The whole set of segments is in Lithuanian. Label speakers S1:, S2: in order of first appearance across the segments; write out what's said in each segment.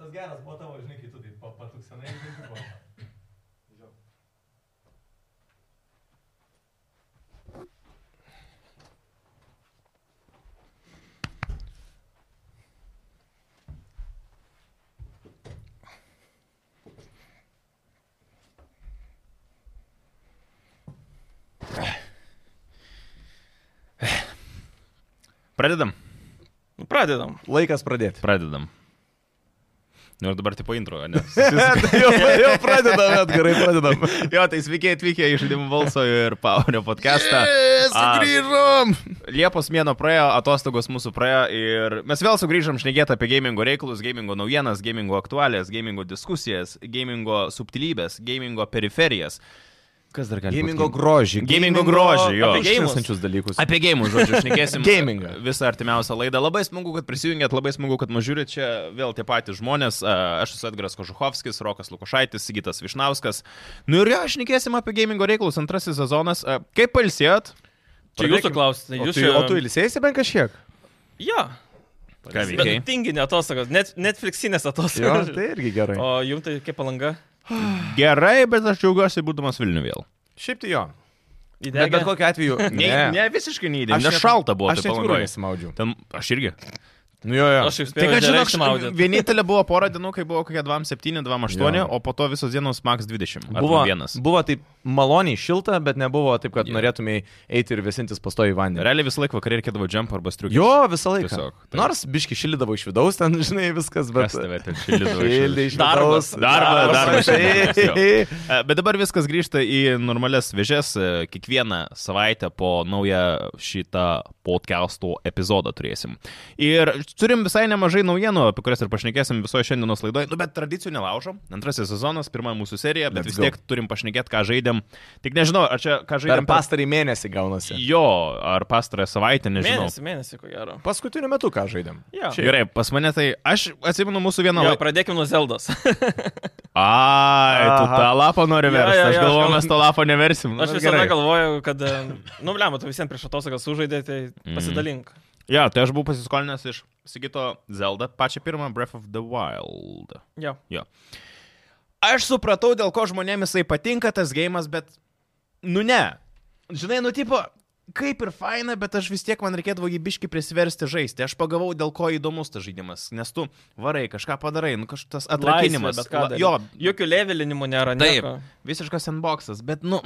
S1: tas geras buvo tavo, žinai, kai tu taip pa- tai patuksenai ir taip buvo.
S2: Žiūrėk.
S3: Pradedam.
S4: Nu, Pradedam.
S2: Laikas pradėti.
S3: Pradedam. Nu ir dabar tipo intro, ne?
S1: Tai
S2: jau,
S3: Tai
S2: jau pradedam, bet gerai pradedam.
S3: jo, tai sveiki atvykę į žaidimų balso ir Paurio podcastą. A,
S4: Sugrįžom.
S3: Liepos mėno praėjo, atostogos mūsų praėjo ir mes vėl sugrįžom šnekėti apie gamingo reikalus, gamingo naujienas, gamingo aktualės, gamingo diskusijas, gamingo subtilybės, gamingo periferijas. Kas dar gali būti?
S2: Gamingo grožį.
S3: Gamingo grožį, jo.
S2: Apie
S4: Apie geimus.
S2: gėmusančius dalykus.
S3: Apie gėjimus, žodžiu, šnekėsim.
S2: Gamingą.
S3: Visą artimiausią laidą. Labai smagu, kad prisijungėt, labai smagu, kad mažiūrėt čia vėl tie patys žmonės. A, Aš esu Edgaras Kožuhovskis, Rokas Lukošaitis, Sigitas Višnauskas. Nu ir jo, šnekėsim apie gamingo reikalus. Antrasis sezonas. A, Kaip palsėjot?
S4: Čia jūsų klausite.
S2: O
S4: Jūs
S2: tu, o tu ilsėjai bent kažkiek?
S4: Jo.
S3: Ką veikiai?
S4: Bet tinginė atostogos. Net, Netflixinės
S2: Jo,
S4: atostogos.
S2: tai irgi gerai.
S4: O jums tai kaip palanga?
S3: Gerai, bet aš džiaugiuosi būdamas Vilnių vėl.
S2: Šiaip tai jo. Bet, bet
S4: Įdėkite.
S2: kokiu atveju.
S3: Ne, ne visiškai neįdėm. Nes
S2: net-
S3: šalta buvo,
S2: Aš
S3: tai
S2: taip
S3: palangoj.
S2: pat nesimaudžiu.
S3: Ten aš irgi.
S2: Nu jo, jo.
S4: Aš jau
S3: Tai
S4: spėjau.
S3: kad žinok,
S4: maudyti.
S3: vienintelė buvo pora dienų, kai buvo kokie 27, 28,
S2: Jo.
S3: o po to visos dienos max 20. ar
S2: Buvo,
S3: 21.
S2: buvo taip maloniai šilta, bet nebuvo taip, kad
S3: Jo.
S2: yeah. norėtumėjai eiti ir vėsintis pastoji vandenį.
S3: Realiai visą laiką vakarį reikėdavo džemp arba striukį.
S2: Jo, visą laiką.
S3: Tiesiog, taip.
S2: Nors biški šilydavo iš vidaus, ten, žinai, viskas, bet...
S3: Kas tave ten šildydavo iš
S2: Šildė
S3: vidaus?
S2: iš
S4: Darbas.
S2: vidaus.
S3: Darbas, darbas šildydavo,
S2: Ei.
S3: E, Bet dabar viskas grįžta į normales vežės. E, Kiekvieną savaitę po naują šitą podcast'o epizodą turėsim. Ir turim visai nemažai naujienų, apie kurias ir pašnekėsim visoje šiandienos laidoje. Nu, bet tradicijų nelaužom. Antrasis sezonas, pirma mūsų serija, bet vis
S2: Let's
S3: tiek
S2: go.
S3: turim pašnekėti, ką žaidėm. Tik nežinau, ar čia ką
S2: Per
S3: žaidėm.
S2: pastarį mėnesį gaunasi.
S3: Jo, ar pastarąją savaitę, nežinau.
S4: Mėnesį, mėnesį, ko gero.
S2: Paskutiniu metu ką žaidėm.
S4: Jo.
S3: Čia Gerai, pas mane tai, aš atsimenu mūsų vieną
S4: Jo,
S3: laidą.
S4: pradėkime nuo Zeldos.
S3: Ai, tu
S2: Aha.
S3: tą lapą nori
S4: Jo,
S3: versti.
S4: jo,
S3: Aš
S4: jo,
S3: galvoju,
S4: aš gal-
S3: mes to lapo neversim. Nu,
S4: Aš
S3: bet
S4: visada
S3: gerai.
S4: galvojau, kad, em, nu, blem, tu visiems prieš atostogas sužaidai, tai
S2: Mm.
S4: pasidalink.
S3: Jo, tai aš buvau pasiskolinęs iš Sigito Zelda, pačią pirmą Breath of the Wild.
S4: Jo.
S3: Aš supratau, dėl ko žmonėms jisai patinka tas gėjimas, bet... Nu ne. Žinai, nu tipo, kaip ir faina, bet aš vis tiek man reikėdavo jį biški prisiversti žaisti. Aš pagavau, dėl ko įdomus tas žaidimas. Nes tu varai, kažką padarai, nu kažkas atrakinimas.
S4: Laisvė, bet ką
S3: La-
S4: daryt.
S3: Jo,
S4: Jokių levelinimų nėra.
S3: Taip.
S4: nieko.
S3: visiškas sandboxas, bet nu...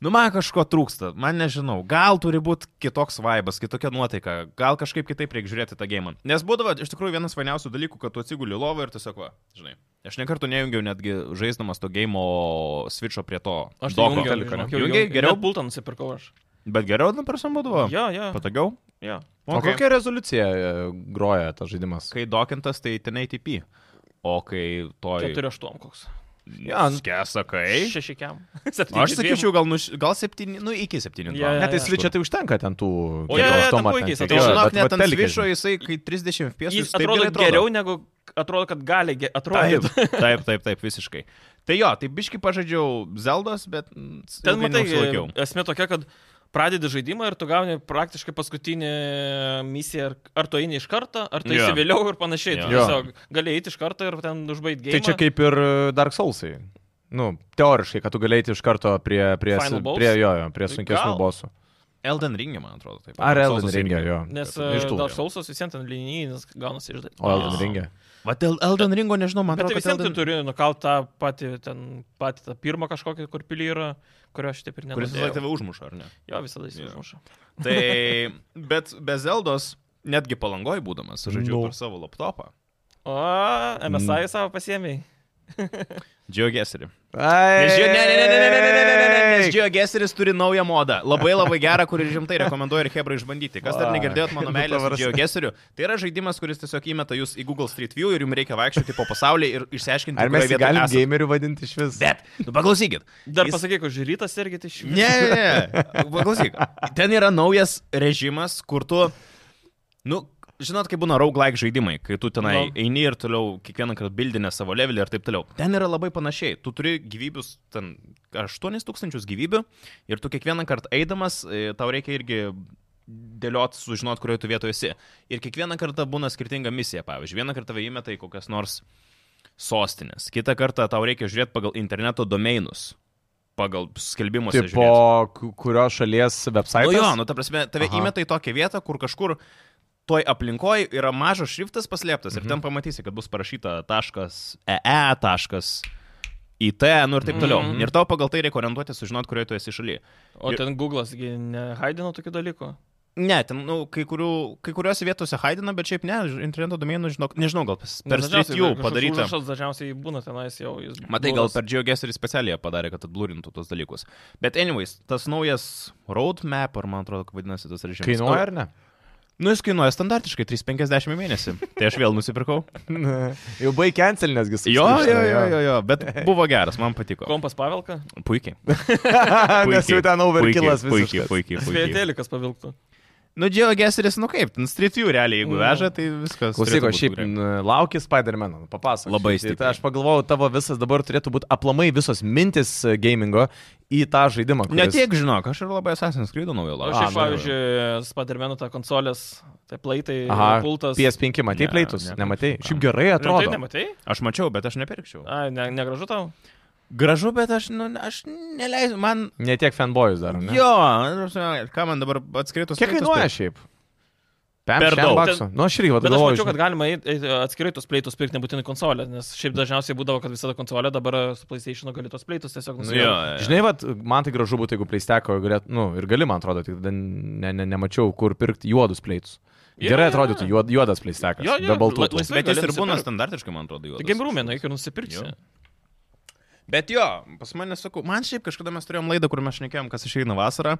S3: Nu, man kažko trūksta, man nežinau, gal turi būti kitoks vaibas, kitokia nuotaika, gal kažkaip kitaip reikia žiūrėti tą gėjimą. Nes būdavo iš tikrųjų vienas fainiausių dalykų, kad tu atsiguli į lovą ir tiesiog, va, žinai, aš nekartų nejungiau netgi žaisdamas to gėjimo switcho prie to.
S4: Aš tai
S3: doko.
S4: jungiau, žinok, jau
S3: Jungiai,
S4: jungiau.
S3: geriau,
S4: Net bultą nusipirkau aš.
S3: bet geriau, nu, per sam būdavo.
S4: Jo, jo.
S3: Patogiau.
S4: jo.
S2: O kokia rezoliucija e, groja tas žaidimas?
S3: Kai dokintas, tai ten ATP. O kai to...
S4: 4-8 koks.
S2: Jo, nu-
S3: skesakai.
S4: Šešikiam. Septyni.
S3: Aš sakyčiau, gal, nuš, gal septyni, nu iki septynių.
S4: Jo, jo,
S2: Net tai
S4: jo.
S2: svičia tai užtenka ten tų...
S3: O
S2: kiek
S3: jo, jo,
S4: ten
S2: automatų
S4: puikiai jis
S2: ten
S3: Tai
S4: Jo,
S2: kiek,
S3: žinok,
S2: bet va
S3: net ant
S2: telike,
S3: višo jisai, kai 30 fps,
S4: Jis atrodo geriau negu atrodo, kad gali ge-
S3: Tai
S4: atrodyti.
S3: Taip, taip, taip, visiškai. Tai jo, tai biški pažadžiau Zeldos, bet... mm,
S4: Ten
S3: ilgai
S4: matai,
S3: neužsilaikiau.
S4: esmė tokia, kad pradedi žaidimą ir tu gauni praktiškai paskutinį misiją, ar- ar tu eini iš karto, ar tu
S3: Jo.
S4: eisi vėliau ir panašiai. Tu
S2: Jo.
S4: tiesiog gali eiti iš karto ir ten užbaigti
S2: Tai
S4: gėrimą.
S2: čia kaip ir e, Dark Soulsai. Nu, teoriškai, kad tu galėjai iš karto prie, prie,
S4: Final boss?
S2: prie, jo, jo, prie
S4: Tai
S2: sunkesnių
S4: gal.
S2: bosų.
S3: Elden Ringė, man atrodo, taip.
S2: Ar
S3: Dark
S2: Elden
S3: Souls'as
S2: Ringė,
S3: irgi. e,
S2: jo.
S4: Nes e,
S2: Iš tų.
S4: dar sausos visiems ten linijinis gaunasi iš
S2: O Elden Ringė.
S3: Vat dėl Elden Ringo, nežinau, man
S4: Bet tai
S3: atrodo,
S4: visiems
S3: kad
S4: tu
S3: Elden...
S4: turi nukalt tą patį, ten, patį tą pirmą kažkokį, kur pilį yra, kurio aš taip ir
S3: Kuris visą laiką
S4: nežinau.
S3: tave užmuša, ar ne?
S4: Jo, visada jis
S3: Jo.
S4: užmuša.
S3: Tai, bet be Zeldos, netgi palangoj būdamas, žaidžiau
S2: Nu.
S3: per savo laptopą.
S4: O, MSI
S3: Mm.
S4: savo pasiemiai.
S3: Džiaugiasi. Nes Geo-
S2: Ai,
S3: Ne, ne, ne, ne, ne, ne, ne, ne, ne, ne, ne, nes GeoGuessris turi naują modą. Labai labai gerą, kurį rimtai rekomenduoju ir Hebra išbandyti. Kas dar
S2: Va,
S3: negirdėjot mano
S2: nu,
S3: meilės
S2: ta prasme.
S3: GeoGuessriu, tai yra žaidimas, kuris tiesiog įmeta jūs į Google Street View ir jums reikia vaikščioti po pasaulį ir išsiaiškinti,
S2: Ar
S3: kurioj
S2: mes jį
S3: vietoj
S2: galim
S3: esat.
S2: gamerių vadinti iš vis?
S3: Bet, nu paklausykit.
S4: Dar
S3: Jis-
S4: pasakyk, už rytas irgi tai šimtas.
S3: Ne, ne, ne, paklausyk. Ten yra naujas režimas, kur tu, nu, žinot, kaip būna roguelike žaidimai, kai tu tenai
S4: Nu.
S3: eini ir toliau kiekvieną kartą bildinę savo levelį ir taip toliau. Ten yra labai panašiai. Tu turi gyvybius, ten 8000 gyvybių ir tu kiekvieną kartą eidamas, e, tau reikia irgi dėliot, sužinot, kurioje tu vietoje esi. Ir kiekvieną kartą būna skirtinga misija, pavyzdžiui, vieną kartą įmeta į kokias nors sostinės, kitą kartą tau reikia žiūrėti pagal interneto domeinus, pagal skelbimus.
S2: Tipo, ku- kurios šalies website.
S3: Nu jo, nu ta prasme, tave
S2: Aha.
S3: Aha. įmeta į tokią vietą, kur kažkur toj aplinkoje yra mažas šriftas paslėptas mhm. ir ten pamatysi, kad bus parašyta taškas EE, taškas IT, nu ir taip toliau.
S4: Mhm.
S3: Mhm. Ir tau pagal tai reikia orientuotis, sužinot, kurioje tu esi šalyje.
S4: O
S3: Ir-
S4: ten Google'as gi nehaidino tokių dalykų.
S3: Ne, ten, nu, kai, kurių, kai kuriuose vietose haidina, bet šiaip ne, ž- interneto domenų, žinok, nežinau, gal pas- per Street View padaryta.
S4: Aš dažniausiai būna tenais jau. jis
S3: Matai, gal
S4: blūdas.
S3: per GeoGuess ir specialiai jie padarė, kad atblūrintų tos dalykus. Bet anyways, tas naujas roadmap, ar man atrodo, kaip vadinasi tas režimas.
S2: Kainuoja ar ne?
S3: Nu, jis kainuoja standartiškai 3,50 į mėnesį. Tai aš vėl nusipirkau.
S2: Jau baig cancel nesgi su
S3: Jo, jo, jo, jo, jo, bet buvo geras, man patiko.
S4: Kompas pavelka?
S3: Puikiai.
S2: Nes jau ten overkillas
S3: puikiai,
S2: visiškai.
S3: puikiai, puikiai.
S4: Svietelikas pavilktų.
S3: Nu, GeoGuessris, nu kaip, ten Street View realiai, jeigu
S4: Nu.
S3: veža, tai viskas.
S2: Klausyk,
S3: turėtų
S2: o
S3: būt
S2: šiaip
S3: gerai.
S2: n- lauki Spider-Man, papasakok.
S3: Labai
S2: šiaip. Tai
S3: stipriai.
S2: Aš pagalvojau, tavo visas dabar turėtų būti aplamai visos mintis e, gamingo į tą žaidimą.
S3: Ne
S2: kuris-
S3: tiek, žinok, aš ir labai Assassin's Creed naujo
S4: Aš
S3: laukiu.
S4: šiaip, pavyzdžiui, Spadermenų tą konsolės, tai plaitai,
S2: Aha,
S4: pultas.
S2: PS5 matei
S3: Ne,
S2: pleitus,
S3: ne.
S2: nematei. Šiaip gerai atrodo.
S4: Tai nematai?
S3: Aš mačiau, bet aš nepirkčiau.
S4: Ai, ne, negražu tau.
S3: Gražu, bet aš, nu, aš neleisiu, man...
S2: Ne tiek fanboys dar. Ne?
S3: Jo, nu, ta prasme, ką man dabar atskritus. tai-
S2: Kiek kainuoja šiaip? Pem,
S3: Per
S2: šem
S3: daug.
S2: baksų. Nu, aš irgi
S4: Bet aš
S2: vadovauju.
S4: mačiau, kad galima eit- eit atskirai tos pleitus pirkti nebūtinai konsolę, nes šiaip dažniausiai būdavo, kad visada konsolė, dabar e, su PlayStation gali tos pleitus
S3: Nu,
S4: tiesiog nusipirkti.
S3: jo,
S2: Žinai, vat, man tai gražu būtų, jeigu pleisteko, galėt, nu, ir gali, man atrodo, tik tada ne, ne, nemačiau, kur pirkti juodus pleitus.
S4: Jo,
S2: Gerai
S4: jo, jo.
S2: atrodytų juod, juodas pleistekas.
S4: Jo, jo,
S2: Be baltų. Mhm,
S4: la- laisvai
S3: Bet jis
S4: gali
S3: ir būna
S4: nusipirkt.
S3: standartiškai, man atrodo, jau.
S4: Tai game roomė, eik ir nusipirksi.
S3: Jo. Bet jo, pas mane sakau, man šiaip kažkada mes turėjom laidą, kur mes šnekėjom, kas išeina vasarą.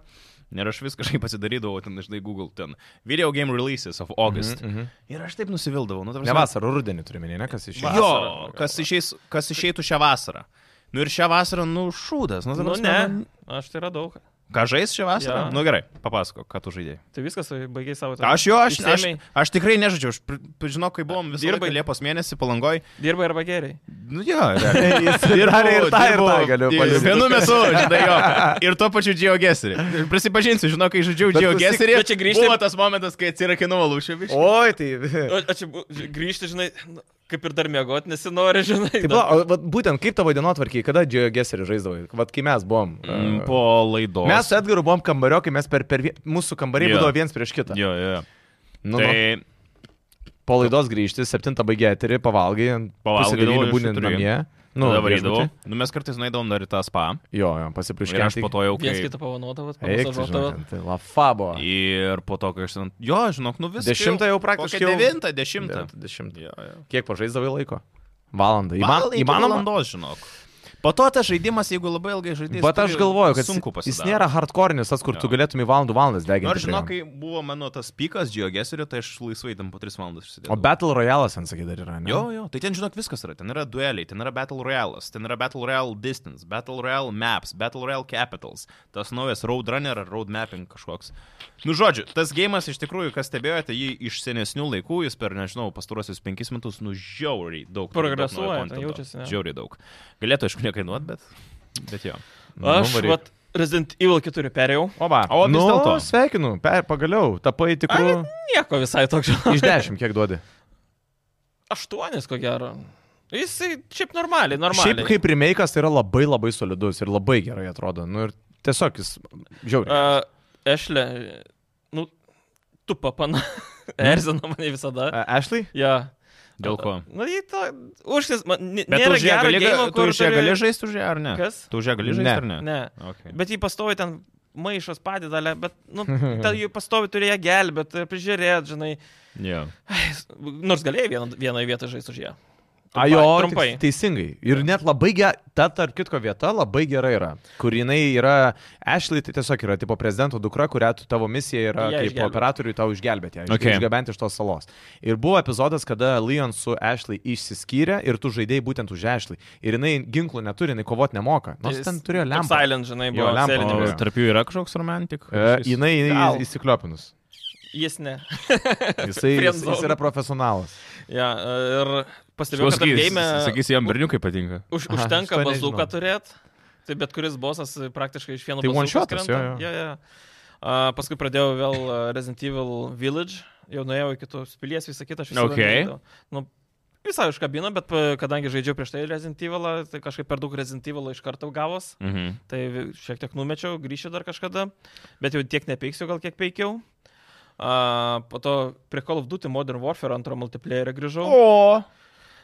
S3: Ir aš viską kažkaip pasidarydavau ten, žinai, Google ten. Video game releases of August. Mm
S2: Mhm, mhm.
S3: -hmm. Ir aš taip nusivildavau. Nu, ta prasme-
S2: Ne vasarą, rudenį turime, ne kas išėjo.
S4: Vasarą.
S3: Jo, kas, išeis, kas išeitų šią vasarą. Nu ir šią vasarą, nu, šūdas. Nu, ta
S4: Nu,
S3: prasme,
S4: ne, aš tai radau.
S3: Ką žais šią vasarą?
S4: Jo.
S3: Nu gerai, papasako, ką tu žaidėjai.
S4: Tai viskas, baigiai savo. tą-
S3: Aš jo, aš, aš,
S4: Išsėmei.
S3: aš tikrai nežaidžiau. Aš pri- pri- žinau, kai buvom visą
S4: Dirbai.
S3: laiką Liepos mėnesį palangoj.
S4: Dirbai arba geriai.
S3: Nu jo, realiai.
S2: Jis darė ir tą, ir tą galiu
S3: Ir
S2: paliudyti.
S3: vienu metu, žinai, jo. Ir tuo pačiu GeoGesterį. Prisipažinsiu, žinau, kai žaidžiau
S2: Bet tu
S3: GeoGesterį.
S4: sik- bet čia grįžti-
S3: Buvo tas momentas, kai atsirakinau lūšėmis.
S2: Oi, tai...
S4: Aš čia bu- ži- grįžti, žinai, nu, kaip ir dar mėgoti nesinori, žinai.
S2: Taip,
S4: dar-
S2: va, tai o vat būtent kaip tavo dienotvarkiai, kada Džiojo Geserį žaisdavai? Vat kai mes buvom. e,
S3: Mm, Po laidos.
S2: Mes su Edgaru buvom kambario, kai mes per, per vie- mūsų kambariai
S3: Jo.
S2: būdavo viens prieš kitą.
S3: Jo, jo. Nu,
S2: Nu, tai...
S3: tai
S2: nu, po laidos grįžti, septintą baigė eterį, pavalgai,
S3: Pavalgydavau
S2: pasidalini
S3: iš
S2: būtent
S3: keturių.
S2: namie.
S3: nu,
S2: Nu,
S3: dabar įdavau.
S2: viešbutį.
S3: Nu, mes kartais nuėdavom dar į tą spa.
S2: Jo, jo,
S3: Ir aš
S2: pasiprieškinti.
S3: po to jau
S4: Vienas
S3: kai...
S4: kitą pavanuodavot,
S2: Eik, tu žinai,
S4: pavanuodavot.
S2: ten tai lafabo.
S3: Ir po to, kai aš ten... Jo, žinok, nu viskas.
S2: Dešimtą jau praktiškai jau-
S3: Devintą, dešimtą.
S2: Dešimtą.
S3: Jo, jo.
S2: Kiek pažaisdavai laiko? Valandą.
S3: Įman,
S2: Įmanoma?
S3: valandos, žinok. Po to tas žaidimas, jeigu labai ilgai žaidžiate,
S2: Bet aš galvoju, kad
S3: sunku
S2: jis-
S3: pasakyti.
S2: jis nėra hardcore'nis, tas, kur tu
S3: Jo.
S2: galėtum į valandų valandas deginti.
S3: Nors
S2: prie jo.
S3: žinok, kai buvo mano tas pikas geogeserio, tai aš laisvai ten po 3 valandas išsidėjau.
S2: O Battle Royale'as, ten sakai, dar yra, ne?
S3: Jo, jo, tai ten žinok viskas yra. Ten yra dueliai, ten yra Battle Royale'as, ten yra Battle Royale Distance, Battle Royale Maps, Battle Royale Capitals, tas naujas Roadrunner ar Road Mapping kažkoks. Nu, žodžiu, tas gėjimas iš tikrųjų, kas stebėjote jį iš senesnių laikų, jis per, nežinau, pastarosius penkis metus, nu, žiauriai daug.
S4: Progresuoja,
S3: daug naujo
S4: ten
S3: contento.
S4: jaučiasi, ne?
S3: Žiauriai daug. Galėtų, aišku, nekainuot, bet... Bet jo.
S2: Nu,
S4: Aš,
S2: varyk.
S4: vat, Resident Evil 4 perėjau.
S2: Oba.
S3: O vis
S2: nu,
S3: dėlto.
S2: Sveikinu, per, pagaliau, tapai tikru.
S4: Nieko visai toks. žinai.
S2: Iš dešimt kiek duodi?
S4: Aštuonis, ko gero. Jisai šiaip normaliai, normaliai.
S2: Šiaip kaip remake'as tai yra labai labai solidus ir labai gerai atrodo. Nu ir tiesiog jis žiauriai.
S4: A, Ešlė, nu, tu papana. Erzina mane visada.
S2: Ashley?
S4: Ja.
S3: Hmm? Dėl ko?
S4: Na, jį to... Užsis, man... nė-
S3: Bet
S4: Nėra
S3: tu už ją
S4: gero
S3: gali,
S4: game,
S3: tu
S4: kur
S3: už ją
S4: turi-
S3: gali žaisti už ją ar ne?
S4: Kas?
S3: Tu už ją gali
S2: Ne.
S3: žaisti ar ne?
S4: Ne.
S3: Okay.
S4: Bet jį pastovi ten maišas padidalė, bet, nu, ten jį pastovi turėjo gelbėti, prižiūrėti, žinai.
S3: Yeah.
S4: Nors galėjai vieną, vieną vietą žaisti už ją.
S2: A jo,
S4: trumpai.
S2: tiks- Teisingai. Ir net labai gera, ta tarp kitko vieta labai gerai yra, kur jinai yra, Ashley tai tiesiog yra tipo prezidento dukra, kurią tu, tavo misija yra
S4: Ją
S2: kaip
S4: išgelbėt.
S2: operatoriui tau išgelbėti, ją iš-
S3: Okay.
S2: išgabenti iš tos salos. Ir buvo epizodas, kada Leon su Ashley išsiskyrė ir tu žaidėjai būtent už Ashley. Ir jinai ginklų neturi, jinai kovoti nemoka. Nors
S4: Jis-
S2: ten turėjo
S4: Kaip
S2: lempą.
S4: Silent, žinai,
S2: Jo,
S4: buvo
S2: lempą,
S4: sėlinimas.
S2: jo.
S3: Tarp jų yra kažkoks romantik?
S2: E, jinai
S4: Gal.
S2: jinai įsikliopinus.
S4: Jis ne.
S2: Jisai jis,
S4: Friendzone.
S2: jis yra profesionalas.
S4: Ja, ir pastebėjau, kad tam game
S3: Sakys, jam berniukai patinka.
S4: už,
S2: Aha,
S4: užtenka
S2: šito
S4: bazuką
S2: nežinau.
S4: turėti. Tai bet kuris bosas praktiškai iš vieno
S2: Tai one
S4: bazukos
S2: shotas,
S4: krenta.
S2: jo, jo.
S4: Ja, ja. A, paskui pradėjau vėl a, Resident Evil Village, jau nuėjau iki tos pilies, visą kitą aš
S3: Ok.
S4: jau. Nu, visai užkabino, bet pa- kadangi žaidžiau prieš tai Resident Evil, tai kažkaip per daug Resident Evil iš karto gavos.
S3: Mhm.
S4: Tai vi- šiek tiek numečiau, grįšiu dar kažkada, bet jau tiek nepeiksiu, gal kiek peikiau. A, po to prie Call of Duty Modern Warfare antro multiplayerio grįžau.
S3: O,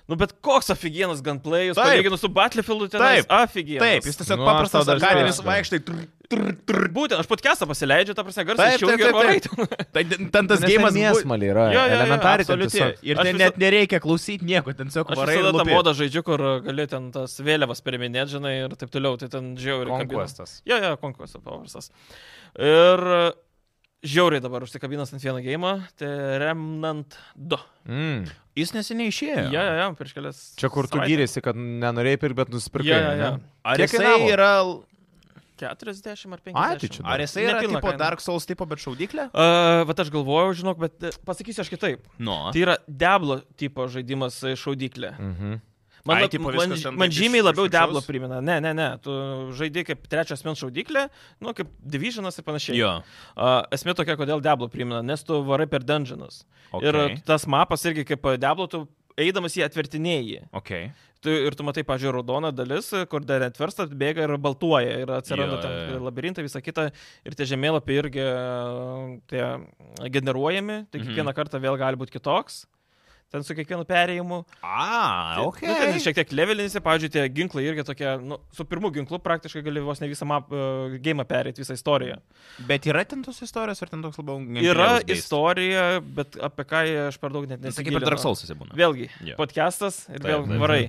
S4: Nu, bet koks afigienas gunplayus,
S3: Taip.
S4: palyginus su Battlefieldu ten.
S3: Taip.
S4: Afigienas.
S3: taip, jis tiesiog
S2: Nu,
S3: nu,
S2: aš
S3: paprastas
S2: tau dar
S3: arkadinis
S2: žinau.
S3: vaikštai. Tr, tr, tr.
S4: Būtent, aš podcastą pasileidžiu, ta prasme, garsą
S3: Taip, taip,
S4: išjungiu ir
S3: taip,
S4: varai.
S3: taip. Tai ten- ten tas gėjimas
S2: Nu, mėsmalė yra.
S4: Jo, jo, jo,
S2: Elementariai ten
S3: Absoliučiai.
S2: tiesiog.
S3: Ir
S4: Aš
S3: ten
S4: visą-
S3: net nereikia klausyti nieko, ten tiesiog
S4: Aš
S3: varai ir
S4: visada tą
S3: lupi.
S4: modą žaidžiu, kur gali ten tas vėliavas periminėti, žinai, ir taip toliau, tai ten žiauriai. kabina.
S3: Conquestas.
S4: Jo, jo, konkursas pavarsas. Ir e, žiauriai dabar užsikabinęs ant vieną gėjimą, tai Remnant 2.
S2: Mm.
S3: Jis neseniai išėjo.
S4: Jo, jo, jo, prieš kelias.
S2: Čia kur tu gyrėsi, kad nenorėjai pirkti, bet nusipirkai.
S4: Jo, jo, jo.
S2: ne?
S3: Ar
S2: Kiek
S3: jisai
S2: kainavo?
S3: yra,
S4: 40 ar 50.
S2: Ai, tai čia
S3: ar jisai yra
S4: Nepilna
S3: tipo
S4: kaina.
S3: Dark Souls tipo, bet šaudyklė?
S4: Uh, bet aš galvojau, žinok, bet e, pasakysiu aš kitaip.
S3: Nu.
S4: Tai yra Deblo tipo žaidimas e, šaudyklė.
S2: Mhm.
S4: Man,
S3: Ai,
S4: Ai,
S3: tipo,
S4: man,
S3: viskas ten
S4: man
S3: taip iš-
S4: žymiai
S3: iš
S4: labiau
S3: viršaus?
S4: Deblo primena. Ne, ne, ne. Tu žaidai kaip trečias mens šaudyklė, nu, kaip Divisionas ir panašiai.
S3: Jo.
S4: Uh, esmė tokia, kodėl Deblo primena, nes tu varai per dungeonus.
S3: Okay.
S4: Ir tas mapas irgi kaip Deblo, tu eidamas jį atvertinėjai.
S3: Okay.
S4: Tu, ir tu matai, pažiūrėjau, raudona dalis, kur dar atversta, bėga ir baltuoja, ir
S3: Jo,
S4: atsiranda
S3: jo, jo.
S4: ten labirintai, visa kita, ir tie žemėlapiai irgi e, tie generuojami, tai
S3: Mhm.
S4: kiekvieną kartą vėl gali būti kitoks, ten su kiekvienu perėjimu.
S3: A, ok.
S4: Nu, ten šiek tiek levelinėsi, pavyzdžiui, tie ginklai irgi tokie, nu, su pirmu ginklu praktiškai gali vos ne visą map, uh, game perėti, visą istoriją.
S3: Bet yra ten tos istorijos, ar ten toks labiau...
S4: Yra istorija, bet apie ką aš per daug net
S3: Sakai,
S4: nesakyčiau.
S3: per Dark Souls jisai būna.
S4: Vėlgi,
S3: Jo.
S4: yeah. podcastas ir
S3: Taip,
S4: vėl
S3: taip,
S4: varai.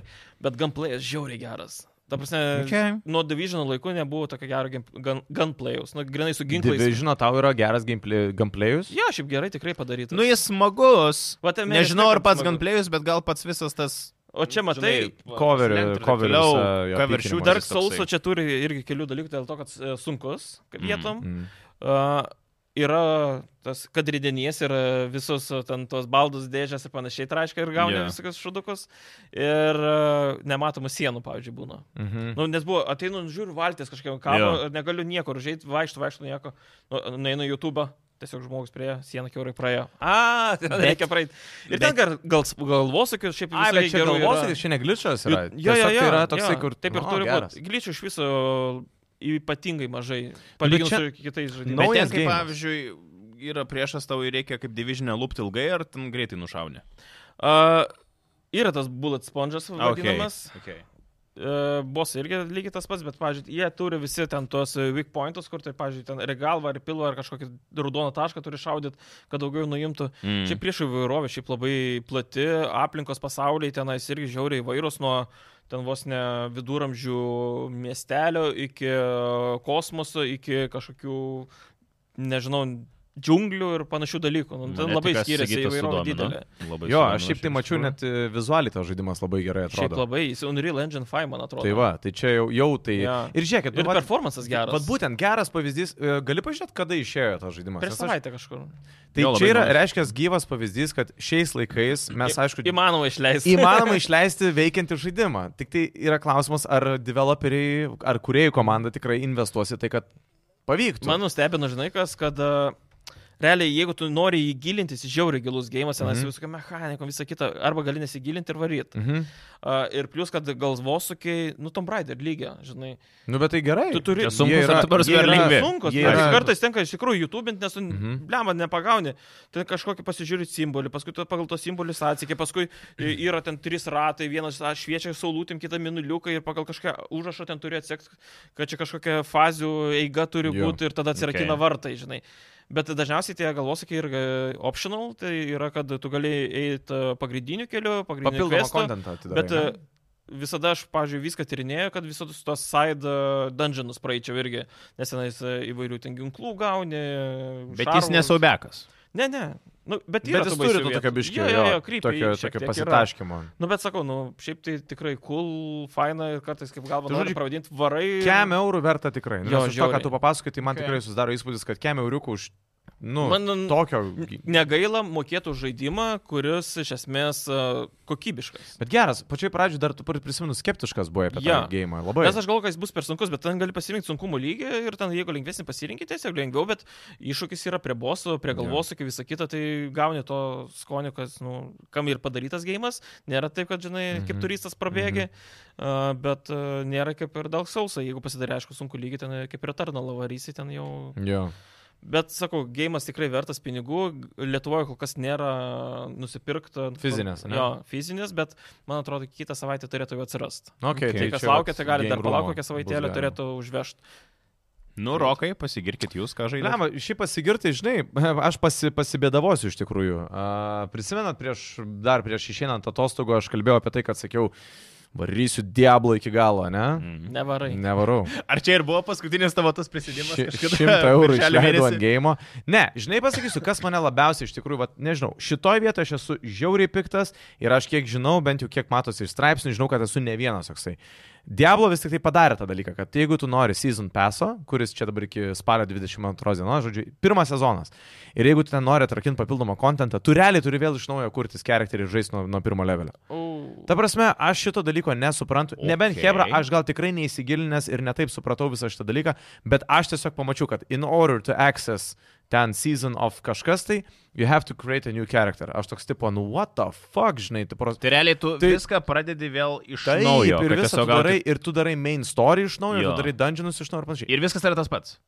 S4: Bet gunplayas žiauriai geras. Ta prasme,
S3: Okay.
S4: nuo Division laikų nebuvo tokio gero gim- gun- gunplayaus. Nu, grinai su ginklais.
S2: Žino, tau yra geras gameplay- gameplayus.
S4: Jo, šiaip gerai tikrai padaryta.
S3: Nu, jis smagus.
S4: Va, tame
S3: Nežinau,
S4: ir
S3: ar pats
S4: smagu.
S3: gunplayus, bet gal pats visas tas...
S4: O čia matai,
S3: žinai,
S2: cover-
S3: slenkt ir taip
S2: coveris,
S3: toliau,
S2: a, jo,
S3: cover
S2: pykinimas.
S3: shoot
S4: Dark
S3: toksai.
S4: Souls čia turi irgi kelių dalykų dėl to, kad e, sunkus, kaip
S3: Mm,
S4: vietom.
S2: Mm.
S4: Uh, yra tas kadridenies ir e, visus e, ten tos baldus dėžės ir panašiai traiška ir gauni
S3: Jo.
S4: yeah. visokius šudukus. Ir uh, nematomų sienų, pavyzdžiui, būna.
S2: Mhm.
S4: Nu, nes buvo, ateinu, žiūriu, valtis kažkiek kabo,
S3: Jo.
S4: yeah. negaliu niekur žaisti, vaikštų, vaikštų nieko. Nu, Nueinu į YouTube. Tiesiog žmogus prie sieną keurai praėjo. A, ten
S3: Bet-
S4: reikia praeiti. Ir ten gal, gal, galvosakiu, šiaip
S2: Ai,
S4: visai
S2: bet čia
S4: gerų yra.
S2: galvos, kad čia negličas yra.
S4: Jo, jo,
S2: Tiesiog
S4: jo,
S2: tai yra toksai,
S4: jo.
S2: kur...
S4: Taip ir
S2: nu,
S4: turi
S2: geras. Nu,
S4: būti. Glyčių iš viso ypatingai mažai. Palyginus
S2: čia-
S4: su kitais
S3: Bet
S4: žaidimais.
S3: ten,
S2: Naujas
S3: kaip
S2: geimas.
S3: pavyzdžiui, yra priešas tau ir reikia kaip divizinę lūpti ilgai, ar ten greitai nušauni?
S4: Uh, yra tas bullet sponges Nu, vadinamas. Okay.
S3: Okay.
S4: Uh, Bosai irgi lygiai tas pats, bet, pavyzdžiui, jie turi visi ten tuos e, weak pointus, kur tai, pavyzdžiui, ten regalvą ar pilvą ar kažkokį raudoną tašką turi šaudyti, kad daugiau nuimtų.
S3: Mm.
S4: Čia prieš įvairovę, šiaip labai plati, aplinkos pasauliai tenais irgi žiauriai įvairūs nuo ten vos ne viduramžių miestelio iki e, kosmoso, iki kažkokių, nežinau, džiunglių ir panašių dalykų. Nu, ten
S3: Mane
S4: labai
S3: tik kas
S4: skiriasi
S3: Sigitas
S4: įvairovė
S3: sudomino.
S4: didelė.
S3: Labai
S2: Jo,
S3: sudomino,
S2: aš šiaip tai mačiau,
S3: iš
S2: net e, vizualiai tas žaidimas labai gerai
S4: Šiaip
S2: atrodo.
S4: labai, jis Unreal Engine 5, man atrodo.
S2: Tai va, tai čia jau, jau tai...
S4: Jo.
S2: Ir žiūrėkit,
S4: Ir
S2: nu, vat-
S4: performances geras.
S2: Vat būtent geras pavyzdys, e, gali pažiūrėti, kada išėjo tas žaidimas.
S4: Prieš
S2: Nes aš-
S4: savaitę kažkur.
S2: Tai
S3: Jo, labai
S2: čia yra,
S3: naujas.
S2: reiškia, gyvas pavyzdys, kad šiais laikais mes, aišku,
S4: Įmanoma išleisti.
S2: įmanoma išleisti veikiantį žaidimą. Tik tai yra klausimas, ar developeriai, ar kuriejų komanda tikrai investuos į tai, kad pavyktų.
S4: Man nustebino, žinai, kas, kad a, realiai, jeigu tu nori įgilintis į žiauriai gilus gėjimas, ten esi
S2: Mhm.
S4: visokia mechanika, visa kita, arba gali nesigilinti ir varyti.
S2: Mhm.
S4: Ir plus, kad galvosukiai, nu, Tom Raider lygia, žinai.
S2: Nu, bet tai gerai.
S4: Tu turi...
S3: Čia sunkus, ar ta prasme,
S2: jie
S3: ar lengvi?
S4: Sunkus,
S2: jie
S4: yra...
S2: yra-
S4: kartais tenka iš tikrųjų YouTube, nes tu, mm
S2: Mhm.
S4: blem, nepagauni. Tai kažkokį pasižiūri simbolį, paskui tu pagal tos simbolius atsikė, paskui i- yra ten trys ratai, vienas a, šviečia saulutėm, kitą minuliuką ir pagal kažką užrašą ten turi atsekti, kad čia kažkokia fazių eiga turi
S2: Jo.
S4: būti ir tada atsirakina
S3: Okay.
S4: okay. vartai, žinai. Bet dažniausiai tie galvosakiai ir e, optional, tai yra, kad tu gali eiti pagrindiniu keliu, pagrindiniu
S2: Papildomą
S4: keliu.
S2: kontentą atidarai.
S4: Bet
S2: ne?
S4: e, visada aš, pavyzdžiui, viską tyrinėjau, kad visus tos side e, dungeonus praeičiau irgi, nes tenais e, įvairių ten ginklų gauni. e,
S3: tikrųjų. Bet
S4: šarvų.
S3: jis nesaubekas.
S4: Ne, ne. Nu, bet, yra
S2: Bet jis
S4: tų
S2: turi
S4: baisių
S2: to
S4: vietų.
S2: tokio biškio,
S4: Jo, jo, jo, krypio.
S2: tokio, tokio pasitaškymo.
S4: Nu, bet sakau, nu, šiaip tai tikrai cool, faina ir kartais kaip galva,
S2: Tai
S4: noriu
S2: žodžiu,
S4: pravadinti varai. ir-
S2: Kem eurų verta tikrai. Nu,
S4: Jo,
S2: nes Iš to, ką
S4: žiauriai.
S2: tu papasakai, tai man
S3: Okay.
S2: tikrai susidaro įspūdis, kad kem euriukų už Nu, Man,
S4: Man-
S2: tokio.
S4: Negaila mokėtų žaidimą, kuris iš esmės e, kokybiškas.
S2: Bet geras, pačioj pradžioje dar tu pri- prisimenu, skeptiškas buvai apie
S4: Jo.
S2: tą gėjimą. Labai.
S4: Nes aš galvoju, kad jis bus per sunkus, bet ten gali pasirinkti sunkumo lygį ir ten jeigu lengvesnį pasirinkti, tiesiog lengviau, bet iššūkis yra prie bosų, prie galvos, kaip visa kita, tai gauni to skonio, kas, nu, kam ir padarytas gėjimas. Nėra taip, kad, žinai,
S2: Mhm.
S4: kaip turistas prabėgi, a, bet a, nėra kaip ir daug sausa. Jeigu pasidarė, aišku, sunku lygį, ten e, kaip ir tarnalą varysi, ten jau
S2: Jo.
S4: Bet sakau, gėjimas tikrai vertas pinigų. Lietuvoje kol kas nėra nusipirkta.
S2: Fizinės, ane?
S4: Jo, fizinės, bet man atrodo, kitą savaitę turėtų jau atsirasti.
S2: Okay,
S4: Tai, tai kas laukia, tai gali dar palaukti, kokią savaitėlę turėtų užvežti.
S3: Nu, rokai, pasigirkit jūs, ką žaidžiate.
S2: Lema, šiaip pasigirti, žinai, aš pasi, pasibėdavosiu iš tikrųjų. A, prisimenat, prieš, dar prieš išeinant atostogų aš kalbėjau apie tai, kad sakiau, varysiu Diablo iki galo, ne?
S4: Nevarai. Ne.
S2: Nevarau.
S3: Mm. Ar čia ir buvo paskutinis tavo tas prisėdimas?
S2: Ši-
S3: kažkada
S2: Šimtą eurų
S3: birželio
S2: išleidau
S3: mėnesį?
S2: ant gėjimo. Ne, žinai, pasakysiu, kas mane labiausiai iš tikrųjų, vat, nežinau, šitoje vietoje aš esu žiauriai piktas ir aš kiek žinau, bent jau kiek matosi iš straipsnių, žinau, kad esu ne vienas toksai. Diablo vis tik tai padarė tą dalyką, kad jeigu tu nori season paso, kuris čia dabar iki spalio 22 dienos, žodžiu, pirmas sezonas, ir jeigu tu ten nori atrakinti papildomą kontentą, tu realiai turi vėl iš naujo kurtis charakterį ir žaisti nuo, nuo pirmo levelio. Ta prasme, aš šito dalyko nesuprantu. Okay. Nebent
S3: Okei.
S2: Hebra, aš gal tikrai neįsigilinęs ir netaip supratau visą šitą dalyką, bet aš tiesiog pamačiau, kad in order to access ten season of kažkas tai, you have to create a new character. Aš toks tipo, nu what the fuck, žinai, tu pras...
S3: Tai realiai tu
S2: Tai-
S3: viską pradedi vėl iš
S2: Taip,
S3: naujo.
S2: ir
S3: kad
S2: visą
S3: tiesiog
S2: tu darai,
S3: gauti-
S2: ir tu darai main story iš naujo, ir
S3: Jo.
S2: tu darai dungeonus iš naujo ir panašiai.
S3: Ir viskas yra tas pats.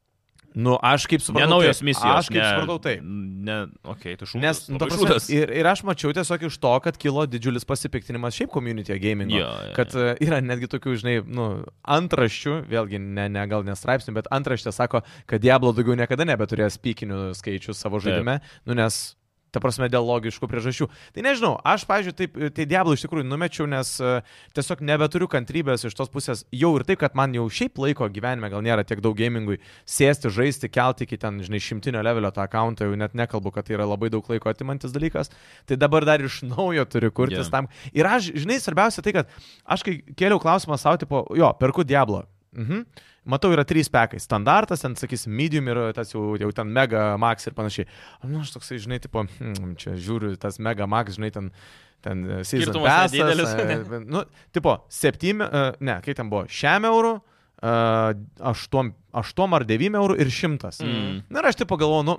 S2: Nu, aš kaip
S3: Ne
S2: supratau.
S3: naujos
S2: taip.
S3: misijos.
S2: Aš kaip
S3: ne,
S2: supratau taip.
S3: Ne, okei, okay, tu šūdas.
S2: Nes, nu, ta prasme, ir, ir aš mačiau tiesiog iš to, kad kilo didžiulis pasipiktinimas šiaip community gaming.
S3: Jo, jo, jo.
S2: Kad e, yra netgi tokių, žinai, nu, antraščių, vėlgi ne, ne gal nestraipsnių, bet antraštė sako, kad Diablo daugiau niekada nebeturės pykinių skaičių savo
S3: Taip.
S2: žaidime, nu, nes, ta prasme, dėl logiškų priežasčių. Tai nežinau, aš, pavyzdžiui, taip, e, tai Diablo iš tikrųjų numečiau, nes e, tiesiog nebeturiu kantrybės iš tos pusės, jau ir taip, kad man jau šiaip laiko gyvenime gal nėra tiek daug gamingui sėsti, žaisti, kelti iki ten, žinai, šimtinio levelio tą akantą, jau net nekalbu, kad tai yra labai daug laiko atimantis dalykas, tai dabar dar iš naujo turiu kurtis
S3: Jo.
S2: yeah. tam. Ir aš, žinai, svarbiausia tai, kad aš kai kėliau klausimą savo, tipo, jo, perku Diablo. Mhm. Matau, yra trys pekai. Standartas, ten, sakysim, medium ir tas jau, jau ten mega max ir panašiai. Nu, aš toksai, žinai, tipo, hmm, čia žiūriu, tas mega max, žinai, ten, ten e, season
S4: Skirtumas
S2: passas,
S4: nedidelis,
S2: e,
S4: ne?
S2: Bet, Nu, tipo, 7, ne, kaip ten buvo, šiam eurų, 8, 8 ar 9 eurų ir 100.
S4: Mm.
S2: Na ir aš tipo galvoju, nu,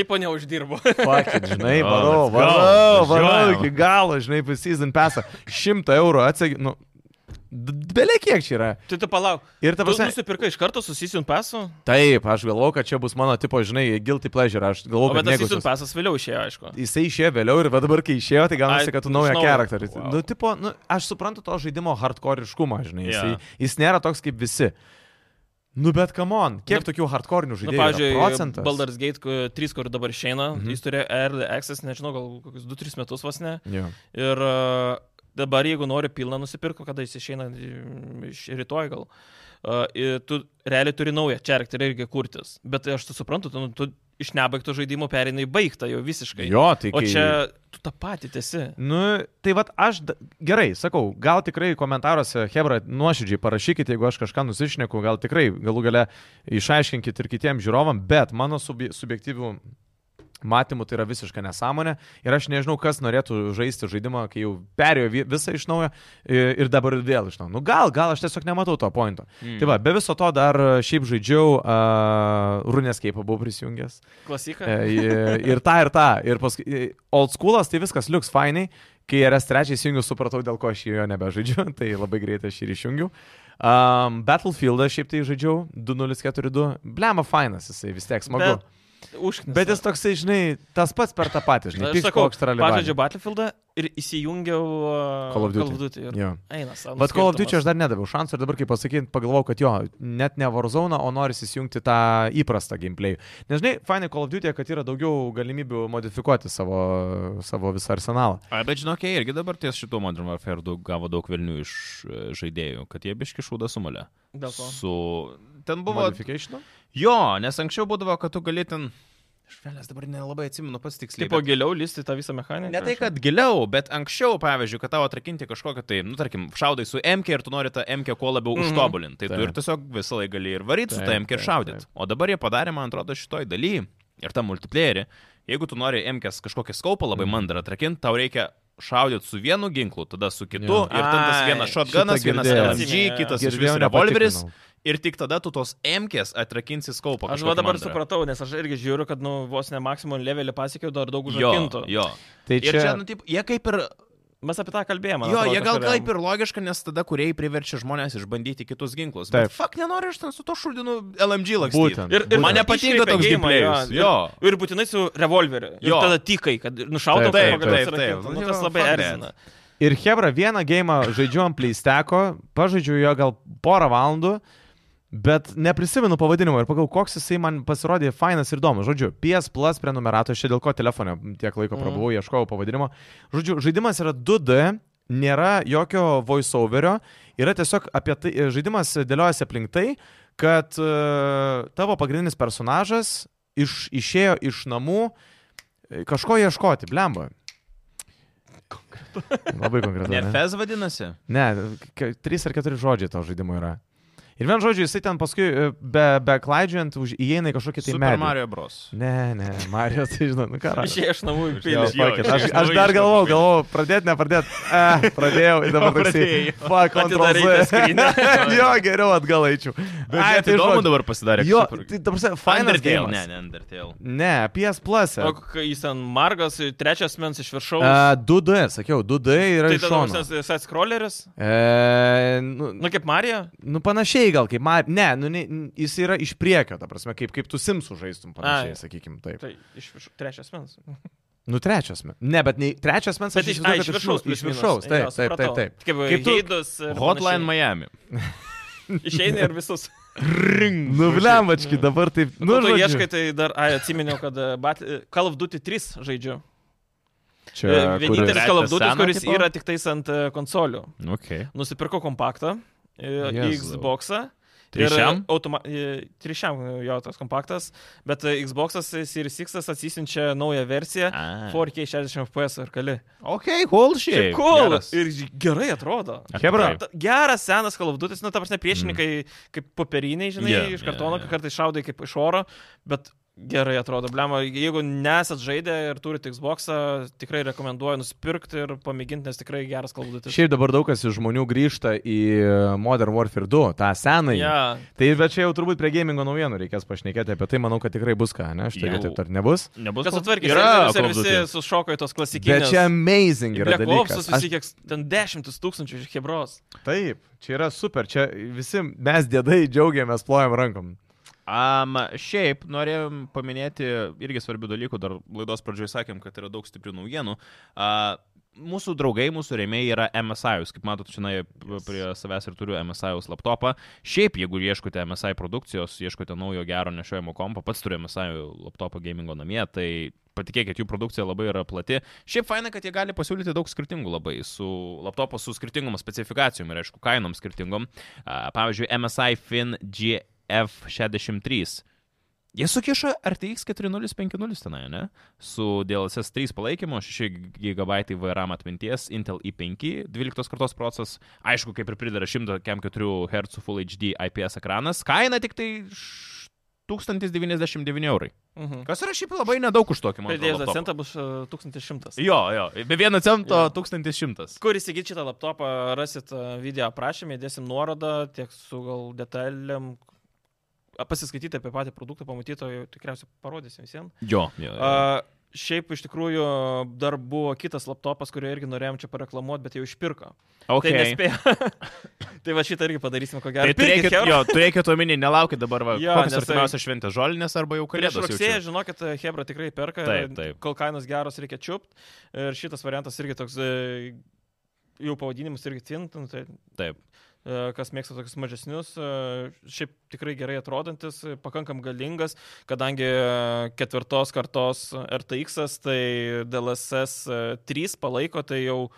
S4: Tipo neuždirbo.
S2: pakit, žinai,
S3: Jo,
S2: varau,
S3: let's go,
S2: varau, varau
S3: važiuojam.
S2: iki galo, žinai, pasizin pesą, 100 eurų atsegi, nu, belė kiek čia yra.
S4: tai tu palauk.
S2: Ir ta
S4: Tu
S2: prasme,
S4: nusipirkai iš karto su Season Passu,
S2: taip, aš galvoju, kad čia bus mano tipo, žinai, guilty pleasure, aš
S4: o
S2: galvoju,
S4: bet
S2: kad
S4: tas
S2: negu...
S4: Season Passas vėliau išėjo, aišku. Nu,
S2: Jisai išėjo vėliau ir va dabar, kai išėjo, tai gaunasi,
S4: Ai,
S2: kad tu
S4: iš
S2: naują
S4: naujo.
S2: charakterį. Wow.
S4: Wow.
S2: Nu, tipo, nu, aš suprantu to žaidimo hardcoreiškumą, žinai. Jis,
S3: Jo.
S2: yeah. jis nėra toks kaip visi. Nu, bet come on, kiek
S4: Nu,
S2: tokių hardcoreinių
S4: Na,
S2: žaidimų? Nu,
S4: pavyzdžiui,
S2: procentas.
S4: Baldur's Gate 3, kur dabar išeina,
S2: Mhm.
S4: jis turėjo Early Access, nežinau, gal kokius 2-3 metus vos ne.
S2: Jo.
S4: Ir a, dabar, jeigu nori pilną nusipirko, kada jis išeina mm, iš rytoj gal, a, ir tu realiai turi naują čerkterį irgi kurtis. Bet aš tu suprantu, tu, nu, tu iš nebaigto žaidimo perinai baigtą jau visiškai.
S2: jo, tai
S4: O
S2: kai-
S4: čia tu tą patį tiesi.
S2: Nu, tai vad aš da- gerai, sakau, gal tikrai komentaruose, Hebra, nuoširdžiai parašykite, jeigu aš kažką nusišneku, gal tikrai galų gale išaiškinkit ir kitiem žiūrovam, bet mano subje, subjektyvių matymų tai yra visiška nesąmonė ir aš nežinau, kas norėtų žaisti žaidimą, kai jau perėjo vi- visą iš naujo i- ir dabar vėl iš naujo. Nu, gal, gal aš tiesiog nematau to pointo.
S3: Hmm.
S2: Mm. Tai va, be viso to dar e, šiaip žaidžiau, uh, Runescape buvau prisijungęs.
S4: Klasika.
S2: E, i- ir tą, ir tą. Ir paskui, i- old schoolas, tai viskas liuks fainai. Kai RS3 įsijungiu, supratau, dėl ko aš jo nebežaidžiu, tai labai greitai aš ir išjungiu. Um, Battlefieldą šiaip tai žaidžiau, 2042. Blema fainas, jisai vis tiek smagu. Bet,
S4: Užknis.
S2: bet jis toksai, žinai, tas pats per tą patį, žinai,
S4: Aš
S2: tik
S4: sakau,
S2: koks
S4: pažaidžiu
S2: traliai.
S4: Battlefieldą ir įsijungiau a,
S2: Call of Duty.
S4: Call of Duty ir
S2: Jo.
S4: eina savo.
S2: Bet Call of Duty aš dar nedaviau šansų ir dabar, kai pasakyt, pagalvojau, kad jo, net ne Warzone, o noriu įsijungti tą įprastą gameplay. Nežinai, fainai Call of Duty, kad yra daugiau galimybių modifikuoti savo, savo visą arsenalą.
S3: A, bet žinok, jie irgi dabar ties šituo Modern Warfare daug, gavo daug vilnių iš e, žaidėjų, kad jie biški šūdą sumalė.
S4: Dėl ko?
S3: Su... Ten buvo...
S2: Modification?
S3: Jo, nes anksčiau būdavo, kad tu gali ten... Švelnės dabar nelabai atsimenu pats tiksliai.
S4: Tipo
S3: bet-
S4: giliau lysti tą visą mechaniką.
S3: Ne tai, kad giliau, bet anksčiau, pavyzdžiui, kad tavo atrakinti kažkokią tai, nu, tarkim, šaudai su MK ir tu nori tą MK kuo labiau
S4: Mhm.
S3: mm. užtobulinti. Tai tu
S2: Taip.
S3: ir tiesiog visą laiką gali ir varyti su
S2: Taip,
S3: tą MK ir
S2: taip,
S3: šaudyti.
S2: taip.
S3: O dabar jie padarė, man atrodo, šitoj daly ir tą multiplayerį, jeigu tu nori emkės kažkokį skaupą labai
S2: Mhm.
S3: mandrą atrakinti, tau reikia šaudyti su vienu ginklu, tada su kitu,
S2: Jo.
S3: ir tada tas
S4: Ai,
S3: vienas shotgunas,
S2: šitą
S3: vienas
S2: girdėjau.
S3: LMG,
S4: Atsimenu,
S3: kitas
S2: Girdėjau,
S3: iš viso revolveris,
S2: nepatikrinau.
S3: ir tik tada tu tos emkės atrakinsi skaupą.
S4: Aš va dabar supratau, nes aš irgi žiūriu, kad, nu, vos ne maksimum levelį pasiekiau dar
S3: Jo,
S4: daug užrakintų.
S3: jo.
S2: Tai
S3: Ir čia, nu, taip, jie kaip ir
S4: Mes apie tą kalbėjome.
S3: Jo, jie gal kaip ir logiška, nes tada kuriai priverčia žmonės išbandyti kitus ginklus.
S2: Taip.
S3: Bet fuck nenori aš ten su to šuldinu LMG lakstyti.
S2: Būtent.
S4: Ir, ir
S3: Man
S4: tada
S3: nepatinka
S4: iškreipia
S3: toks
S4: geimą,
S3: gameplay.
S4: jo.
S3: Jo.
S4: Ir būtinai su revolveriu. Ir
S3: Jo.
S4: tada tikai, kad nušautų
S2: Taip, taip,
S3: taip, taip.
S4: Nu,
S3: Jo,
S4: tas labai
S3: fuck that.
S4: erzina.
S2: Ir Hebra vieną gėjimą žaidžiu ant pleisteko, pažaidžiu jo gal porą valandų, bet neprisimenu pavadinimo ir pagal koks jisai man pasirodė fainas ir įdomus. Žodžiu, PS Plus prenumerato, aš čia dėl ko telefonė tiek laiko prabuvau, ieškojau pavadinimo. Žodžiu, žaidimas yra 2D. Nėra jokio voiceoverio, yra tiesiog apie tai, žaidimas dėliojasi aplink tai, kad e, tavo pagrindinis personažas iš, išėjo iš namų e, kažko ieškoti, blemba. Labai konkretu.
S3: Ne
S2: ne?
S3: Fez vadinasi?
S2: Ne, k- trys ar keturi žodžiai to žaidimo yra. Ir vien žodžiu, jisai ten paskui e, be, be klaidžiant už, įeina į kažkokį tai
S3: Super
S2: medį.
S3: Mario Bros.
S2: Ne, ne, Mario, tai žinau, nu ką. rašo.
S4: Išėjai iš namų į
S2: Jo,
S4: pilį.
S3: jo,
S2: fuck it,
S3: jo,
S2: Aš,
S3: iš
S2: aš
S3: naujo
S2: dar
S3: iš
S2: galvojau,
S3: naujo.
S2: galvojau, pradėti, nepradėti. Eh, pradėjau ir dabar
S3: Jo,
S2: toksai.
S3: pradėjai.
S2: Fuck,
S4: Atidarei tą skrynę.
S2: kontrolė. jo, geriau atgal eičiau. Ai,
S3: Bet tai įdomu
S2: žodžiu.
S3: dabar pasidarė.
S2: Jo,
S3: kaip
S2: tai
S3: super-
S2: tarsi, fainas
S3: Undertale.
S2: gėjimas.
S3: Ne, ne, Undertale.
S2: Ne, PS Plus.
S4: O kai jis ten margas, trečias mens iš viršaus.
S2: 2D, sakiau, 2D yra
S4: tai
S2: iš
S4: tada koks
S2: šono.
S4: nors side scrolleris?
S2: E, nu,
S4: Nu kaip Marija?
S2: Nu, panašiai gal kaip, ma... ne, nu, ne, jis yra iš priekio, ta prasme, kaip, kaip tu Simsų žaistum,
S4: Ai.
S2: panašiai, sakykim, taip.
S4: Tai iš viršaus. Trečias mens.
S2: Nu, trečias mens. Ne, bet ne, trečias mens,
S4: Bet
S2: aš
S4: iš, ai,
S2: įsivaizduoju,
S4: iš
S2: kad
S4: viršaus.
S2: Iš viršaus, taip, taip, taip, taip.
S4: Kaip, e,
S2: Kaip
S4: kaip
S2: tu-
S4: geidos.
S3: Hotline Miami.
S4: Išeina ir visus.
S2: Nu, blembački, dabar taip.
S4: Nu,
S2: Nu,
S4: tu
S2: žodžiu.
S4: ieškai, tai dar, ai, atsiminiau, kad e, Bat- e, Call of Duty 3 žaidžiu.
S2: Čia,
S4: E, Vienintelis
S2: kuris-
S3: kuris-
S4: Call of Duty,
S3: Seno
S4: kuris
S3: tipo?
S4: yra tik tais ant e, konsolių.
S3: Okay.
S4: Nusipirkau kompaktą, yes,
S2: Jėzau.
S4: Xboxą. e,
S3: Trišiam?
S4: Trišiam jo tas kompaktas, bet e, Xbox'as Series X atsisinčia naują versiją. 4K 60 FPS ir kali.
S3: Ok, cool
S4: Šiaip
S3: shit.
S4: cool.
S3: Geras.
S4: Ir ži- gerai atrodo.
S2: Chebra.
S3: Taip.
S4: Ta- Geras senas kalabdutis, nu, ta prasme, priešininkai mm. kaip popieriniai, žinai,
S3: Jo,
S4: yeah, iš
S3: jo,
S4: kartono,
S3: jo.
S4: yeah, yeah. kartais šaudai kaip iš oro, bet gerai atrodo. Blemo, jeigu nesat žaidę ir turite Xboxą, tikrai rekomenduoju nusipirkti ir pamėginti, nes tikrai geras kalabdutis.
S2: Šiaip dabar daug kas iš žmonių grįžta į e, Modern Warfare 2, tą senąjį.
S4: Ja.
S2: Tai bet čia jau turbūt prie gamingo naujienų reikės pašnekėti apie tai, manau, kad tikrai bus ką, ne? Štai
S3: Jau.
S2: taip ar nebus.
S3: Nebus.
S4: Kas
S3: Call-
S4: atvarkė,
S3: Yra
S4: ir
S3: Call of
S4: visi
S3: Duty.
S4: sušoko į tos klasikinės.
S2: Bet čia amazing yra.
S4: Black
S2: dalykas.
S4: Ops'as
S2: Aš-
S4: visi kiek ten dešimtis tūkstančių iš Hebros.
S2: Taip, čia yra super, čia visi mes dėdai džiaugiamės, plojam rankom.
S3: Um, šiaip norėjom paminėti irgi svarbių dalykų, dar laidos pradžioje sakėm, kad yra daug stiprių naujienų. Uh, mūsų draugai, mūsų rėmėjai yra MSI, jūs, kaip matot, šiandien prie savęs ir turiu MSI laptopą. Šiaip, jeigu ieškote MSI produkcijos, ieškote naujo gero nešiojimo kompo, pats turiu MSI laptopą gamingo namie, tai patikėkit, jų produkcija labai yra plati. Šiaip faina, kad jie gali pasiūlyti daug skirtingų labai su laptopo su skirtingom specifikacijom ir aišku, kainom skirtingom. A, Pavyzdžiui, MSI Fin GF63. Jie sukiša RTX 4050 tenai, ne? Su DLSS 3 palaikymu, 6 GB VRAM atminties, Intel i5, 12 kartos procesas, aišku, kaip ir pridara 104 Hz Full HD IPS ekranas, kaina tik tai š- 1099 eurai.
S4: Mhm.
S3: Kas yra šiaip labai nedaug už tokį mokestį.
S4: Pridėjus docentą bus e, 1100.
S3: Jo, jo, be vieno cento
S4: Jo.
S3: 1100.
S4: Kur įsigyti šitą laptopą, rasit e, video aprašymę, dėsim nuorodą, tiek su gal detalėm. A, Pasiskaityti apie patį produktą, pamatyto, jau tikriausiai parodysim visiems.
S3: Jo, jo. jo.
S4: A, šiaip iš tikrųjų dar buvo kitas laptopas, kurio irgi norėjom čia pareklamuoti, bet jau išpirko.
S3: okay.
S4: Tai nespėjo. tai va šitą irgi padarysim, ko gero.
S3: Tai
S4: Pirkit,
S3: turėkit,
S4: Hebra.
S3: jo, turėkit omeny, nelaukit dabar, va,
S4: Jo,
S3: jo, kokias
S4: nes tai-
S3: artimiausias šventės žolinės arba jau
S4: Prieš
S3: kalėdos.
S4: rugsėje, žinokit, Hebra tikrai perka.
S3: Taip, taip.
S4: Kol kainos geros, reikia čiupt. Ir šitas variantas irgi toks, e, jau pavadinimas irgi tintin. Tai,
S3: Taip.
S4: e, Kas mėgsta tokius mažesnius, e, šiaip tikrai gerai atrodantis, e, pakankam galingas, kadangi e, ketvirtos kartos RTX, tai DLSS e, 3 palaiko, tai jau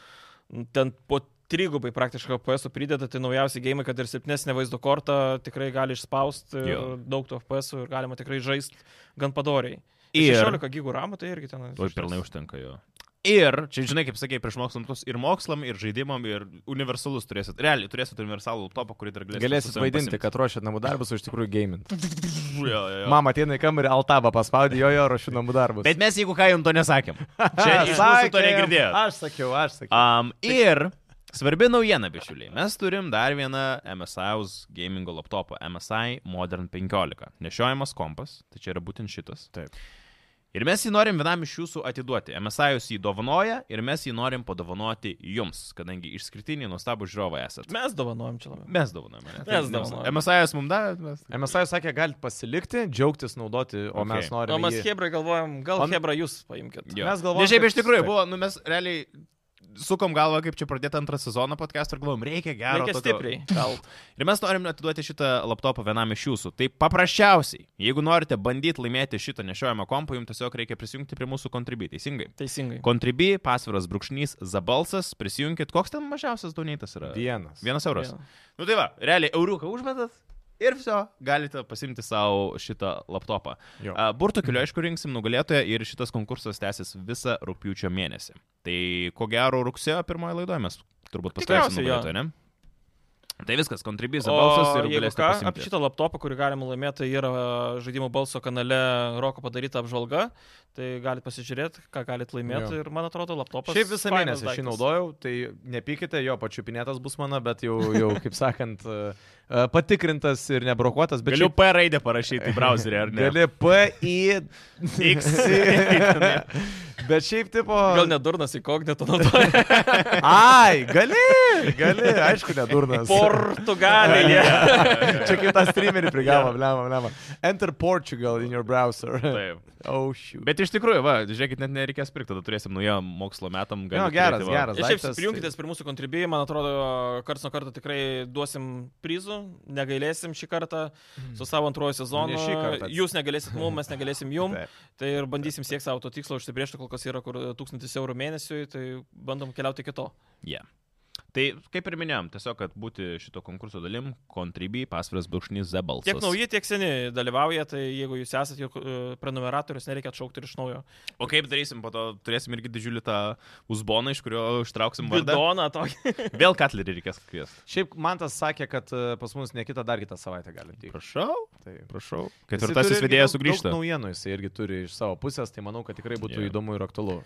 S4: ten po trigubai praktiškai FPS prideda, tai naujausi gėjimai, kad ir silpnesnė vaizdo korta tikrai gali išspausti ir
S3: Jo.
S4: daug tų FPS ir galima tikrai žaisti gan padoriai.
S3: Ir-
S4: 16 gigų ramų tai irgi ten.
S3: Oi, pilnai užtenka jo. Ir, čia žinai, kaip sakė, prieš mokslam, ir mokslam, ir žaidimam, ir universalus turėsit. Realiai turėsit universalų laptopą, kurį dar galėsit.
S2: Galėsit vaidinti, kad ruošiat namų darbus, o iš tikrųjų gaming.
S3: Jo, jo, jo.
S2: Mama ateina į kambarį, altabą paspaudė, jo, jo, ruošiu namų darbus.
S3: Bet mes jeigu ką jums to nesakėm. Čia iš mūsų to
S2: Sakėm,
S3: negirdėjot.
S2: Aš sakiau, aš sakiau.
S3: Um, ir svarbi naujiena, bičiuliai. Mes turim dar vieną MSI's gamingo laptopą. MSI Modern 15. Nešiojamas kompas, tai čia yra būtent šitas.
S2: Taip.
S3: Ir mes jį norim vienam iš jūsų atiduoti. MSI jūs jį dovanoja ir mes jį norim padovanoti jums, kadangi išskirtiniai nuostabų žiūrovai esate.
S4: Mes dovanojam čia labiau.
S3: Mes dovanojame. ne?
S4: Mes dovanojam.
S3: MSI jūs mums davė, mes.
S2: MSI sakė, galite pasilikti, džiaugtis, naudoti, o
S3: Okay.
S2: mes
S4: O
S2: norime.
S4: mes
S2: jį-
S4: Hebra galvojam, gal
S2: O-
S4: Hebra jūs paimkite.
S3: Jo.
S2: Mes galvojom,
S3: Ne, šiaip iš
S2: kad-
S3: tikrųjų
S2: taip.
S3: buvo, nu mes realiai sukom galvą, kaip čia pradėti antrą sezoną podcast'ą ir galvom, reikia gero.
S4: Reikia
S3: tokio-
S4: stipriai. Gal.
S3: Ir mes norim atiduoti šitą laptopą vienam iš jūsų. Tai paprasčiausiai, jeigu norite bandyti laimėti šitą nešiojamą kompą, jums tiesiog reikia prisijungti prie mūsų kontribį, teisingai.
S4: Teisingai.
S3: Kontribį, pasviras brūkšnys, zabalsas, prisijunkit, koks ten mažiausias donėtas yra?
S2: Vienas.
S3: Vienas euras.
S4: Jo.
S3: Nu tai va, realiai euriuką užmetat ir viso, galite pasimti savo šitą laptopą.
S2: Jo.
S3: A, Burtų keliu, aišku, rinksim nugalėtoją ir šitas konkursas tęsis visą rūpjūčio mėnesį. Tai ko gero rugsėjo pirmoje laidoje mes turbūt paskelbsim
S4: Tikriausiai, jo.
S3: nugalėtoją, ne? Tai viskas, kontribys, balsas
S4: O
S3: ir
S4: jeigu
S3: galėsite
S4: ką,
S3: pasiimti.
S4: apie šitą laptopą, kurį galima laimėti, tai yra žaidimų balso kanale Roko padaryta apžvalga, tai galite pasižiūrėti, ką galite laimėti
S2: Jo.
S4: ir man atrodo laptopas.
S2: Šiaip visą
S4: fainas
S2: mėnesį aš jį
S4: daiktas.
S2: naudojau, tai nepykite, jo pačiupinėtas bus mano, bet jau, jau kaip sakant, e, e, patikrintas ir nebrokuotas, bet
S3: Galiu P raidę parašyti į browserį, ar ne?
S2: Gali PI.
S3: X.
S2: bet šiaip tipo...
S4: Gal nedurnas į kognitą naudoja.
S2: Ai, gali, gali, aišku, nedurnas.
S4: Portugalija.
S2: Čia kaip tą streamerį prigavo, blema, blema. Enter Portugal in your browser.
S3: Taip.
S2: Oh, shoot.
S3: Bet iš tikrųjų, va, žiūrėkit, net nereikės pirkti, tada turėsim naują mokslo metam. galit
S2: Jo, geras,
S3: turėti, va.
S2: geras.
S4: Ir šiaip
S2: daiktas, tai-
S4: prijungitės prie mūsų kontribijai, man atrodo, karts nuo karto tikrai duosim prizų, negailėsim šį kartą su savo antruoju sezonu.
S2: Ne šį kartą.
S4: Jūs negalėsit mums, mes negalėsim jum.
S2: Taip.
S4: Tai ir bandysim siekti savo to tikslo, užsibriežti kol kas yra kur 1000 eurų mėnesiui, tai bandom keliauti iki to.
S3: Yeah. Tai kaip ir minėjom, tiesiog, kad būti šito konkurso dalim, kontribį, pasviras brūkšnys zebalsas.
S4: Tiek nauji, tiek seni dalyvauja, tai jeigu jūs esate jau e, prenumeratorius, nereikia atšaukti ir iš naujo.
S3: O kaip darysim, po to turėsim irgi didžiulį tą uzboną, iš kurio ištrauksim vardą.
S4: Bidoną tokį.
S3: Vėl katlerį reikės kviesti.
S2: Šiaip man tas sakė, kad e, pas mus ne kitą, dar kitą savaitę galim tik.
S3: Prašau,
S2: Tai.
S3: prašau.
S2: Jisai
S3: Ketvirtasis
S2: turi irgi
S3: vedėjas
S2: daug-
S3: sugrįžta.
S2: Daug naujienų jisai irgi turi iš savo pusės, tai manau, kad tikrai būtų
S3: Jo.
S2: yeah. įdomu ir aktualu.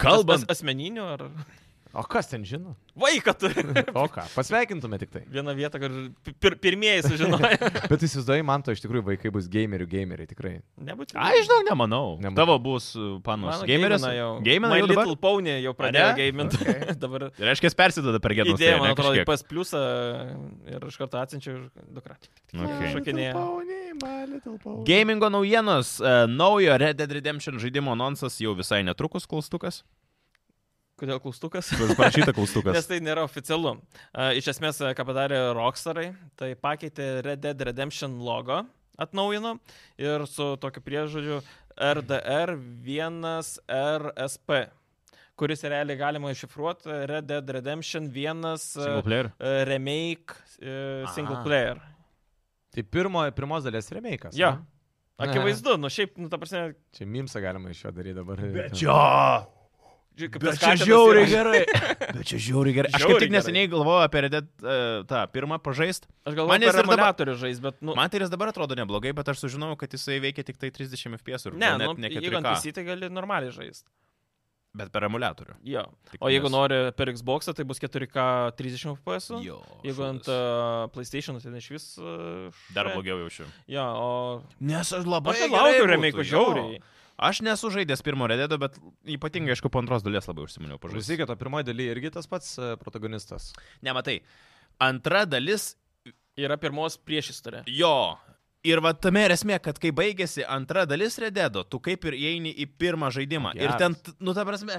S3: Kalbant.
S4: As- as- Asmeninių ar...
S2: O kas ten žino?
S4: Vaiką turi.
S2: O ką, pasveikintume tik tai.
S4: Vieną vietą, kur pi- pir pirmieji sužinojo.
S2: Bet įsivaizduoji, man to iš tikrųjų vaikai bus gamerių, gameriai tikrai.
S4: Nebūtinai.
S3: A, žinau, nemanau.
S2: Nemanau.
S3: Tavo bus uh, panos.
S4: Mano
S3: Gameris.
S4: Geimina jau.
S3: Gameris.
S4: My
S3: jau dabar?
S4: Little Pony jau pradėjo
S3: Ane?
S4: gaiminti. Okay. Dabar
S3: Reiškia, persideda per gėdą.
S4: idėja, man atrodo, į PS Plus e, ir iš karto atsiunčiau ir dukra.
S3: Okay.
S4: Šokinėja.
S2: Šokinėje.
S3: Gamingo naujienos. Uh, naujo Red Dead Redemption žaidimo nonsas jau visai netrukus klaustukas.
S4: Kodėl klaustukas?
S3: Parašyta
S4: Nes
S3: klaustukas.
S4: tai nėra oficialu. E, Iš esmės, e, ką padarė Rockstarai, tai pakeitė Red Dead Redemption logo, atnaujino ir su tokiu priežodžiu RDR1RSP, kuris realiai galima iššifruoti Red Dead Redemption 1
S3: Single player.
S4: e, remake e, single
S2: Aha.
S4: player.
S2: Tai pirmo, pirmos dalies remake'as.
S4: Jo.
S2: ne?
S4: Akivaizdu, nu šiaip, nu ta prasme,
S2: Čia mimsą galima iš jo daryti dabar.
S3: Jo.
S4: žiūrėk, kaip
S3: Bet
S4: tas
S3: čia
S4: katinas
S3: žiauriai
S4: yra.
S3: gerai. Bet čia žiauriai gerai. Aš kaip
S4: Žiauriai
S3: tik neseniai galvojau apie Red Dead uh, tą pirmą pažaist.
S4: Aš
S3: Man
S4: galvoju,
S3: jis
S4: kad
S3: ir dabar-
S4: emulatorių žais, bet, nu,
S3: Man tai jis dabar atrodo neblogai, bet aš sužinojau, kad jisai veikia tik tai 30 fps ir
S4: ne,
S3: gal
S4: nu,
S3: net ne
S4: jeigu ant
S3: 4K.
S4: PC, tai gali normaliai žaisti.
S3: Bet per emulatorių.
S4: Jo.
S3: Tik
S4: O jeigu
S3: nes-
S4: nori per Xbox, tai bus 4K 30 FPS.
S3: Jo,
S4: Jeigu ant
S3: šūdas.
S4: uh, PlayStation, tai iš vis. Uh,
S3: Dar blogiau jaučiu.
S4: Jo, o...
S3: Nes aš
S4: Aš
S3: labai
S4: tai
S3: gerai
S4: laukiu
S3: būtų,
S4: remake
S3: jo.
S4: žiauriai.
S3: Aš nesu žaidęs pirmo redėdo, bet ypatingai, aišku, po antros dalies labai užsiminiau pažaisti.
S2: Žaisikė, to pirmoji daly irgi tas pats e, protagonistas.
S3: Nematai. Antra dalis,
S4: Yra pirmos priešistorė.
S3: jo. Ir va tame ir esmė, kad kai baigėsi antra dalis redėdo, tu kaip ir įeini į pirmą žaidimą. Ir
S2: Geras.
S3: ten, t- nu, ta prasme,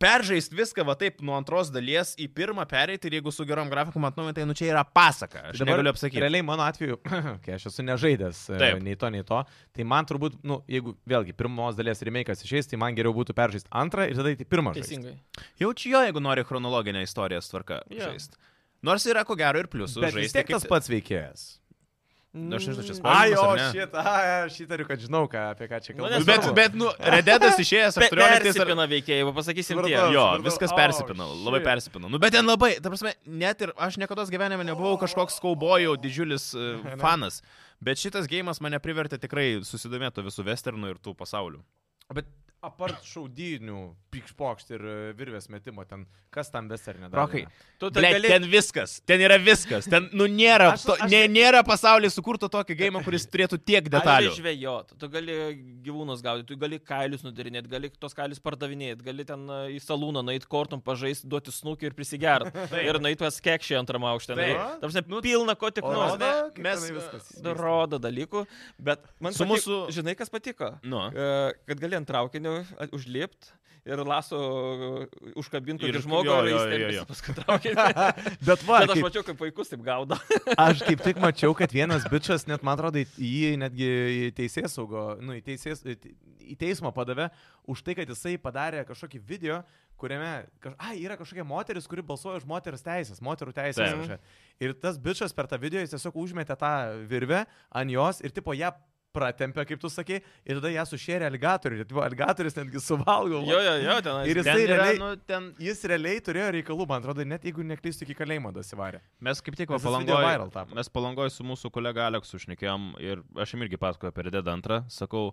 S3: peržaist viską va taip nuo antros dalies į pirmą pereiti ir jeigu su gerom grafikom atnaujinti, tai nu čia yra pasaka. Aš
S2: Dabar
S3: dabar galiu apsakyti.
S2: Realiai mano atveju, kai aš esu nežaidęs e,
S3: Taip.
S2: nei to, nei to, tai man turbūt, nu, jeigu vėlgi pirmos dalies remake'as išeis, tai man geriau būtų peržaisti antrą ir tada į pirmą. žaist.
S4: Teisingai.
S3: Jaučiu jo, jeigu nori chronologinę istoriją tvarką
S4: Jo.
S3: žaisti. Nors yra ko gero ir pliusų.
S2: Bet vis
S3: žaisti
S2: tiek
S3: kaip-
S2: tas pats veikėjas. Mm.
S3: Nu, aš nežinau, čia
S2: Ai, o
S3: spalvas.
S2: šitą, ai, aš įtariu, kad žinau, ką, apie ką čia
S4: Nu,
S2: kalbu.
S4: nes-
S3: Bet, bet, nu, Rededas išėjęs 18 ar...
S4: Persipina veikėjai, va, pasakysim tie.
S2: Supratau.
S3: Jo,
S2: supratau.
S3: viskas
S2: O,
S3: persipina, labai
S2: shit.
S3: persipina. Nu, bet ten labai, ta prasme, net ir aš niekada gyvenime nebuvau kažkoks kaubojų didžiulis uh, fanas. Bet šitas gėjimas mane privertė tikrai susidomėti visų westernų ir tų pasaulių.
S2: Bet apart šaudynių, pikšpokšt ir e, virvės metimo, ten kas tam westernė dar.
S3: Rokai,
S2: yra?
S4: Tu tai
S3: Ble,
S4: gali...
S3: ten viskas, ten yra viskas. Ten, nu, nėra,
S2: Aš-
S3: to,
S2: aš-
S3: nė, nėra pasaulyje sukurto tokio gėjimo, kuris turėtų tiek detalių.
S4: Gali žvejot, tu gali gyvūnus gaudyti, tu gali kailius nudarinėti, gali tos kailius pardavinėti, gali ten e, į salūną nueiti kortum, pažaisti, duoti snukį ir prisigerti. ir nueiti pas kekšį antrame aukšte. Tai,
S2: Taip.
S4: ta prasme,
S3: Nu,
S4: pilna ko tik nu,
S2: O
S4: nori.
S2: rodo, kaip
S3: mes,
S2: tenai viskas vyksta?
S4: Rodo dalykų, bet man
S3: Su
S4: patiko-
S3: mūsų-
S4: Žinai, kas patiko?
S3: Nu.
S4: E, kad gali ant traukinio at- užlipti ir laso e, užkabintų
S3: Ir-
S4: ir žmogų,
S3: jo,
S4: ir
S3: jo,
S4: jis
S3: jo,
S4: ten
S3: jo.
S4: visi paskui traukinį.
S2: Bet va,
S4: Bet aš
S2: kaip,
S4: mačiau, kaip vaikus taip gaudo.
S2: aš kaip tik mačiau, kad vienas bičias, net man atrodo, į- jį netgi į teisės saugo, nu, į, teisės, į te- į teismą padavė už tai, kad jisai padarė kažkokį video, kuriame, kaž... ai, yra kažkokia moteris, kuri balsuoja už moteris teisės, moterų teisės.
S3: Taip.
S2: kažkokia. Ir tas bičias per tą video jis tiesiog užmetė tą virvę ant jos ir tipo ją pratempė, kaip tu sakei, ir tada ją sušėrė aligatoriui. Ir tipo aligatorius netgi suvalgo.
S4: Jo, jo, jo, ten.
S2: Ir jisai
S3: Ten yra,
S2: realiai-
S3: nu, ten
S2: Jis realiai turėjo reikalų, man atrodo, net jeigu neklystu iki kalėjimo dasivarė.
S3: Mes kaip tik va
S2: Nes tas video viral
S3: palangoj,
S2: tapo.
S3: mes palangoj su mūsų kolega Aleksu šnekėjom ir aš jam irgi pasakoju apie Dead antrą, sakau.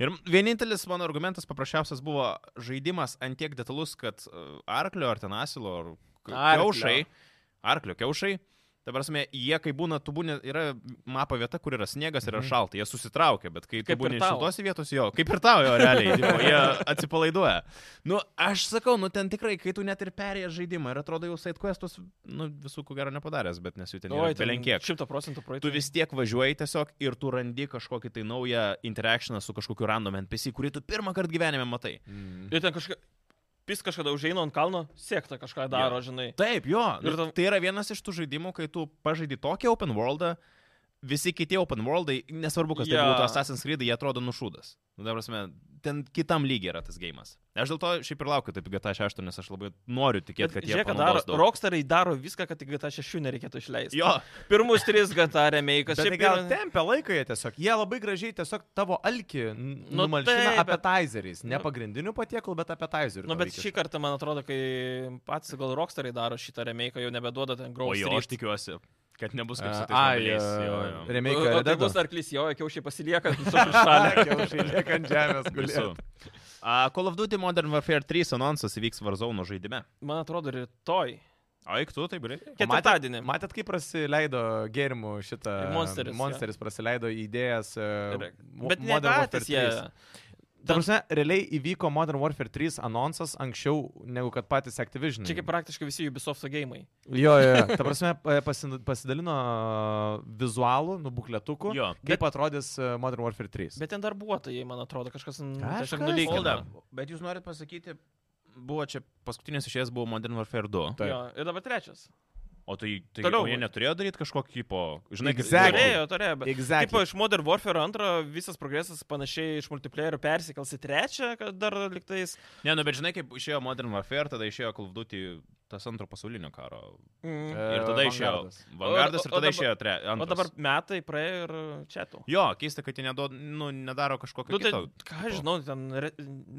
S3: Ir vienintelis mano argumentas paprasčiausias buvo žaidimas antiek detalus, kad e, arklio ar ten asilo ar k-
S2: Arklio.
S3: kiaušai, arklio kiaušai, ta prasme, jie kai būna, tu būni, yra mapa vieta, kur yra sniegas
S2: Mhm.
S3: ir yra šalta, jie susitraukia, bet kai tu
S4: Kaip ir
S3: būni
S4: tau.
S3: šiltose vietose, jo, kaip ir tau jo realiai, tipo, jie atsipalaiduoja. Nu, aš sakau, nu ten tikrai, kai tu net ir perėjęs žaidimą ir atrodo jau sidequestus, nu visų ko gero nepadaręs, bet nes jų ten yra belenkiek.
S4: Šimto procentų projektų.
S3: Tu vis tiek važiuoji tiesiog ir tu randi kažkokį tai naują interakcioną su kažkokiu random NPC, kurį tu pirmą kartą gyvenime matai.
S2: Mm.
S4: Ir ten kažką... Pis kažkada užeina ant kalno, sėkta kažką daro, žinai.
S3: Taip, jo.
S4: Ir
S3: Ir
S4: tam-
S3: tai yra vienas iš tų žaidimų, kai tu pažaidi tokį open worldą, visi kiti open worldai, nesvarbu, kas yeah.
S4: Jo.
S3: tai būtų Assassin's Creed, jie atrodo nušūdas. Nu, dabar prasme, ten kitam lygiai yra tas gėjimas. Aš dėl to šiaip ir laukiu taip GTA 6, nes aš labai noriu tikėti, kad jie...
S4: Žiūrėk, kad daro,
S3: panaudos daug.
S4: Rockstarai daro viską, kad tik GTA 6 nereikėtų išleisti.
S3: Jo,
S4: Pirmus tris GTA remake'us.
S2: Bet tai gal tempia laiką jie tiesiog. Jie labai gražiai tiesiog tavo alkį
S4: Nu
S2: nu, numalšina
S4: taip, bet-
S2: appetizeriais. Ne
S4: Nu.
S2: pagrindiniu patiekalu, bet appetizeriu.
S4: Nu,
S2: tau
S4: bet
S2: reikia
S4: šį kartą, man atrodo, kai patys gal Rockstarai daro šitą remake'ą, jau nebeduoda ten
S3: O
S4: graužti.
S3: jo, aš tikiuosi, kad nebus kaip su tais
S2: Ai,
S3: mobiliais. Jo, jo.
S2: remake
S4: Tai
S2: redaktas.
S4: bus arklys jo, kiaušiai pasilieka šalia.
S2: Kiaušai lieka ant žemės
S3: Visų.
S2: gulėti.
S3: A, Call of Duty Modern Warfare 3 anonsas įvyks Warzone žaidime.
S4: Man atrodo, rytoj.
S3: O eik tu, taip greitai.
S4: Ketvirtadienį.
S2: Matėt, kaip prasileido gėrimų šitą...
S4: Monsteris, jo.
S2: Monsteris prasileido idėjas. e,
S4: Ir- Bet ne patys jie.
S2: Tarsi, realiai įvyko Modern Warfare 3 annonsas anksčiau negu kad patys Activision.
S4: Čia kaip
S3: Hmm.
S4: praktiškai visi Ubisoft gėjimai.
S2: Jo, jo, jo. Ta prasme, pa- pasin- pasidalino vizualų, nu, bukletukų,
S3: Jo.
S2: kaip bet, atrodys e, Modern Warfare 3.
S4: Bet ten darbuotojai, man atrodo, kažkas n-
S2: Kažkas.
S4: tiesiog nulygina.
S2: Hold
S3: Bet jūs norit pasakyti, buvo čia paskutinis išėjęs buvo Modern Warfare 2.
S2: Taip.
S4: Jo, ir dabar trečias.
S3: O tai, tai
S4: Toliau.
S3: o jie neturėjo daryti kažkokį po... Žinai, kaip-
S2: Exactly.
S4: Turėjo, turėjo, bet.
S2: Exactly.
S4: Taip, iš Modern Warfare 2 visas progresas panašiai iš multiplayerio persikels į trečią, kad dar liktais.
S3: Ne, nu bet žinai, kaip išėjo Modern Warfare, tada išėjo Call of Duty tas antro pasaulinio karo.
S4: Mm.
S3: Ir
S2: E,
S3: tada išėjo
S2: Vanguardas.
S3: Vanguardas ir
S4: O- o- o
S3: tada
S4: dabar-
S3: išėjo tre-
S4: O
S3: antras.
S4: dabar metai praėjo ir čia tau.
S3: Jo, keista, kad jie nedo, nu, nedaro kažkokio...
S4: Nu, tai,
S3: kito
S4: ką
S3: tipo.
S4: aš žinau, ten re,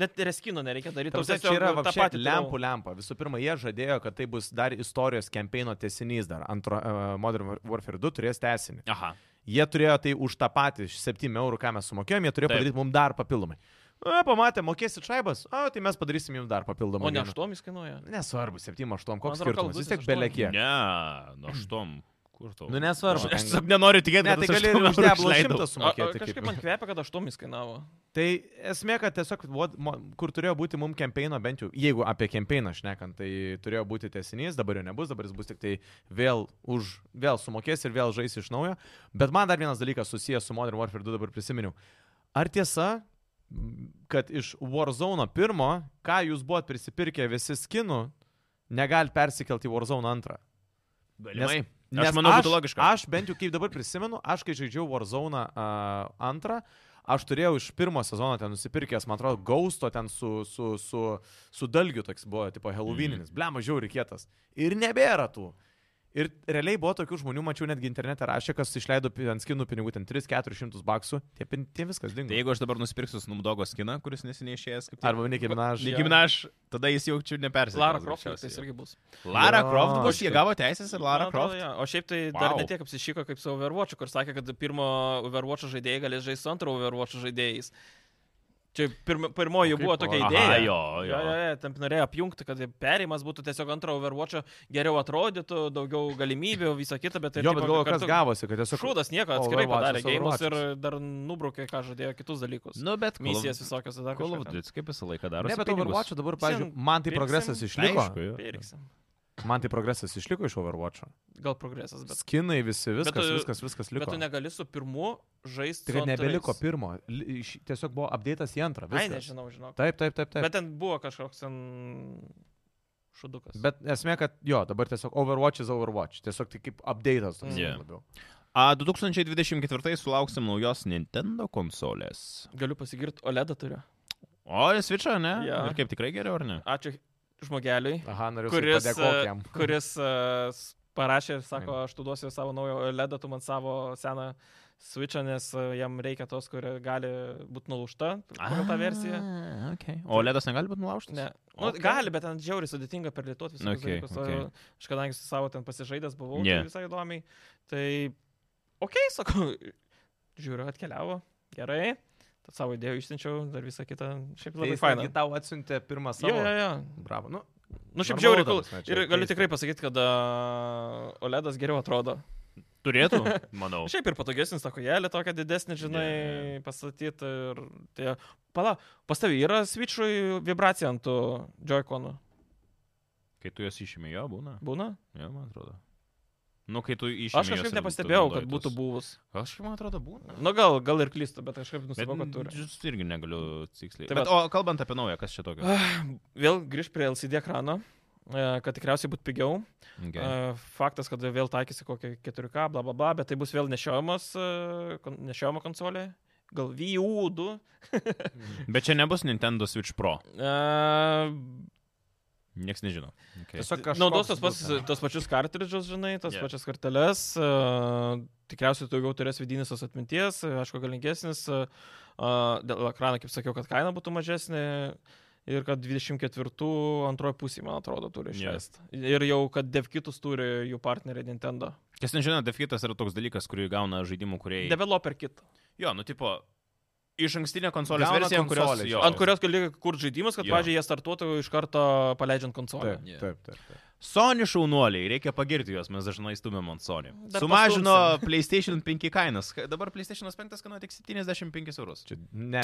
S4: net reskino nereikia daryti.
S2: Ta prasme, čia yra vapšė lempų lempa. Visų pirma, jie žadėjo, kad tai bus dar istorijos kampeino tesinys dar. Antro, uh, Modern Warfare 2 turės tesinį.
S3: Aha.
S2: Jie turėjo tai už tą patį 7 eurų, ką mes sumokėjome, jie turėjo
S3: Taip.
S2: Taip. padaryti mums dar papildomai. Na, pamatė, mokėsit šaibas, o tai mes padarysim jums dar papildomai.
S4: O ne aštuomis kainuoja.
S2: Nesvarbu, 7-8, koks
S4: atrodo,
S2: skirtumas,
S4: kalbus
S2: vis tiek
S4: aštuoni.
S2: belekė.
S3: Ne, nu aštuom. Kur tau?
S2: Nu,
S3: Aš,
S2: nesvarbu.
S3: aš
S2: ten-
S3: tiesiog nenoriu tikėti,
S2: Ne,
S3: kad
S2: tai
S3: tas
S2: gali ir
S3: aštuom
S2: už
S3: eurų
S2: deblą
S3: išleidau.
S2: šimtą
S4: O, o,
S2: sumokėti.
S4: kažkaip
S2: Kaip...
S4: man kvepia, kad aštuomis kainavo.
S2: Tai esmė, kad tiesiog, vod, mo, kur turėjo būti mums kampeino, bent jau, jeigu apie kampeino šnekant, tai turėjo būti tesinys, dabar jo nebus, dabar jis bus tik tai vėl, už, vėl sumokės ir vėl žais iš naujo. Bet man dar vienas dalykas susijęs su Modern Warfare 2 dabar prisiminiau. Ar tiesa, m, kad iš Warzone pirmo, ką jūs buvot prisipirkę visi skinų, negali persikelti į Warzone antrą?
S3: Galimai. Aš manau, būtų logiška.
S2: Aš bent jau kaip dabar prisimenu, aš kai žaidžiau Warzone uh, antrą, aš turėjau iš pirmo sezono ten nusipirkęs, man atrodo, Gausto ten su, su,
S3: Mhm.
S2: su, su dalgiu toks buvo, tipo Halloweeninis, mm. blema žiauri kietas. Ir nebėra tų. Ir realiai buvo tokių žmonių, mačiau netgi internete rašė, kas išleido pi- ant skinų pinigų ten 3-400 baksų, tie, pin- tie viskas dingo.
S3: Tai jeigu aš dabar nusipirksiu Snumdogo skiną, kuris neseniai išėjęs kaip tik-
S2: Arba Nikiminaž.
S4: Nicki
S3: Nicki Minaj, tada jis jaučiu nepersipins.
S4: Lara Croft tai irgi bus.
S3: Lara
S2: Jo,
S3: Croft bus, jie
S2: štai.
S3: gavo teisės ir Lara
S4: Man atrodo,
S3: Croft.
S4: jo. O šiaip tai dar
S3: Wow.
S4: netiek apsišyko kaip su Overwatch, kur sakė, kad pirmo Overwatch žaidėjai galės žaisti su antro Overwatch žaidėjais. Čia pirm, pirmoji
S2: O kaip
S4: buvo tokia
S2: pala-
S4: idėja.
S3: Aha, jo, jo.
S4: Jo, jo, jo, tam norėjo apjungti, kad perėjimas būtų tiesiog antro Overwatch'o geriau atrodytų, daugiau galimybių, visą kitą, bet tai
S2: Jo, bet galvoju, kas gavosi, kad tiesiog...
S4: Šūdas nieko atskirai padarė
S2: Overwatch'as,
S4: gėjimus ir
S2: Overwatch'as.
S4: dar nubraukė, ką žadėjo kitus dalykus.
S3: Nu, bet Call of-
S4: Misijas visokios dar
S3: Call of
S4: kažką ten.
S3: Duty, kaip visą laiką daro.
S2: Ne, bet Overwatch'o dabar, pažiūrėjau,
S4: Visvien
S2: man tai
S4: pirksim.
S2: progresas išliko.
S4: Pirksim.
S2: Man tai progresas išliko iš Overwatch'o.
S4: Gal progresas, bet.
S2: Skinai visi, viskas,
S4: tu-
S2: viskas, viskas
S4: Bet
S2: liko.
S4: tu negali su pirmu žaisti.
S2: Tai kad nebeliko pirmo, li- iš- tiesiog buvo apdėtas į antrą.
S4: Ai,
S2: viskas.
S4: nežinau, žinok.
S2: Taip, taip, taip, taip.
S4: Bet ten buvo kažkoks ten šudukas.
S2: Bet esmė, kad jo, dabar tiesiog Overwatch is Overwatch. Tiesiog tai kaip update'as toks
S3: Yeah.
S2: labiau.
S3: A, 2024 sulauksim naujos Nintendo konsolės.
S4: Galiu pasigirti, OLED turiu.
S3: O, ir Switch'ą, ne?
S4: Jo.
S3: Ir kaip tikrai geriau, ar ne?
S4: Ačiū žmogeliui,
S2: Aha, noriu
S4: kuris,
S2: padėkoti jam.
S4: e, kuris e, s- parašė ir sako, aš tu duosiu savo naują OLED, tu man savo seną switchą, nes e, jam reikia tos, kuri gali būti nulaužta pagal tą versiją.
S3: A, Okay. O ledas negali būti nulaužtas?
S4: Ne. Nu,
S3: Okay.
S4: okay. Gali, bet ten džiauriai sudėtinga perlituoti visus
S3: Okay,
S4: okay, dalykus.
S3: okay.
S4: Okay. Aš kadangi su savo ten pasižaidęs buvau,
S3: Ne.
S4: yeah. tai visai įdomiai. Tai, okei, okay, sakau, žiūriu, atkeliavo, gerai. Tad savo idėją išsiunčiau, dar visą kitą. Šiaip labai tai faina.
S2: Jis tau atsiuntė pirmą
S4: Jo,
S2: savo.
S4: jo, jo.
S2: Bravo. Nu,
S4: Nu, šiaip
S2: Normalu,
S4: žiauriai,
S2: ta
S4: kol.
S2: prasme, čia
S4: Ir galiu
S2: keista.
S4: tikrai pasakyti, kad uh, OLEDas geriau atrodo.
S3: Turėtų, manau.
S4: Šiaip ir patogesnis, ta kojelė tokia didesnė, žinai, yeah. pastatyti. Ir tie... Pala, pas tavai yra switchui vibracija ant tų joyconų.
S3: Kai tu jas išimi, jo būna.
S4: Būna?
S3: Jo, man atrodo. Nu, kai tu išimi.
S4: Aš kažkaip nepastebėjau, kad būtų buvus.
S3: Aš, man atrodo, būna.
S4: Nu gal, gal ir klystu, bet kažkaip
S3: Bet
S4: nusipirkau, kad turi.
S3: jūs irgi negaliu tiksliai.
S4: Tai
S3: Bet,
S4: vat.
S3: o kalbant apie naują, kas čia tokio?
S4: Vėl grįžt prie LCD ekrano, e, kad tikriausiai būtų pigiau.
S3: Okay.
S4: Okay. Faktas, kad vėl taikysi kokią 4K, bla bla bla, bet tai bus vėl nešiojamas, e, kon- nešiojama konsolė. Gal VU2.
S3: Bet čia nebus Nintendo Switch Pro.
S4: E,
S3: Niekas nežino. Okay.
S2: tiesiog kažkas.
S4: Naudos Nu, tos, pas, tos pačius kartridžus, žinai, tas
S3: Jo.
S4: yeah. pačias karteles. E, tikriausiai daugiau turės vidinės tos atminties, e, aišku, galingesnis. E, dėl ekrano, kaip sakiau, kad kaina būtų mažesnė. Ir kad 24 antroji pusė, man atrodo, turi
S3: Jo.
S4: išleisti. Yeah. Ir jau, kad devkitus turi jų partneriai Nintendo.
S3: Kas nežino, defitas yra toks dalykas, kurį gauna žaidimų kuriai.
S4: Developer kit.
S3: Jo, nu, tipo, iš ankstinė konsolės
S2: Gauna
S3: versija, ant kurios,
S2: konsolę,
S3: jo,
S4: Ant kurios gali kurti žaidimus, kad,
S3: Oh, Jo.
S4: pavyzdžiui, jie startuotų iš karto paleidžiant konsolę.
S2: Taip,
S3: Yeah.
S2: taip, taip. taip.
S3: Sony šaunuoliai, reikia pagirti juos, mes dažnai stumėm ant Sony.
S4: Dar
S3: Sumažino PlayStation 5 kainas. Ka- Dabar PlayStation 5 kainuoja tik 75 eurus.
S2: Čia, ne.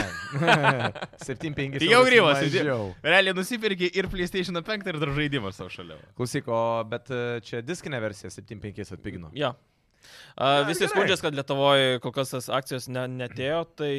S2: 7-5.
S3: Tai jau grįvas,
S2: mažiau.
S3: Realiai nusipirki ir PlayStation 5 ir dar žaidimą savo šalia.
S2: Klausyk, o bet e, čia diskinė versija 7-5 atpigino.
S4: Ja. A,
S2: Na,
S4: visi
S2: gerai.
S4: skundžiasi, kad Lietuvoje kol kas tas akcijos ne, netėjo, tai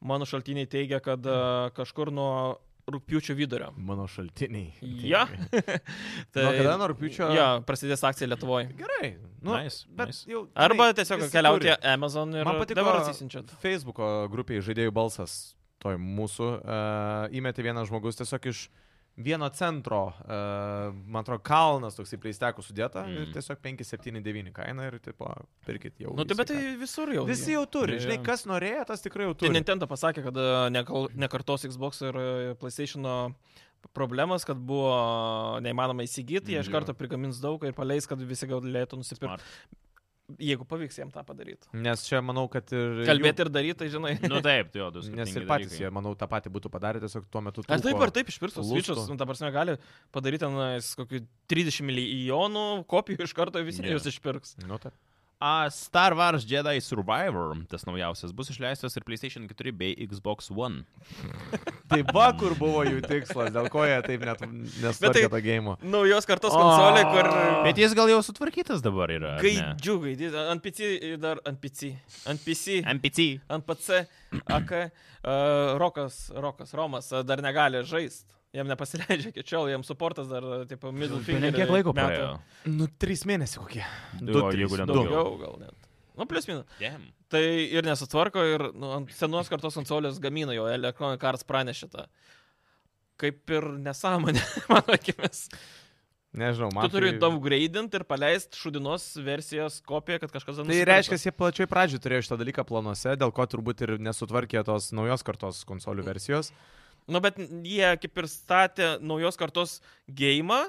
S4: mano šaltiniai teigia, kad a, kažkur nuo rūpiučio vidurio.
S2: Mano šaltiniai.
S4: Ja.
S2: Tai... Nuo kada nuo rūpiučio?
S4: Ja, prasidės akcija Lietuvoje.
S2: Gerai. Nu,
S3: Nice,
S2: bet
S3: nice.
S2: jau.
S4: Arba
S2: žinai,
S4: tiesiog
S2: visi
S4: keliauti
S2: turi.
S4: į Amazon ir
S2: Man patiko-
S4: dabar atsisinčiat.
S2: Facebook'o grupiai žaidėjų balsas toj mūsų uh, įmetė vienas žmogus tiesiog iš vieno centro, uh, man atrodo, kalnas toksai pleistekų sudėta mm. ir
S3: Mm.
S2: tiesiog 579 kaina ir tipo, pirkit jau.
S4: Nu, tai
S2: visi
S4: bet tai
S2: ką.
S4: visur jau.
S2: Visi jau turi,
S3: Jo,
S2: žinai,
S3: jo.
S2: kas norėjo, tas tikrai jau
S4: Tai
S2: turi.
S4: Nintendo pasakė, kad a, nekal- nekartos Xbox ir a, PlayStation problemas, kad buvo neįmanoma įsigyti, jie iš
S3: Jo.
S4: karto prigamins daug ir paleis, kad visi galėtų nusipirkti. Jeigu pavyks jiem tą padaryti.
S2: Nes čia manau, kad ir...
S3: E,
S4: Kalbėti ir daryti, tai žinai.
S3: Nu taip, tai jo, du
S2: Jų,
S3: skirtingi.
S2: nes ir patys jie, manau, tą patį būtų padarę, tiesiog tuo metu...
S4: Ar taip
S2: trūko-
S4: ar taip išpirktų
S2: lūstų.
S4: skaičius, nu, ta prasme, gali padaryti tenais kokių 30 milijonų kopijų iš karto visi
S3: Jo.
S4: yeah. jūs išpirks.
S2: Nu, taip.
S3: A, Star Wars Jedi Survivor, tas naujausias, bus išleistas ir PlayStation 4 bei Xbox One.
S2: Tai va, kur buvo jų tikslas, dėl ko jie taip
S4: Nu, tai
S2: net nesutvarkė to gėjimo.
S4: Naujos kartos
S2: O.
S4: konsolė, kur...
S3: Bet jis gal jau sutvarkytas dabar yra. ar ne?
S4: Gaidžiu, gaidžiu, ant PC, dar ant PC, ant PC,
S3: MPC.
S4: ant PC, AK, uh, Rokas, Rokas, Romas a, dar negali žaisti. Jam nepasileidžia iki šiol, jam suportas dar, a, tipo, middle finger.
S3: Kiek laiko
S4: metų.
S3: praėjo?
S2: Nu, trys mėnesiai kokie.
S3: Du,
S2: Du,
S3: o
S2: trys,
S3: jeigu ne
S2: du.
S3: daugiau.
S4: Daugiau gal net. Nu, plus minus.
S3: Damn.
S4: Tai ir nesutvarko, ir nu, ant senos kartos konsolės gamina jau Electronic Arts pranešė tą. Kaip ir nesąmonė, mano akimis.
S2: Nežinau, man.
S4: Tu turi
S2: tai-
S4: downgradeint ir paleist šudinos versijos kopiją, kad kažkas
S2: Tai reiškia, jie plačiai pradžioje turėjo šitą dalyką planuose, dėl ko turbūt ir nesutvarkė tos naujos kartos konsolių versijos.
S4: Nu, bet jie kaip ir statė naujos kartos gėjimą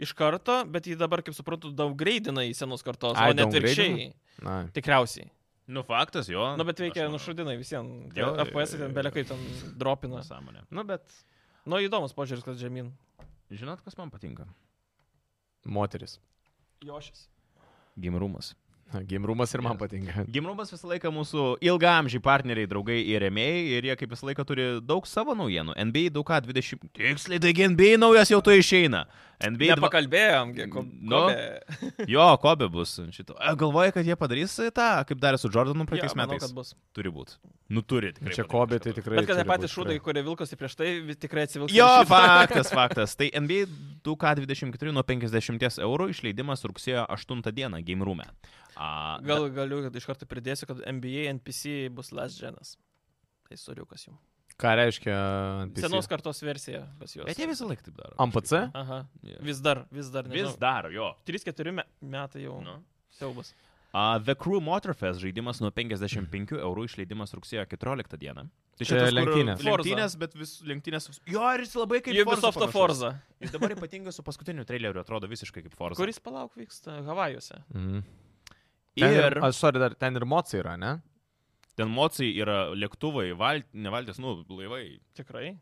S4: iš karto, bet jį dabar, kaip suprantu, daugreidina į senos kartos,
S2: Ai,
S4: o net atvirkščiai.
S2: Na,
S4: Tikriausiai.
S3: Nu, faktas, jo.
S4: Nu, bet veikia
S3: Aš manau,
S4: nušudinai visiems.
S3: Jo, jo,
S4: FPS
S3: jo,
S4: ten
S3: jo.
S4: belekai ten dropina.
S3: Nesąmonė.
S2: nu, bet
S4: Nu, įdomus požiūris, kad žemyn.
S3: Žinot, kas man patinka?
S2: moteris.
S4: Jošis.
S3: Gimrumas.
S2: Na, Gimrumas ir man patinka.
S3: Gimrumas visą laiką mūsų ilgamžiai partneriai, draugai ir remėjai ir jie kaip visą laiką turi daug savo naujienų. NBA daug ką 20. Tiksliai, taigi NBA naujas jau to išeina. NBA dva-
S4: Nepakalbėjom, kiek.
S3: Nu. Jo, Kobe bus ant šito. E, Galvoji, kad jie padarys tą, kaip darė su Jordanu praeitais
S4: manau,
S3: metais?
S4: kad bus.
S3: Turi būti. Nu, turi. tikrai
S2: Čia
S3: padaryt kažką
S2: kobė, tai
S3: tokio.
S2: tikrai.
S4: Bet kad tie
S2: turi
S4: patys
S2: būt,
S4: šūdai,
S2: tikrai.
S4: kurie vilkosi prieš tai, vi- tikrai atsivilks.
S3: Jo,
S4: į šitą.
S3: faktas, faktas. Tai NBA 2K24 nuo 50 eurų išleidimas rugsėjo 8 dieną Game Room'e. A,
S4: Gal galiu kad iš karto pridėsiu, kad NBA NPC bus Last Genas. Tai storiukas jums.
S2: Ką reiškia uh, NPC?
S4: Senos kartos versija pas juos.
S3: Bet jie visą laiką taip daro.
S2: MPC?
S4: Aha.
S3: Jo.
S4: Vis dar, vis dar.
S3: Vis dar, jo.
S4: 3-4 metai jau.
S3: Nu.
S4: Siaubas.
S3: Uh, The Crew Motorfest žaidimas nuo 55 eurų išleidimas rugsėjo 14 dieną. Tai
S2: Čia
S3: tas, kur
S2: lenktynės.
S3: Lenktynės, bet vis lenktynės. Jo, ir jis labai kaip
S4: Ubisofto
S3: panašus.
S4: Forza.
S3: Jis dabar ypatingai su paskutiniu traileriu atrodo visiškai kaip Forza.
S4: Kuris palauk vyksta Havajuose.
S2: Mhm. Ten
S3: Ir
S2: Aš, sorry, dar ten ir mocija yra, ne?
S3: ten mocijai yra lėktuvai, val... nevaltės, nu, laivai.
S4: Tikrai.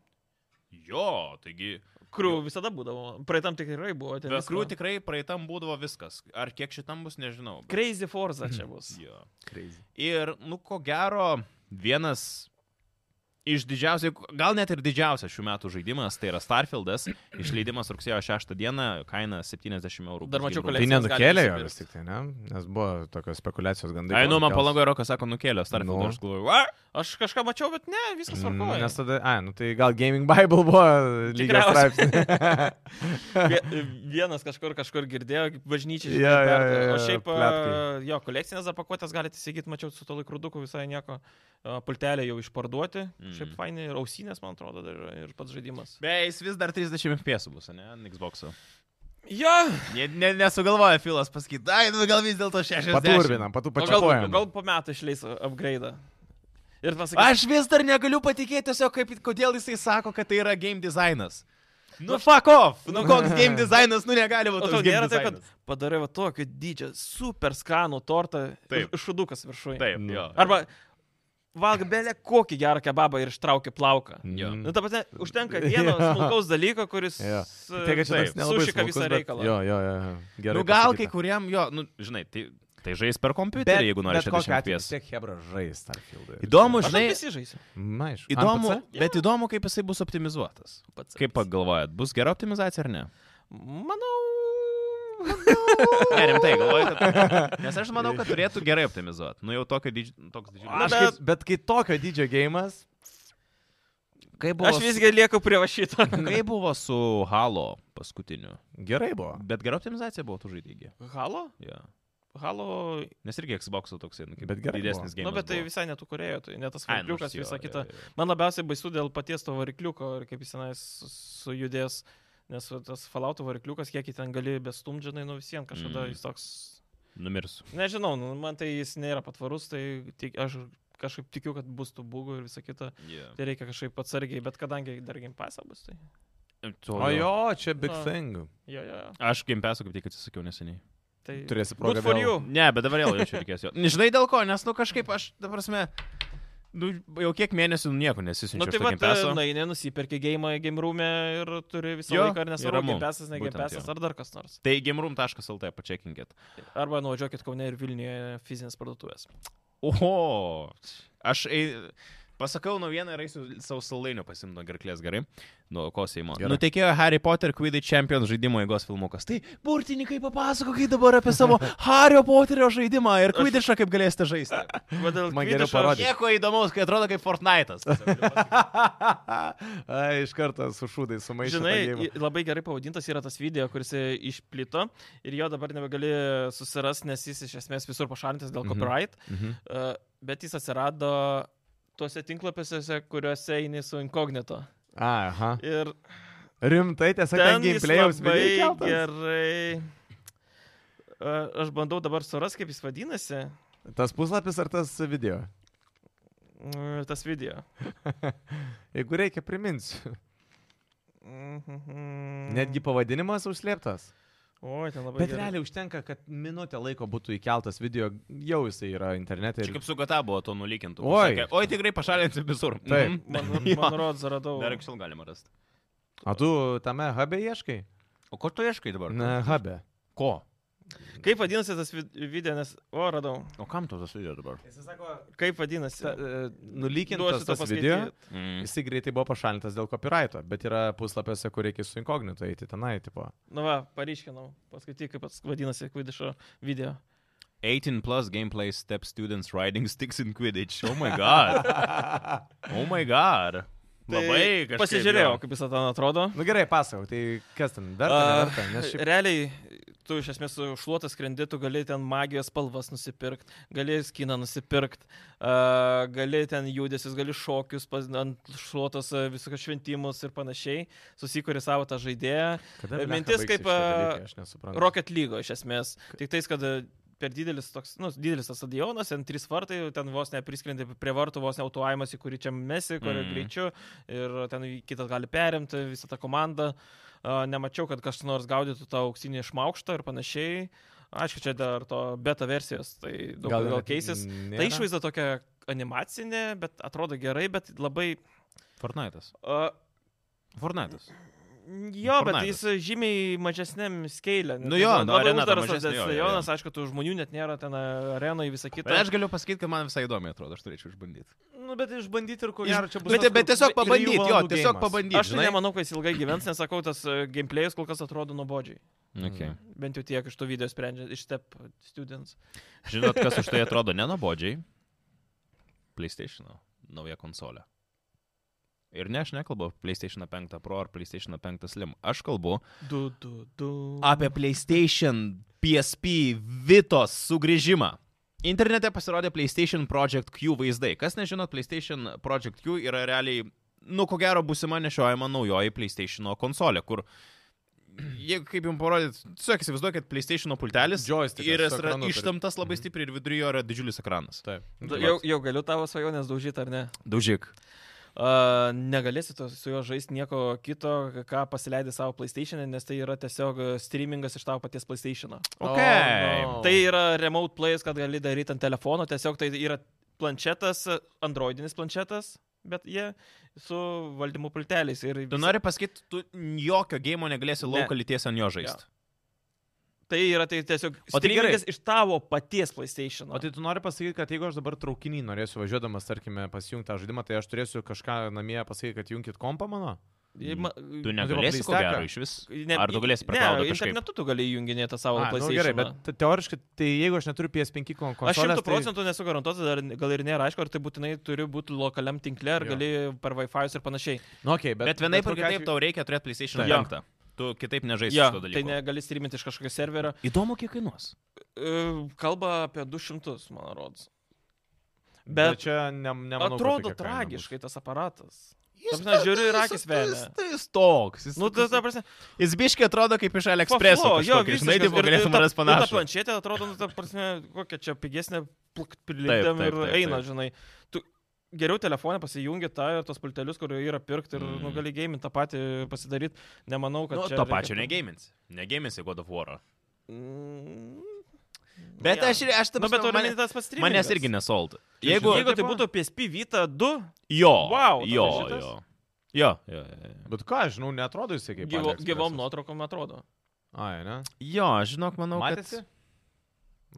S3: Jo, taigi.
S4: Krū visada būdavo. Praeitam tikrai buvo. ten
S3: The
S4: visko.
S3: Crew tikrai praeitam būdavo viskas. Ar kiek šitam bus, nežinau. bet-
S4: Crazy Forza čia bus.
S3: Jo.
S2: Crazy.
S3: Ir, nu, ko gero, vienas iš didžiausių, gal net ir didžiausias šių metų žaidimas, tai yra Starfieldas, išleidimas rugsėjo 6 dieną, kaina 70 eurų.
S4: Dar mačiau
S2: Tai
S3: kolekciją.
S4: kolekciją. Kolekcijas gali
S2: nenukėlė jo
S4: nusipirkt.
S2: vis tik tai, ne? Nes buvo tokios spekulacijos gandai.
S3: Ai,
S2: kad
S3: nu, man
S2: nukels.
S3: palangoje Rokas sako, nukėlė Starfieldą,
S2: Nu.
S3: aš galvoju, va.
S4: Aš kažką mačiau, bet ne, viskas
S2: Mm,
S4: svarbu.
S2: Nes tada, ai, nu tai gal Gaming Bible buvo lygiai
S4: Tikriausiai.
S2: straipsnis.
S4: Vie- Vienas kažkur, kažkur girdėjo, kaip bažnyčiai.
S2: Jo, jo,
S4: perka.
S2: jo,
S4: o
S2: jo,
S4: šiaip,
S2: pletkai.
S4: a, jo, kolekcinės apakuotės galite įsigyti, mačiau su to laikroduku visai nieko. A, Pultelė jau išparduoti,
S3: Mm.
S4: mm. šiaip fainai, ir ausinės, man atrodo, dar yra, ir pats žaidimas.
S3: Beje, jis vis dar 30 FPS bus, ne, ant Xbox'o.
S4: Jo,
S3: Ne, ne, nesugalvoja Filas pasakyti, ai, nu gal vis dėlto 60.
S2: Paturbinam, patu
S4: o gal,
S2: pačiapuojam.
S4: Nu, gal po metų išleis upgrade. Ir pasakys,
S3: Aš vis dar negaliu patikėti tiesiog, kaip, kodėl jisai sako, kad tai yra game designas. Nu,
S4: Nu,
S3: fuck off! Nu, koks game designas, nu negali
S4: o
S3: būti.
S4: tau
S3: toks game
S4: nėra taip,
S3: designas.
S4: kad padarai va tokį didžią, super skanų tortą,
S3: Taip.
S4: ir šudukas viršuje.
S3: Taip,
S2: Nu.
S3: jo.
S4: Arba valg belė kokį gerą kebabą ir ištraukia plauką.
S3: Jo.
S2: Mm.
S4: Na, ta prasme, užtenka vieno
S2: Jo.
S4: smulkaus dalyko, kuris
S2: Jo.
S4: e,
S2: Tai, kad čia
S3: Taip,
S2: toks nelabai
S4: sušika visą
S2: smulkus, bet-
S4: reikalą.
S2: Jo, jo, jo. jo. Gerai.
S3: Nu, gal kai
S2: pasakyta.
S3: kuriam jo, nu, žinai, tai, tai žais per kompiuterį, jeigu nori
S2: bet kokiu
S3: 60
S2: atveju vis
S3: FPS.
S2: tiek Hebra žais Starfield.
S3: Įdomu,
S4: Aš
S3: žinai,
S4: žinai, visi žaisiu.
S2: Na, aišku.
S3: Įdomu,
S2: Ant PC?
S3: bet įdomu, kaip jisai bus optimizuotas.
S4: Pats.
S3: Kaip pagalvojat, bus gera optimizacija ar ne?
S4: Manau.
S3: Ne, rimtai, galvoju, kad... Nes aš manau, kad turėtų gerai optimizuoti. Nu, jau tokio didž... toks
S4: Na,
S3: didžiulis.
S2: Aš kaip, bet kai tokio didžio gėjimas,
S3: Kaip buvo,
S4: Aš visgi lieku prie va šito.
S3: kaip buvo su Halo paskutiniu?
S2: gerai buvo.
S3: Bet gera optimizacija buvo tų žaidėjų.
S4: Halo?
S3: Ja.
S4: Halo.
S3: Nes irgi Xbox toksai, nu, kaip
S2: Bet gerai
S3: didesnis
S4: Na,
S3: gėjimas.
S4: nu, bet tai visai netų kurėjo, tai ne tas
S2: nu,
S4: varikliukas, visa kita.
S3: nu, Jo, jo.
S4: Man labiausiai baisu dėl paties to varikliuko ir kaip jis tenais su- sujudės, nes va tas falauto varikliukas, kiek jį ten gali bestumdžianai, nu visiems kažkada
S3: Mm.
S4: jis toks
S3: Numirs.
S4: Nežinau, nu, man tai jis nėra patvarus, tai tik, aš kažkaip tikiu, kad bus tų būgų ir visa kita.
S3: Yeah.
S4: Tai reikia kažkaip atsargiai, bet kadangi dar game pasą bus, tai...
S2: O jo, čia big
S4: Na.
S2: thing.
S4: Jo, jo, jo.
S3: Aš gimpesų kaip tik atsisakiau neseniai.
S4: Tai...
S2: Turėsi progą.
S4: Good for
S2: vėl-
S4: you.
S3: Ne, bet dabar vėl jaučiu reikės jo. Žinai dėl ko, nes nu kažkaip aš, ta prasme, nu, jau kiek mėnesių nu, e, nieko
S4: Nu
S3: nesisinčiu.
S4: tai va, na, jinai nusipirkė gėjimą game room'e ir turi visą
S3: Jo,
S4: laiką, ar
S3: ir
S4: nesvarbu,
S3: ramu.
S4: game pasas, ne game
S3: Būtent,
S4: pasas,
S3: jo.
S4: ar dar kas nors.
S3: Tai gimrum.lt pačekinkit.
S4: Arba nuvažiuokit Kaune ir Vilniuje fizinės parduotuvės.
S3: Oho, aš ei, pasakau naujieną ir eisiu savo saldainių pasimno gerklės gerai. Nuo ko Seimo.
S2: Gerai.
S3: Nutekėjo Harry Potter Quidditch Champions žaidimo eigos filmukas. Tai burtininkai papasakokit dabar apie savo Harry Potterio žaidimą ir Quidditchą kaip galėsite žaisti.
S4: Vadėl,
S2: Man geriau parodyk.
S3: Nieko įdomaus, kai atrodo kaip Fortnite'as.
S2: Ai, iš karto su šūdai sumaišė.
S4: Žinai, i- labai gerai pavadintas yra tas video, kuris e, išplito ir jo dabar nebegali susirasti, nes jis iš esmės visur pašalintas dėl
S2: Mhm.
S4: copyright.
S2: Mhm.
S4: E, bet jis atsirado tuose tinklapiuose, kuriuose eini su inkognito.
S2: Aha.
S4: Ir
S2: Rimtai, tiesa, ten
S4: jis
S2: gameplay'aus
S4: labai
S2: vėliau keltas.
S4: gerai. A, Aš bandau dabar suras, kaip jis vadinasi,
S2: Tas puslapis ar tas video?
S4: Mm, tas video.
S2: Jeigu reikia, priminsiu.
S4: Mhm.
S2: Netgi pavadinimas užslėptas.
S4: Oi, ten labai.
S2: Bet realiai užtenka, kad minutę laiko būtų įkeltas video, jau jisai yra internete.
S3: Čia
S2: Ir...
S3: kaip su kata buvo to nulykintų.
S2: Oi.
S3: Sakė, Oi tikrai pašalinti visur.
S2: Taip.
S3: Mhm.
S4: Man,
S3: Jo.
S4: man rodos, radau.
S3: Dar anksčiau galima rasti.
S2: O tu tame hube ieškai?
S3: O ko tu ieškai dabar?
S2: Na, hube.
S3: Ko?
S4: Kaip vadinasi tas vid- video, nes... O, radau.
S3: O kam tu tas video dabar?
S2: Jis sako,
S4: Kaip vadinasi?
S2: ta, e, nulykintas
S4: Duosiu tau
S2: tas video.
S4: paskaityt.
S3: Mm.
S2: Jisai greitai buvo pašalintas dėl copyrighto, bet yra puslapiuose, kur reikia su inkognito eiti tenai, tipo.
S4: Nu va, paryškinau. Paskaityk, kaip pats vadinasi Kvidišo video.
S3: 18 plus gameplay step students riding sticks in Quidditch. Oh my god. Oh my god. Labai
S4: Tai
S3: kažkaip.
S4: Pasižiūrėjau,
S3: jo.
S4: kaip jis ten atrodo.
S2: Nu gerai, pasakau, tai kas ten dar?
S4: A, e,
S2: Uh, nes šiaip...
S4: Realiai, tu iš esmės su šluotas skrendi, tu gali ten magijos spalvas nusipirkti, gali skiną nusipirkti, uh, gali ten judesius, gali šokius pas, ant šluotas a, visokius šventimus ir panašiai, susikuri savo tą žaidėją.
S2: Kada
S4: e,
S2: blecha
S4: mintis
S2: baigsis
S4: kaip,
S2: šitie
S4: a,
S2: dalykai? aš nesuprantu.
S4: Rocket lygo iš esmės. Tik tais, kad e, per didelis toks, nu, didelis tas stadionas, ten trys vartai, ten vos nepriskrendi prie vartų, vos neautuojamas, į kurį čia mesi, kuriuo
S3: Mm.
S4: mm. greičiu, ir ten kitas gali perimti visą tą komandą. A, E, Nemačiau, kad kas nors gaudytų tą auksinį šmaukštą ir panašiai. Aišku, čia dar to beta versijos, tai daug gal, gal keisis. Tai Ta išvaizda tokia animacinė, bet atrodo gerai, bet labai...
S3: Fortnite'as.
S4: Uh,
S3: Fortnite'as.
S4: Jo, bet
S3: Fortnite'as.
S4: jis žymiai mažesnėm skeilė.
S3: Nu jo, nu arena ta
S4: uždaras
S3: mažesnė,
S4: tas
S3: jo, jo, jo.
S4: rajonas, aišku, tų žmonių net nėra ten arenai visą kitą.
S3: Bet aš galiu pasakyti, kad man visai įdomi atrodo, aš turėčiau išbandyti.
S4: nu, bet išbandyti ir ko
S3: Iš-
S4: gero čia bus.
S3: Bet, bet tiesiog
S2: trijų
S3: pabandyti, jo,
S2: valandų
S3: tiesiog
S2: geimas.
S3: pabandyti.
S4: Aš tai nemanau, kad jis ilgai gyvens, nes sakau, tas e, gameplay'us kol kas atrodo nuobodžiai.
S3: Okay.
S4: Bent jau tiek iš to video sprendžiant, iš Step Students.
S3: Žinot, kas už tai atrodo nenabodžiai? PlayStation nauja konsolė. Ir ne, aš nekalbu PlayStation 5 Pro ar PlayStation 5 Slim. Aš kalbu
S4: Du, du, du.
S3: apie PlayStation PSP Vitos sugrįžimą. Internete pasirodė PlayStation Project Q vaizdai. Kas nežinot, PlayStation Project Q yra realiai, nu, ko gero, būsima nešiojama naujoji PlayStation konsolė, kur, jeigu kaip jums parodyt, tiesiog įsivaizduokit PlayStation pultelis
S2: Joystickas
S3: ir jis
S2: su
S3: yra
S2: ekranu turi.
S3: ištamtas labai
S4: Mhm.
S3: stipriai ir viduryje yra didžiulis ekranas.
S2: Taip.
S4: Da, jau, jau galiu tavo svajonės daužyti, ar ne?
S3: Daužyk.
S4: Uh, negalėsi to, su juo žaisti nieko kito, ką pasileidai savo PlayStation, nes tai yra tiesiog e, streamingas iš tavo paties PlayStation.
S3: Ok.
S2: Oh, no.
S4: Tai yra remote plays, kad gali daryti ant telefono, tiesiog tai yra planšetas, androidinis planšetas, bet jie su valdymu pulteliais. ir
S3: Tu
S4: visa-
S3: nori pasakyti, tu jokio gėjimo negalėsi
S4: Ne.
S3: laukalities ant jo žaisti.
S4: Tai yra tai tiesiog
S2: O tai gerai.
S4: streamingas iš tavo paties PlayStation.
S2: O tai tu nori pasakyti, kad jeigu aš dabar traukinį norėsiu važiuodamas, tarkime, pasijungti tą žaidimą, tai aš turėsiu kažką namie pasakyti, kad junkit kompą mano?
S3: Tu negalėsi ko
S2: PlayStack-ą?
S3: gero iš vis. Ar tu galėsi
S4: Nu, Ne,
S3: prekiauti kažkaip?
S4: internetu tu gali įjunginėti savo
S2: A, nu,
S4: PlayStation.
S2: gerai, bet te- teoriškai, tai jeigu aš neturiu PS5 kon-
S4: Aš
S2: konsolės, tai-
S4: šimtų procentų nesu garantuotas, dar gal ir nėra aišku, ar tai būtinai turi būti lokaliam tinkle, ar
S2: Jo.
S4: gali per Wi-Fi ir panašiai.
S2: tai... Nu, okay, bet,
S3: Bet, bet vienaip ar
S2: kokiu
S3: kitaip
S2: atveju-
S3: tau reikia turėti PlayStation
S4: Taip.
S3: 5. Tu kitaip nežaisi
S4: Jo,
S3: šito
S4: tai
S3: dalyko.
S4: negali streaminti iš kažkokio serverio.
S3: Įdomu, kiek kainuos.
S4: E, Kalba apie 200, man rodos.
S2: Bet
S4: Bet
S2: čia ne, nemanau,
S4: atrodo
S2: kad tokia kaina bus.
S4: tragiškai tas aparatas. Ta prasme, žiūriu ir akis
S3: Jis,
S4: velia.
S3: tai jis toks. Jis,
S4: Nu, tai, ta prasme,
S3: jis biškiai atrodo kaip iš AliExpress.
S4: paflo, jo,
S3: žinai, tai
S4: visiškas.
S3: taip
S4: Ir- ir
S3: galėtum
S4: ta-
S3: rasti
S4: ir Ta
S3: panašų.
S4: planšetė atrodo, nu, ta prasme, kokia čia pigesnė, prilipdėm
S3: taip,
S4: ir
S3: taip,
S4: eina,
S3: taip.
S4: žinai. Tu geriau telefoną pasijungi tą ir tos pultelius, kurio yra pirkti ir
S3: Mm.
S4: mm. nu, gali gėjimį tą patį pasidaryti. Nemanau, kad...
S3: Nu,
S4: čia
S3: to
S4: reikia-
S3: pačio negėminsi. Negėminsi God of War.
S4: Mm,
S3: Bet
S4: jo.
S3: aš, ir- aš
S4: Nu,
S3: taip
S4: bet tu mane tas pats
S3: Manęs irgi nesold. Jeigu,
S4: Jeigu, jeigu tai būtų PSP Vita 2,
S3: Jo.
S4: Wow,
S3: jo,
S4: tai šitas?
S3: jo. Jo, jo, jo, jo.
S2: Bet ką, aš žinau, netrodo jisai kaip...
S4: gyvo,
S2: AliExpress'as.
S4: gyvom nuotraukom atrodo.
S2: Ai, ne?
S3: Jo, žinok, manau,
S2: Matėsi?
S3: kad...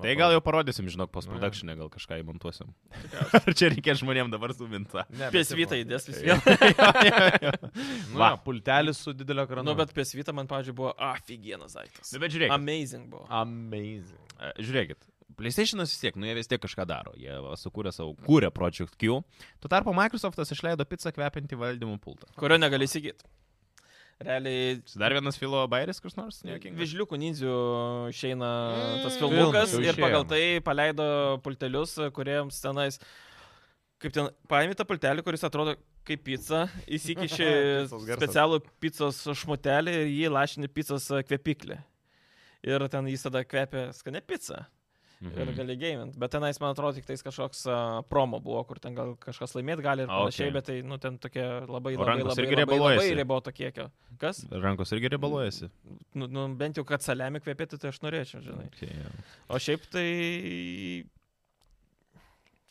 S3: Tai gal jau parodysim, žinok,
S4: Nu,
S3: post-production'e gal kažką įmontuosim. Ar čia reikia žmonėm dabar suminta?
S2: Ne, bet
S4: PSV
S2: tipo-
S4: tai įdės vis
S3: Jo,
S4: vien.
S3: jo, jo.
S2: Nu,
S3: Va.
S2: jo, pultelis su didelio ekranu.
S4: Nu, bet PSV man, pavyzdžiui, buvo aфигienas daiktas.
S3: Nu, bet žiūrėkit.
S4: Amazing buvo.
S2: Amazing.
S3: E, Žiūrėkit. PlayStation'as vis tiek, nu jie vis tiek kažką daro. Jie va, sukūrė savo, kūrė Project Q. Tuo tarpu Microsoftas išleido pizzą kvepinti valdymo pultą.
S4: Kurio negali įsigyti. Realiai.
S3: Čia Dar vienas filo bairis, kas nors, nejuokingas.
S4: Vižliukų ninzių išeina tas
S3: Mm.
S4: filmukas
S2: Filmas jau
S4: ir pagal
S2: išėjo.
S4: tai paleido pultelius, kuriems tenais, kaip ten, paėmė tą pultelį, kuris atrodo kaip pica, įsikiši
S3: Picos garsas.
S4: specialų picos šmutelį ir jį lašini picos e, kvepiklį. Ir ten jis tada kvepia skanę pizzą ir
S3: Mhm.
S4: gali gamint. Bet tenais, man atrodo, tik tais kažkoks a, promo buvo, kur ten gal kažkas laimėti gali ir
S3: A,
S4: panašiai,
S3: okei.
S4: bet tai, nu, ten tokie labai,
S3: O
S4: labai,
S3: rankos
S4: labai,
S3: irgi
S4: labai, labai
S3: riebaluojasi?
S4: riboto kiekio. Kas?
S3: Rankos irgi rebaluojasi.
S4: Nu, nu, bent jau, kad salemi kvepėtų, tai aš norėčiau, žinai.
S3: Okay, jo.
S4: O šiaip tai...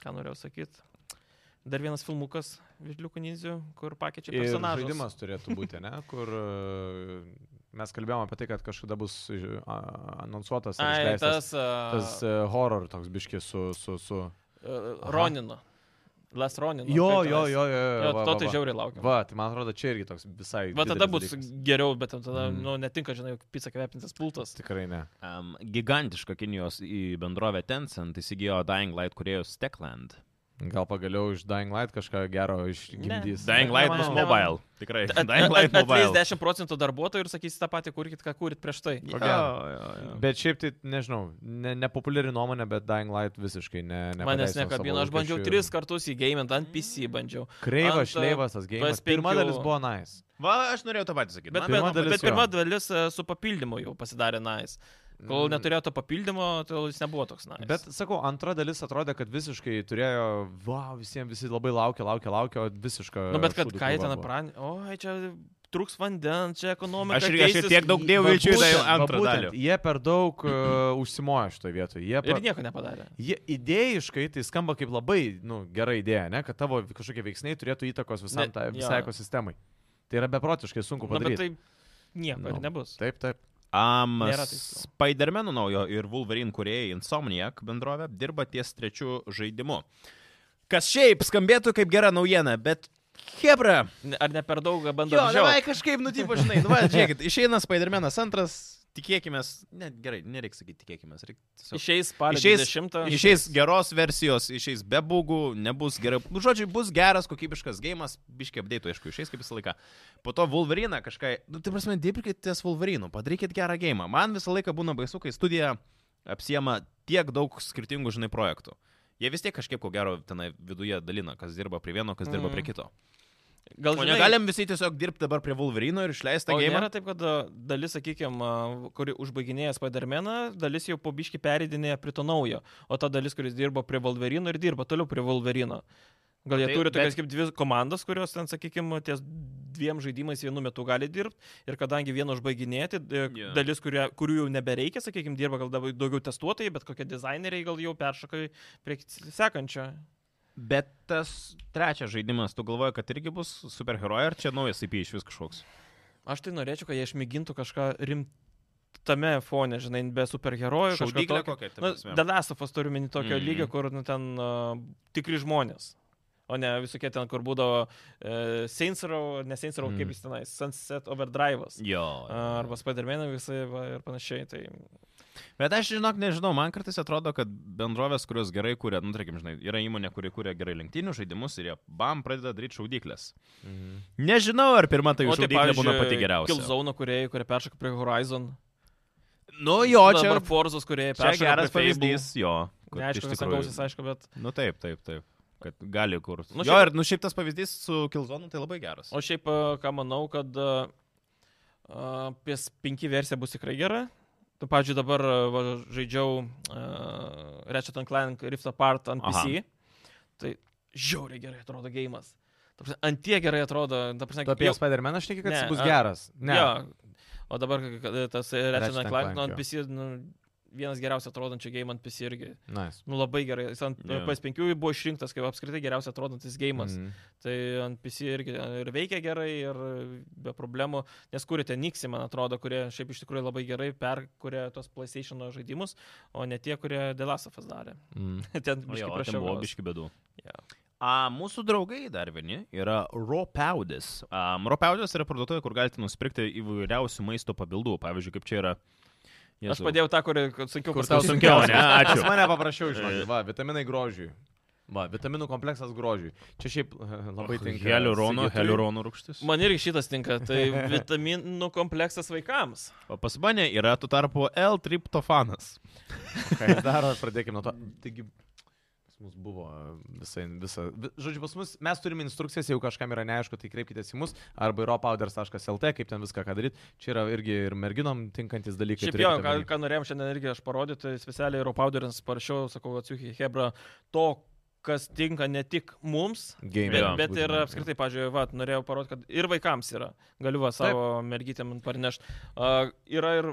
S4: Ką norėjau sakyti? Dar vienas filmukas Vidliukų Ninzių, kur pakeičia
S2: Ir
S4: personažą.
S2: žaidimas turėtų būti, ne? Kur e, mes kalbėjome apie tai, kad kažkada bus e, a- anonsuotas ar
S4: Ai, tas...
S2: išleistas
S4: a,
S2: tas e, horror toks biškis su... su, su...
S4: a,
S2: aha.
S4: Ronino. Las Ronino.
S2: Jo,
S4: kaip
S2: jo,
S4: tai tenais.
S2: jo, jo. jo,
S4: Jo,
S2: va,
S4: to
S2: va,
S4: tai
S2: va.
S4: žiauriai laukiu.
S2: Va, tai man atrodo, čia irgi toks visai.
S4: Va tada
S2: didelis
S4: bus
S2: dalykas.
S4: geriau, bet ten tada,
S2: Mm.
S4: nu, netinka, žinai, pizza kvepintas pultas.
S2: Tikrai ne.
S3: Um, gigantiška Kinijos į bendrovę Tencent įsigijo Dying Light kuriejus Techland.
S2: Gal pagaliau iš Dying Light kažką gero išgimdys.
S4: Dying
S3: Dying Light bus
S4: Nemanau.
S3: mobile. Tikrai.
S4: At-
S3: Dying
S4: at-
S3: Light
S4: at- atleis
S3: mobile.
S4: 10 procentų darbuotojų ir sakys tą patį, kurkit, ką kurit prieš tai.
S2: Ko
S3: Jo,
S2: gero.
S3: jo, jo.
S2: Bet šiaip tai, nežinau, ne, nepopuliari nuomonė, bet Dying Light visiškai ne. nepateisin
S4: Manęs
S2: savo
S4: nekabino, aš bandžiau
S2: lūkesčių.
S4: tris kartus įgaimint ant PC, bandžiau.
S2: Kreivas,
S4: ant, e,
S2: šleivas tas gėjimas.
S4: PS5
S2: Pirma dalis buvo nice.
S3: Va, aš norėjau tą patį sakyti.
S4: Bet,
S3: Man
S4: bet,
S2: pirma
S3: įdomu,
S4: dalis,
S2: dalis
S4: bet
S2: jo.
S4: pirma dalis e, su papildymu jau pasidarė nais. Nice. Kol neturėjo to papildymo, tai jis nebuvo toks nais. Nice.
S2: Mm. Bet, sakau, antra dalis atrodė, kad visiškai turėjo, wow, visiems visi labai laukia, laukia, laukia, visišką.
S4: nu, bet kad
S2: šūdų
S4: ką jie
S2: kalba
S4: ten
S2: e, buvo.
S4: pranė, oi, čia trūks vandens, čia ekonomika.
S3: Aš irgi- aš ir
S4: keisis."
S3: tiek daug dėjau
S2: Va
S3: vilčių į tą
S2: būtent, va
S3: antrą
S2: būtent,
S3: dalį.
S2: Jie per daug uh, užsimojo šitoje vietoje. Jie,
S4: Ir
S2: pa...
S4: nieko nepadarė.
S2: jie idėjiškai tai skamba kaip labai nu, gera idėja, ne? kad tavo kažkokie veiksniai turėtų įtakos visam,
S4: Ne,
S2: ta,
S4: jo.
S2: visai ekosistemai. Tai yra beprotiškai sunku
S4: Nu, bet
S2: padaryti.
S4: tai nieko ir
S2: Nu.
S4: nebus.
S2: Taip, taip.
S3: Um,
S4: Nėra tikslo.
S3: Spider-Man'ų naujo ir Wolverine kuriejai Insomniac bendrovė dirba ties trečiu žaidimu. Kas šiaip skambėtų kaip gera naujiena, bet Hebra.
S4: Ne- Ar ne per daug bando
S3: Jo,
S4: apžiau?
S3: davai kažkaip nutipo, žinai, nu, va, žiūrėkit, išeina Spider-Man'as antras, tikėkime, net gerai, nereikia sakyti tikėkime, reikia tiesiog.
S4: Išeis spalio
S3: Išeis-
S4: 20.
S3: Išeis geros versijos, išeis be būgų, nebus gerai. Nu, Žodžiu, bus geras, kokybiškas gėjimas, biškiai apdėtų, aišku, išeis kaip visą laiką. Po to Wolverine kažką, nu, tai prasme, dirbkite ties Wolverine, padarykit gerą gėjimą. Man visą laiką būna baisu, kai studija apsiema tiek daug skirtingų, žinai, projektų. Jie vis tiek kažkiek, ko gero, tenai viduje dalina, kas dirba prie vieno, kas dirba
S4: Mm.
S3: prie kito.
S4: Gal
S3: O negalim visi tiesiog dirbti dabar prie Wolverine ir išleisti tą
S4: O
S3: gėjimą?
S4: nėra taip, kad a, dalis, sakykime, kuri užbaiginėja Spider-Maną, dalis jau po biški pereidinėja prie to naujo, o ta dalis, kuris dirbo prie Wolverino ir dirba toliau prie Wolverino. Gal jie
S3: Tai-
S4: turi tokias
S3: bet-
S4: kaip dvi komandas, kurios ten, sakykime, ties dviem žaidimais vienu metu gali dirbti ir kadangi vieną užbaiginėti, e,
S3: Jo.
S4: dalis, kurie, kurių jau nebereikia, sakykime, dirba gal dabar daugiau testuotojai, bet kokie dizaineriai gal jau peršoka į- prie kit- sekančio.
S3: Bet tas trečias žaidimas, tu galvoji, kad irgi bus superherojai, ar čia naujas IP iš vis kažkoks?
S4: Aš tai norėčiau, kad jie išmėgintų kažką rimtame fone, žinai, be superherojų. kažką
S3: Šaudyklė
S4: tokio.
S3: kokia, ta
S4: Nu,
S3: prasme.
S4: Dalasofas turi mini tokio
S3: Mm.
S4: mm. lygio, kur nu, ten uh, tikri žmonės. O ne visokie ten, kur būdavo uh, Saints Row, ne Saints Row, mm.
S2: Mm.
S4: kaip jis tenai, Sunset Overdrive'as.
S3: Mhm. Jo.
S4: Uh, arba Spider-Man visai va, ir panašiai. Tai
S3: Bet aš žinok, nežinau, man kartais atrodo, kad bendrovės, kurios gerai kūrė, nu, tarkim, žinai, yra įmonė, kuri kūrė gerai lenktynių žaidimus ir jie bam pradeda daryti šaudyklės.
S2: Mhm.
S3: Nežinau, ar pirma tai
S4: O
S3: šaudyklė būna pati
S4: Kill
S3: geriausia.
S4: Zone kuriejai, kurie peršoka prie Horizon.
S3: Nu jo, čia,
S4: Dabar Forzos kuriejai
S3: čia
S4: peršoka
S3: geras
S4: prie Fable.
S3: pavyzdys, jo. kur
S4: Neaišku,
S3: iš
S4: kas ten
S3: tikrųjų-
S4: gausis, aišku, bet...
S3: Nu taip, taip, taip. Kad gali kur.
S4: Nu,
S3: Nu, jo,
S4: šiaip-
S3: ir nu šiaip tas pavyzdys su Kilzonu tai labai geras.
S4: O šiaip, a, ką manau, kad e, a, a, PS5 versija bus tikrai gera. Tu, pavyzdžiui, dabar a, va, žaidžiau uh, Ratchet and Clank Rift Apart ant
S3: Aha.
S4: PC. Tai žiauriai gerai atrodo gėjimas. Ant tie gerai atrodo, ta prasme,
S2: Tu apie
S4: jau-
S2: Spider-Man aš tikiu, kad
S4: Ne,
S2: jis bus
S4: a-
S2: geras. Ne.
S4: Jo. O dabar kai- kai tas Ratchet and Clank
S2: and
S4: nu,
S2: Clank,
S4: ant
S2: jo.
S4: PC, nu, vienas geriausiai atrodančių gėjimų ant PC irgi.
S2: Nice.
S4: Nu labai gerai. Jis ant
S3: Jo.
S4: yeah. PS5 buvo išrinktas kaip apskritai geriausiai atrodantis gėjimas.
S2: Mhm.
S4: Tai ant PC irgi ir veikia gerai, ir be problemų, nes kūrėte Nixį, man atrodo, kurie šiaip iš tikrųjų labai gerai perkūrė tos PlayStation žaidimus, o ne tie, kurie Delasafas darė.
S2: Mhm.
S4: Ten
S3: Mm. O jo,
S4: biškai
S3: ten
S4: prašiau.
S3: buvo
S4: gavos.
S3: biški bėdų.
S4: Jo.
S3: A, mūsų draugai dar vieni yra Ropaudis. Um, Ropaudis yra parduotuvė, kur galite nusipirkti įvairiausių maisto pabildų. Pavyzdžiui, kaip čia yra.
S4: Aš padėjau tą, kurį kad sunkiau
S2: Kur
S4: pasakyt.
S2: tau
S3: sunkiau, ne? Ačiū.
S2: Pas mane paprašiau, žinai, va, vitaminai grožiui. Va, vitaminų kompleksas grožiui. Čia šiaip e, labai tinka.
S3: Heliurono,
S2: Sigitui.
S3: heliurono rūgštis.
S4: Man irgi šitas tinka, tai vitaminų kompleksas vaikams.
S3: O pas mane yra tuo tarpu L-triptofanas.
S2: Ką jis daro, pradėkime nuo to. Mm, Taigi, pas mus buvo um, visai, visa. vi- Žodžiu, pas mus mes turime instrukcijas, jeigu kažkam yra neaišku, tai kreipkitės į mus arba europowders.lt, kaip ten viską ką daryti. Čia yra irgi ir merginom tinkantis dalykai.
S4: Šiaip
S2: turėkite
S4: jo, ką,
S2: omeny.
S4: ką norėjom šiandien irgi aš parodyti, specialiai Europauderins parašiau, sakau, atsiųkiai Hebra, to, kas tinka ne tik mums,
S2: Game,
S4: bet,
S2: jo,
S4: bet ir
S2: būtent, jo.
S4: apskritai, pažiūrėjau, va, norėjau parodyti, kad ir vaikams yra, galiu va savo mergytėm parnešti. Uh, yra ir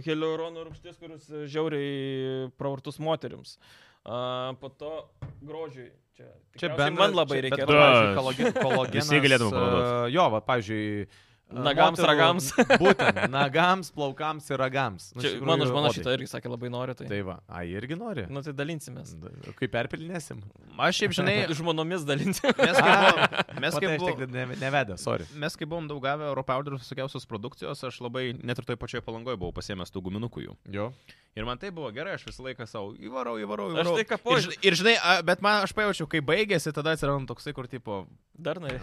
S4: hialurono rūgštis, kuris e, žiauriai pravartus moteriams. Uh, po to grožiui. Čia,
S2: Čia
S4: tikriausiai
S2: bent
S4: man labai
S2: čia-
S4: reikia.
S2: Bet, pavyzdžiui,
S3: Da.
S2: kologen- kolagenas.
S3: Visi galėtum
S2: e,
S3: panaudot.
S2: Jo, va, pavyzdžiui. e,
S4: Nagams,
S2: moterų-
S4: ragams.
S2: Būtent, nagams, plaukams ir ragams. Nu, iš
S4: Čia,
S2: tikrųjų,
S4: mano žmona
S2: odai.
S4: šitą irgi sakė labai nori. Tai,
S2: Tai va, ai irgi nori.
S4: nu, tai dalinsimės.
S2: Kai perpilinėsim.
S3: Aš šiaip žinai,
S4: Žmonomis dalinsimės.
S3: mes kaip buvom, mes
S2: Mes
S3: kaip
S2: kaip
S3: buvom,
S2: tik ne, nevedę, sorry.
S3: Mes, kai buvom daug gavę Europowderių visokiausios produkcijos, aš labai net ir toje pačioje palangoje buvau pasiemęs tų guminukų jų.
S2: Jo.
S3: Ir man tai buvo gerai, aš visą laiką savo įvarau, įvarau,
S4: Aš
S3: įvarau.
S4: tai kapoju.
S3: Ir, žin- ir žinai, a, bet man aš pajaučiau, kai baigėsi, tada atsirado toksai, kur tipo,
S4: Dar nori.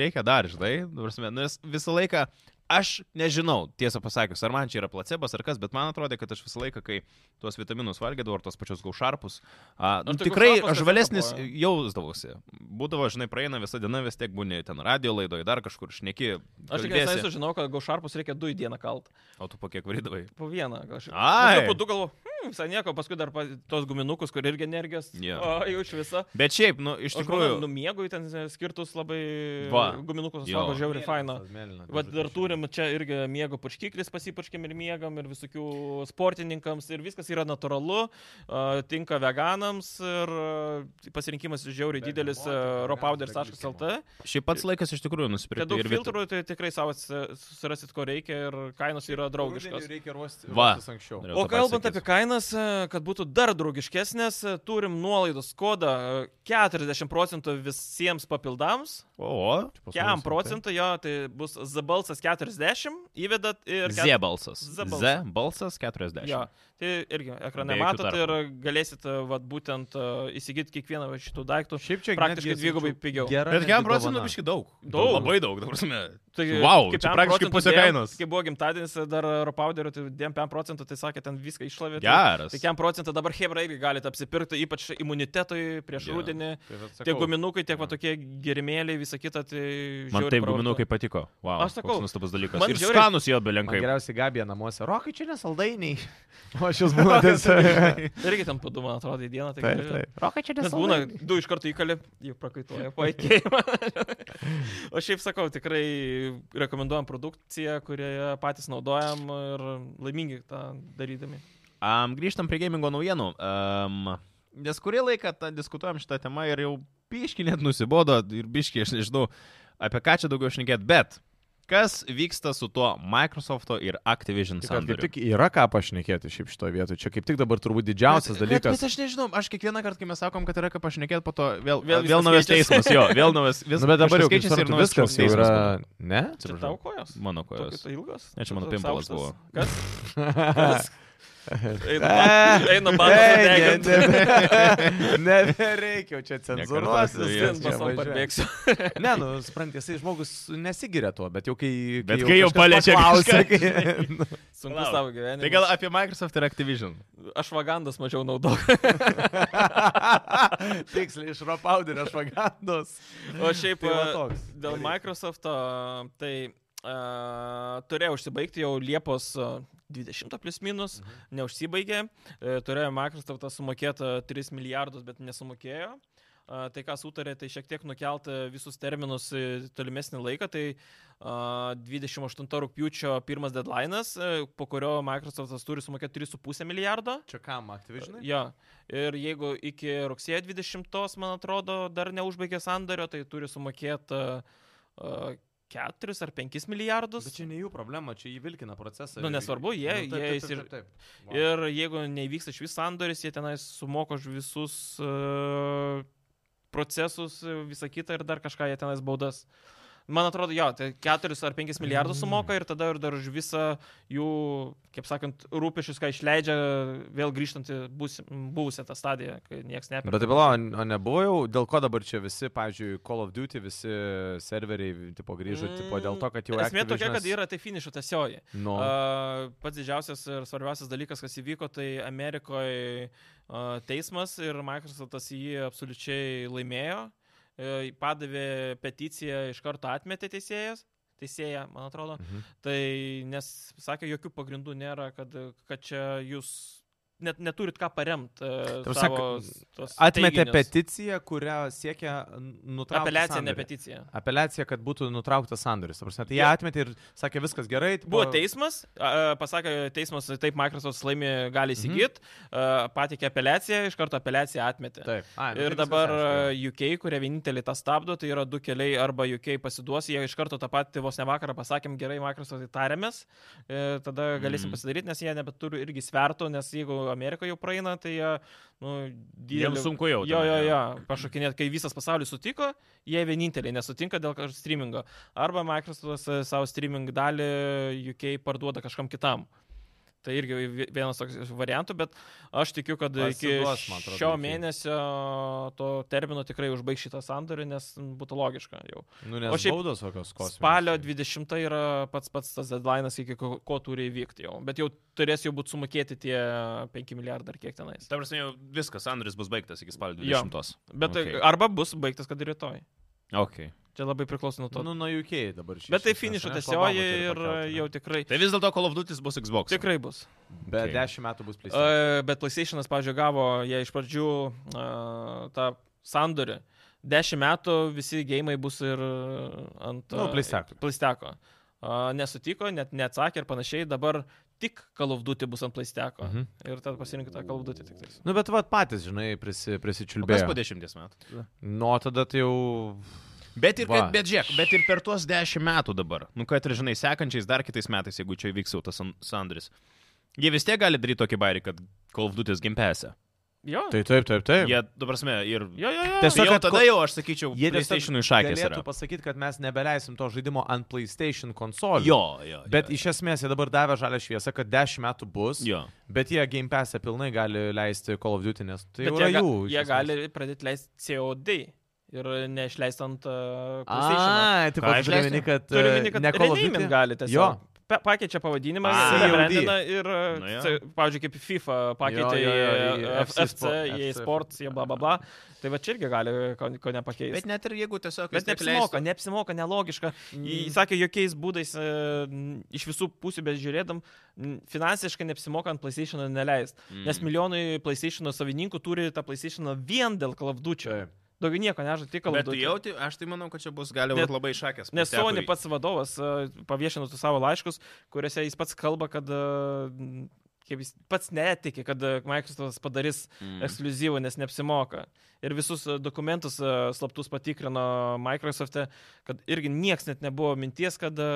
S3: reikia dar, žinai, ta prasme, nu, nes visą laiką, aš nežinau, tiesą pasakius, ar man čia yra placebas ar kas, bet man atrodė, kad aš visą laiką, kai tuos vitaminus valgydavau, ar tos pačios gaušarpus, a, nu,
S4: tai
S3: tikrai
S4: gaušarpas
S3: aš
S4: tiesiog
S3: žvalesnis
S4: kapoja.
S3: jausdavosi. Būdavo, žinai, praeina visą dieną, vis tiek būni ten radio laidoje, dar kažkur šneki.
S4: Aš tik
S3: kalbiesi.
S4: nesai sužinau, kad gaušarpus reikia du į dieną kalt.
S3: O tu po kiek varydavai?
S4: Po vieną kažkaip.
S3: Ai.
S4: Po du galvo, hm, visai nieko, paskui dar pa, tos guminukus, kur irgi energijos.
S3: Jo.
S4: O, jau iš viso.
S3: Bet šiaip, nu, iš tikrųjų.
S4: Numiegu ten e, skirtus labai
S3: Va.
S4: guminukus,
S3: Jo.
S4: sako, žiauri faina. Vat dar turim čia irgi miego paškiklis, pasipaškim ir miegam, ir visokių sportininkams, ir viskas yra natūralu, a, tinka veganams, ir a, pasirinkimas žiauriai
S2: Vegan
S4: didelis
S2: motina, veganas,
S4: ropowders.lt.
S3: Šiaip pats laikas iš tikrųjų
S4: Čia
S3: nusipirkti
S4: daug
S3: ir filtrų.
S4: filtrų, tai tikrai savo atsi- susirasit, ko reikia, ir kainos yra draugiškos.
S2: Reikia ruošti
S3: Va.
S2: ruoštis anksčiau.
S3: Norėjau
S4: O
S3: dabar
S4: kalbant
S3: sakyt.
S4: apie kainas, e, kad būtų dar draugiškesnės, e, turim nuolaidos kodą e, 40 procentų visiems papildams,
S3: O,
S4: 4 procentų jo, tai bus zabalsas 40, įvedat ir...
S3: Z balsas.
S4: Z
S3: Z
S4: balsas.
S3: balsas 40.
S4: Jo, tai irgi
S3: Be
S4: ekrane
S3: jokių
S4: matot ir
S3: tarpų.
S4: galėsit e, vat, būtent e, įsigyti kiekvieną va šitų daiktų.
S2: Šiaip čia
S4: Nu, Praktiškai
S2: netgi,
S4: dvigubai
S2: sakyčiau,
S4: pigiau.
S2: gera
S3: Bet
S2: netgi
S3: 4 procentų
S2: dovana.
S3: biški daug.
S4: Daug.
S3: Labai daug, dabar prasme.
S4: Tai
S3: Vau,
S4: kaip
S3: čia
S4: 5
S3: praktiškai
S4: procentų
S3: pusė
S4: dėjom,
S3: kainos.
S4: Kai buvo gimtadienis e, dar Europowderio, tai 9 procentų, tai sakė, ten viską išlavė. tai-
S3: Geras.
S4: Tai 5 procentų dabar Hebra irgi galite apsipirkti, ypač imunitetui prieš
S3: Jo.
S4: rudenį.
S2: Tai vat sakau,
S4: Tiek guminukai, tiek va
S2: jo.
S4: tokie gerimėliai, visa kita. Tai
S3: Man
S4: žiauriai
S3: taip
S4: pravartu.
S3: guminukai patiko. Wow,
S4: Aš sakau,
S3: Nustabus dalykas.
S4: man
S3: Ir
S4: žiauriai-
S3: skanus jo
S2: Man
S3: belenkai.
S2: geriausiai gabė namuose. Rokai čia nesaldainiai. O aš jūs buvau tiesiog.
S4: Irgi ten padu, man atrodo, į dieną. Tai
S2: Taip,
S4: gražu.
S2: taip. Rokai čia
S4: Nes būna, du iš karto įkali, jau prakaituoja po įkėjimą. o šiaip sakau, tikrai rekomenduojam produkciją, kurią patys naudojam ir laimingi tą darydami.
S3: Um, grįžtam prie gamingo naujienų. Um, nes kurį laiką ta, diskutuojam šitą temą ir jau biški net nusibodo ir biški aš nežinau, apie ką čia daugiau šnekėt, bet kas vyksta su tuo Microsoft'o ir Activision
S2: Kad kaip
S3: sandoriu?
S2: tai tik yra ką pašnekėti šiaip šitoje vietoje. Čia kaip tik dabar turbūt didžiausias
S3: Bet- Bet,
S2: dalykas.
S3: bet aš nežinau, aš kiekvieną kartą, kai mes sakom, kad yra ką pašnekėti, po to vėl,
S4: Vėl
S3: vėl, vėl
S4: viskas
S3: naujas
S4: keičiasi.
S3: teismas, jo, vėl naujas,
S2: Vis,
S3: vis,
S2: nu, bet dabar jau
S3: kažkas
S2: keičiasi ir
S3: naujas
S2: viskas jau
S3: teismas
S2: yra.
S3: buvo.
S2: Ne?
S4: Čia
S3: Atsiprašau.
S4: tau kojos.
S3: Mano
S4: Tokios
S3: kojos.
S4: ilgos.
S3: Ne, čia mano
S4: Toks
S3: pimpulas
S4: aukštas.
S3: buvo.
S4: Kas? Kas? Eina
S2: E,
S4: ba- Eina
S2: Ei,
S4: bandas.
S2: Nebereikia jau čia cenzūruotis.
S3: Neklausiu,
S2: viskas
S3: Jėzus,
S4: Vien
S2: čia
S4: pasom
S2: važiuoja.
S4: parbėgsiu.
S2: Ne, nu, suprant, jisai žmogus nesigiria tuo, bet jau kai...
S3: Bet kai jau paliečia
S2: klausimą.
S4: Sunku
S3: Palauk.
S4: savo gyvenimą.
S3: Tai gal apie Microsoft ir Activision.
S4: aš vagandas mažiau naudok.
S2: Tiksliai, iš rapauderio švagandos.
S4: O šiaip
S2: Tai va
S4: e,
S2: toks.
S4: dėl Microsofto, tai uh, turėjo užsibaigti jau Liepos e, 20 plus minus, mhm. neužsibaigė. Uh, turėjo Microsoftas sumokėti 3 milijardus, bet nesumokėjo. E, Tai ką sutarė, tai šiek tiek nukelti visus terminus į tolimesnį laiką. Tai a, 28 rūpjūčio pirmas deadline'as, e, po kurio Microsoftas turi sumokėti 3,5 milijardo.
S2: Čia kam, Activision?
S4: Ja. Ir jeigu iki rugsėjo 20, man atrodo, dar neužbaigė sandario, tai turi sumokėti uh, 4 ar 5 milijardus.
S2: Bet čia ne jų problema, čia įvilkina procesą.
S4: Nu,
S2: ir-
S4: nesvarbu, jie-
S2: Nu, taip,
S4: jie
S2: taip,
S4: įsir-
S2: taip, taip, taip. Wow.
S4: Ir jeigu nevyks iš vis sandoris, jie tenai sumoko už visus uh, procesus, e, visą kitą ir dar kažką jie tenais baudas. Man atrodo, jo, tai 4 ar 5 milijardus sumoka ir tada ir dar už visą jų, kaip sakant, rūpešius, ką išleidžia, vėl grįžtant į busi- buvusią tą stadiją, kai niekas neapima.
S2: Nu, Bet taip, pala, o nebuvo jau, dėl ko dabar čia visi, pavyzdžiui, Call of Duty, visi serveriai, tipo, grįžo, mm, tipo, dėl to, kad jau...
S4: Esmė tokia, kad
S2: Activisionas-
S4: yra tai finišo tiesioji.
S2: Nu,
S4: A, Pats didžiausias ir svarbiausias dalykas, kas įvyko, tai Amerikoje a, teismas ir Microsoftas jį absoliučiai laimėjo. E, Padavė peticiją, iš karto atmetė teisėjas. Teisėja, man atrodo.
S2: mhm.
S4: Tai nes sakė, jokių pagrindų nėra, kad, kad čia jūs net neturit ką e, paremti.
S2: Ta prasme, Atmetė peticiją, kurią siekia nutraukti.
S4: Apeliacija, ne
S2: sandorį.
S4: peticija.
S2: Apeliacija, kad būtų nutrauktas sandoris. Ta prasme, Tai jie
S4: Jo.
S2: atmetė ir sakė, viskas gerai. tipo-
S4: Buvo teismas, a, a, pasakė teismas, taip Microsoft laimi gali įsigyti, mhm. patikė apeliaciją, iš karto apeliaciją atmetė.
S2: Taip. A, nu,
S4: Ir
S2: tai
S4: dabar e,
S2: viskas aišku.
S4: a, UK, kurie vienintelį tą stabdo, tai yra du keliai, arba UK pasiduos, jie iš karto tą patį vos ne vakarą pasakėm, gerai, Microsoft įtarėmės, e, tada galėsim
S3: Mhm.
S4: mm. pasidaryti, nes jie nebeturi irgi sverto, nes jeigu Amerika jau praeina, tai jie, nu,
S3: Jiems
S4: dideliu-
S3: sunku jau.
S4: Jo,
S3: ten,
S4: jo,
S3: jo.
S4: jo, pašokinėt, kai visas pasaulis sutiko, jie vieninteliai nesutinka dėl kažkokio streamingo. Arba Microsoft'as e, savo streaming dalį UK parduoda kažkam kitam. Tai irgi vi- vienas toks iš variantų, bet aš tikiu, kad
S2: Pasiduos, man
S4: iki
S2: atrodo,
S4: šio
S2: UK.
S4: mėnesio to termino tikrai užbaigs šitą sandorį, nes m, būtų logiška jau.
S2: Nu, nes
S4: o šiaip
S2: baudos kokios kosminės. tai-
S4: Spalio 20 yra pats pats tas deadline'as, iki ko, ko turi įvykti jau. Bet jau turės jau būti sumokėti tie 5 milijardai ar kiek tenais.
S3: Ta prasme, jau viskas, Andris bus baigtas iki spalio
S4: Jo.
S3: 20.
S4: Bet
S3: Okay.
S4: okay. arba bus baigtas, kad ir rytoj.
S3: Okay.
S4: Čia labai priklauso nuo to.
S2: Nu, nuo UK dabar šiaip.
S4: Bet tai finišo tiesioji ir jau tikrai.
S3: Tai vis dėlto Call of Duty bus Xbox.
S4: Tikrai bus.
S2: Be
S3: Okay.
S2: 10 metų bus plėstis.
S4: E, Bet PlayStation'as, pavyzdžiui, gavo, jie iš pradžių e, tą sandorį. Dešimt metų visi gėjimai bus ir ant...
S2: Nu, PlayStation.
S4: Plasteko. Nesutiko, net neatsakė ir panašiai. Dabar tik kalvdutė bus ant plasteko.
S2: Mhm.
S4: Ir tada pasirinkite tą kalvdutę tik tais.
S2: Nu, bet vat patys, žinai, prisi,
S3: O Kas po
S2: prisičiulbėjo.
S3: dešimties metų.
S2: Nu, o tada tai jau...
S3: Bet ir,
S2: Va.
S3: kad, bet, žiūrėk, bet ir per tuos dešimt metų dabar, nu kad ir žinai, sekančiais dar kitais metais, jeigu čia įvyks jau tas san- sandoris, jie vis tiek gali daryti tokį bairį, kad Call of Duty's gimpėse.
S4: Jo.
S2: Tai taip, taip, taip.
S3: Jie, tu prasme, ir...
S4: Jo, jo, jo.
S2: Tiesiog,
S3: Tiesiog jau
S2: kad
S3: tada
S2: ko-
S3: jau, aš sakyčiau,
S2: Jie
S3: jie
S2: tiesiog
S3: PlayStation išakės yra.
S2: Galėtų pasakyti, kad mes nebeleisim to žaidimo ant PlayStation konsolių.
S3: Jo, jo.
S2: Bet
S3: jo,
S2: iš esmės jie dabar davė žalę šviesą, kad 10 metų bus,
S3: Jo.
S2: bet jie Game Pass'e pilnai gali leisti Call of Duty, nes tai
S4: Bet
S2: jau
S4: jie,
S2: yra
S4: ga-
S2: jų. iš
S4: jie
S2: esmės.
S4: gali pradėti leisti COD ir neišleisti ant uh, PlayStation.
S2: A, tai
S3: Ką
S2: aš turiu
S3: išleisti?
S2: meni, kad...
S4: Turiu
S2: e,
S4: minį, kad
S2: ne Call of
S4: renaming
S2: Duty.
S4: gali
S2: Jo.
S4: tiesiog. Pe- Pakeičia pavadinimą,
S2: Ah.
S4: brandina ir, e,
S3: Nu jo.
S4: c- pavyzdžiui, kaip FIFA pakeitė
S2: Jo, jo, jo,
S4: į
S2: į
S4: F-
S2: FC
S4: FC, į
S2: FC.
S4: sports, į bla bla bla. Tai va čia irgi gali ko, ko nepakeisti.
S3: Bet net ir jeigu tiesiog...
S4: Bet neapsimoka, neapsimoka, nelogiška.
S2: Mm.
S4: Jis sakė, jokiais būdais e, n- iš visų pusių bežiūrėdam, n- finansiškai neapsimoka ant PlayStation neleist. Mm.
S3: Mhm.
S4: Nes milijonai PlayStation savininkų turi tą PlayStation vien dėl klavdučio.
S2: Taip.
S4: Daugiau nieko nežinau, tik
S3: Bet
S4: klavdučio.
S3: tu jauti, aš tai manau, kad čia bus gali
S4: Net-
S3: būti labai išakės.
S4: Nes Sony pats vadovas e, paviešino tu savo laiškus, kuriuose jis pats kalba, kad e, kaip jis pats netiki, kad e, Microsoftas padarys
S3: Mm. Mhm.
S4: ekskluzyvų, nes neapsimoka. Ir visus e, dokumentus e, slaptus patikrino Microsoft'e, kad irgi nieks net nebuvo minties, kad e,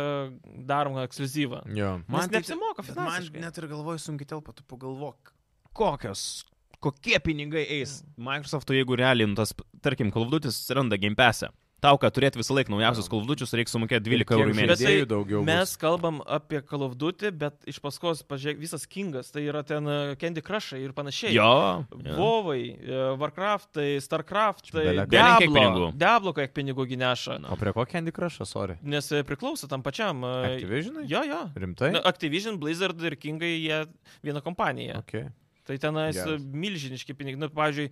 S4: daroma ekskluzyvą.
S2: Jo.
S4: Man neapsimoka finansiškai.
S3: tai Man net ir galvoju, sunkiai telpa, tu pagalvok, kokios, kokie pinigai eis Microsoft'o, jeigu realiai, nu, tas, tarkim, kalvdutis randa Game Pass'e. Tau, kad turėti visą laiką naujausius kalvdučius, reikia sumokėti 12 eurų į
S4: Bet
S3: mėnesį.
S4: tai
S2: žaidėjų daugiau bus.
S4: Mes kalbam apie kalvdutį, bet iš paskos, pažiūrėk, visas Kingas, tai yra ten e, Candy Crushai ir panašiai.
S3: Jo. jo.
S4: Vovai, e, Warcraftai, Starcraftai,
S2: Bele-
S3: Belen kiek pinigų.
S4: tai Diablo, Diablo kiek pinigų gineša.
S2: O prie ko Candy Crush, sorry?
S4: Nes e, priklauso tam pačiam. e,
S2: Activisionai?
S4: Jo, jo.
S2: Rimtai?
S4: Na, Activision, Blizzard ir Kingai jie viena kompanija.
S2: Okay.
S4: Tai tenais e,
S2: Geras.
S4: milžiniški pinigai. Na, pavyzdžiui,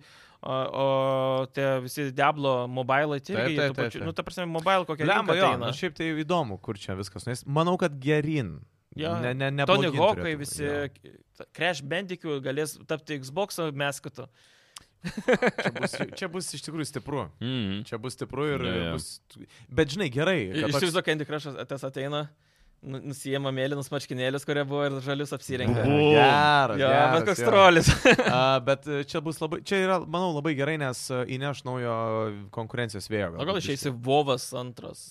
S4: o, o tie visi Diablo mobilai, tai
S2: Taip,
S4: irgi,
S2: taip,
S4: taip, taip,
S2: taip,
S4: taip.
S2: taip.
S4: nu, ta prasme, mobile kokia
S2: Lemba,
S4: rinka
S2: jo,
S4: ateina.
S2: nu, šiaip tai įdomu, kur čia viskas. Nes manau, kad gerin.
S4: Jo.
S2: Ne, ne, ne.
S4: Tony
S2: blogyn
S4: Hawkai
S2: turėtų būt,
S4: visi,
S2: jo.
S4: ta- Crash Bandicoot galės tapti Xbox meskotu.
S2: Čia bus, čia bus iš tikrųjų stipru.
S3: Mm.
S2: Čia bus stipru ir
S3: Jo, jo.
S2: bus. Bet žinai, gerai. kad toks-
S4: Išsivaizduoju, Candy Crush tas ateina, nu- nusijėma mėlynus marškinėlius, kurie buvo ir žalius apsirengę.
S3: Bu-
S2: Geras.
S4: Jo,
S2: Mhm. geras,
S4: bet koks
S2: jo.
S4: trolis.
S2: A, bet e, čia bus labai, čia yra, manau, labai gerai, nes e, įneš naujo konkurencijos vėjo.
S4: O gal
S2: galbūt
S4: išeisi Vovas antras.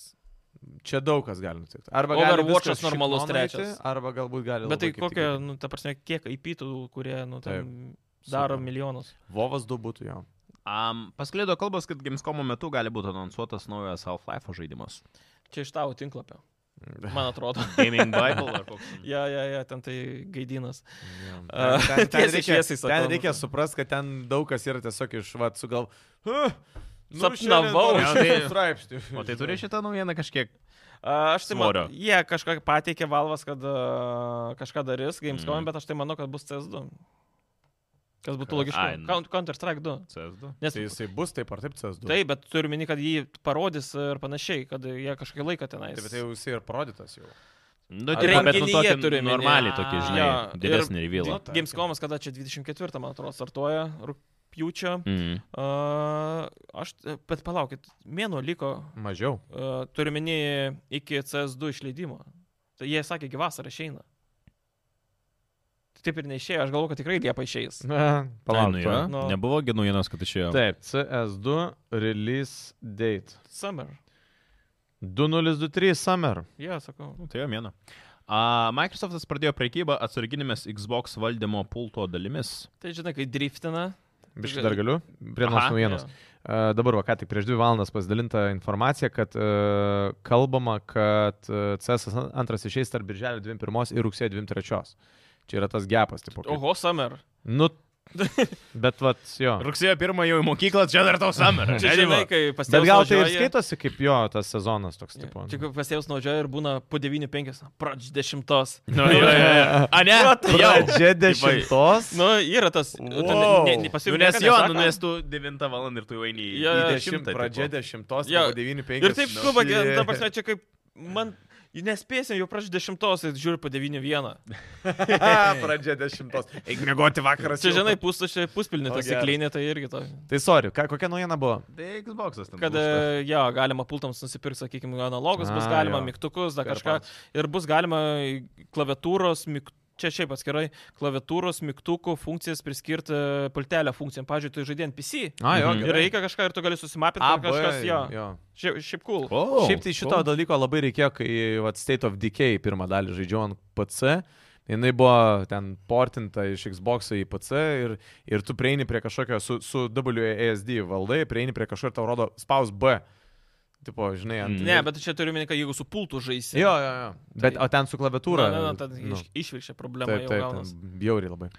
S2: biškį. Čia daug kas gali nutikti. Arba
S4: Overwatch'as
S2: viskas
S4: normalus
S2: šiknon eiti,
S4: trečias.
S2: Arba galbūt gali.
S4: Bet tai
S2: labai kaip tik
S4: kokia,
S2: įti.
S4: nu, ta prasme, kiek įpytų, kurie, nu,
S2: Taip.
S4: ten daro
S2: Super.
S4: milijonus.
S2: Vovas du būtų jo.
S3: Um, pasklido kalbos, kad Gamescomo metu gali būti anonsuotas naujas Half-Life žaidimas.
S4: Čia iš tavo tinklapio, man atrodo.
S3: Gaming Bible ar koks. ten.
S4: Ja, ja, ja, ten tai gaidinas.
S2: Ten, ten, ten,
S4: Tiesiai
S2: reikia,
S4: šviesiai sakau.
S2: ten reikia suprasti, kad ten daug kas yra tiesiog iš vat sugal. "Huh, nu,
S4: Sapnavau."
S2: šiandien
S3: Jo,
S2: noriu
S3: tai-
S2: straipsnį.
S3: O tai turi šitą naujieną kažkiek.
S4: A, Aš tai
S3: Svorio.
S4: manau, jie kažką pateikė valvas, kad a, kažką darys Gamescom,
S3: Mm.
S2: Mhm.
S4: bet aš tai manau, kad bus CS2. Kas būtų
S3: Ai, nu.
S4: logiška. Counter Strike 2.
S3: CS2.
S4: Nes
S2: Tai jisai bus taip ar taip CS2.
S4: Taip, bet turiu minį, kad jį parodys ir panašiai, kad jie kažkokį laiką tenais.
S2: Taip, bet tai jau jisai ir parodytas jau.
S3: Nu,
S4: Ar
S3: tipo, bet nu
S4: renginyje
S3: tokį
S4: turi omeny?
S3: normaliai tokį,
S4: Ah.
S3: žinai,
S4: Jo, ir-
S3: didesnį revilą.
S2: tarkim.
S4: Gamescomas, kada čia 24, man atrodo, startuoja rūpjūčio.
S3: Mm.
S4: Uh, aš, bet palaukit, mėnuo liko,
S2: Mažiau.
S4: uh, turiu minį, iki CS2 išleidimo. Tai jie sakė, iki vasarą išeina. Tai Taip ir neišėjo, aš galvoju, kad tikrai Liepa išeis.
S2: Na,
S3: Palauk, nu,
S2: palauk.
S4: Nu.
S3: Nebuvo gi naujienos, kad išėjo.
S2: Taip, CS2 release date.
S4: Summer.
S2: 2023 summer.
S4: Jie, yeah, sakau.
S3: Nu, Tai jo mėno. Uh, Microsoftas pradėjo prekybą atsarginėmis Xbox valdymo pulto dalimis.
S4: Tai žinai, kai driftina.
S2: Biškai dar galiu. Prie nors
S3: Aha,
S2: naujienos.
S4: jo.
S2: E, Dabar, va, ką tik prieš dvi valandas pasidalinta informacija, kad e, kalbama, kad e, CS antras išeis tarp birželio 21 ir rugsėjo 23. Čia yra tas gepas, tipo. kaip-
S4: Oho, Summer.
S2: Nu, bet vat, jo.
S3: Rugsėjo 1 jau į mokyklą, čia dar tau summer.
S4: Čia žinai, kai
S2: Bet
S4: pasiteisinau.
S2: gal tai ir skaitosi kaip jo tas sezonas toks, tipo. nu.
S4: Tik pasėjus naudžioja ir būna po 9.5. Pradž 10.
S3: Nu, jo, jo, jo. A ne, jau.
S2: Pradžia dešimtos.
S4: Nu, yra tas.
S2: Wow.
S3: Nu,
S4: Pasiūlymas.
S3: nes jo, nu, nes tu 9 val. ir tu jau eini į
S4: Jo, jo,
S3: į
S2: Dešimt,
S3: dešimtą,
S2: pradžia
S3: tipo.
S2: dešimtos,
S4: Jo.
S2: jau devyni penki.
S4: Ir taip skuba, ge- ta prasme, čia kaip man... Nespėsim, jau prašau dešimtos, ir žiūri po devynių vieną.
S2: Pradžia dešimtos. Eik mėgoti vakaras.
S4: Čia,
S2: jau.
S4: žinai, pustušė, puspilnė,
S2: O,
S4: tas
S2: geras.
S4: įkleinė, tai irgi to.
S2: Tai sorry, ką, kokia naujiena buvo?
S3: Tai Xbox'as ten.
S4: Kad,
S3: bus.
S4: e, jo, galima pultams nusipirkti, sakykime, analogus, bus
S2: A,
S4: galima
S2: jo.
S4: mygtukus, dar kažką. Ir bus galima klaviatūros, mygtukus. Čia šiaip atskirai klaviatūros, mygtukų funkcijas priskirti pultelio funkcijom. Pavyzdžiui, tu žaidėjai ant PC
S2: A, jo,
S3: Mhm.
S4: ir reikia kažką ir tu gali susimapinti,
S2: A,
S4: ar kažkas jo. Šiaip, šiaip cool.
S3: O,
S2: Šiaip tai šito
S3: o.
S2: dalyko labai reikėjo, kai vat, State of Decay pirmą dalį žaidžiau ant PC. Jis buvo ten portinta iš Xbox į PC ir, ir tu prieini prie kažkokio su, su WASD valdai, prieini prie kažkokio ir tau rodo spaus B. Tipo, žinai, ant...
S3: Mm.
S4: Ne, bet čia turiu minėti, kad jeigu su pultu žaisi.
S2: Jo, jo, jo. Bet, o ten su klaviatūra.
S4: Tai- Na, na, na, ten nu. išviršė problemą.
S2: Taip,
S4: Taip,
S2: taip,
S4: jau
S2: ten
S4: taip.
S2: bjauriai labai.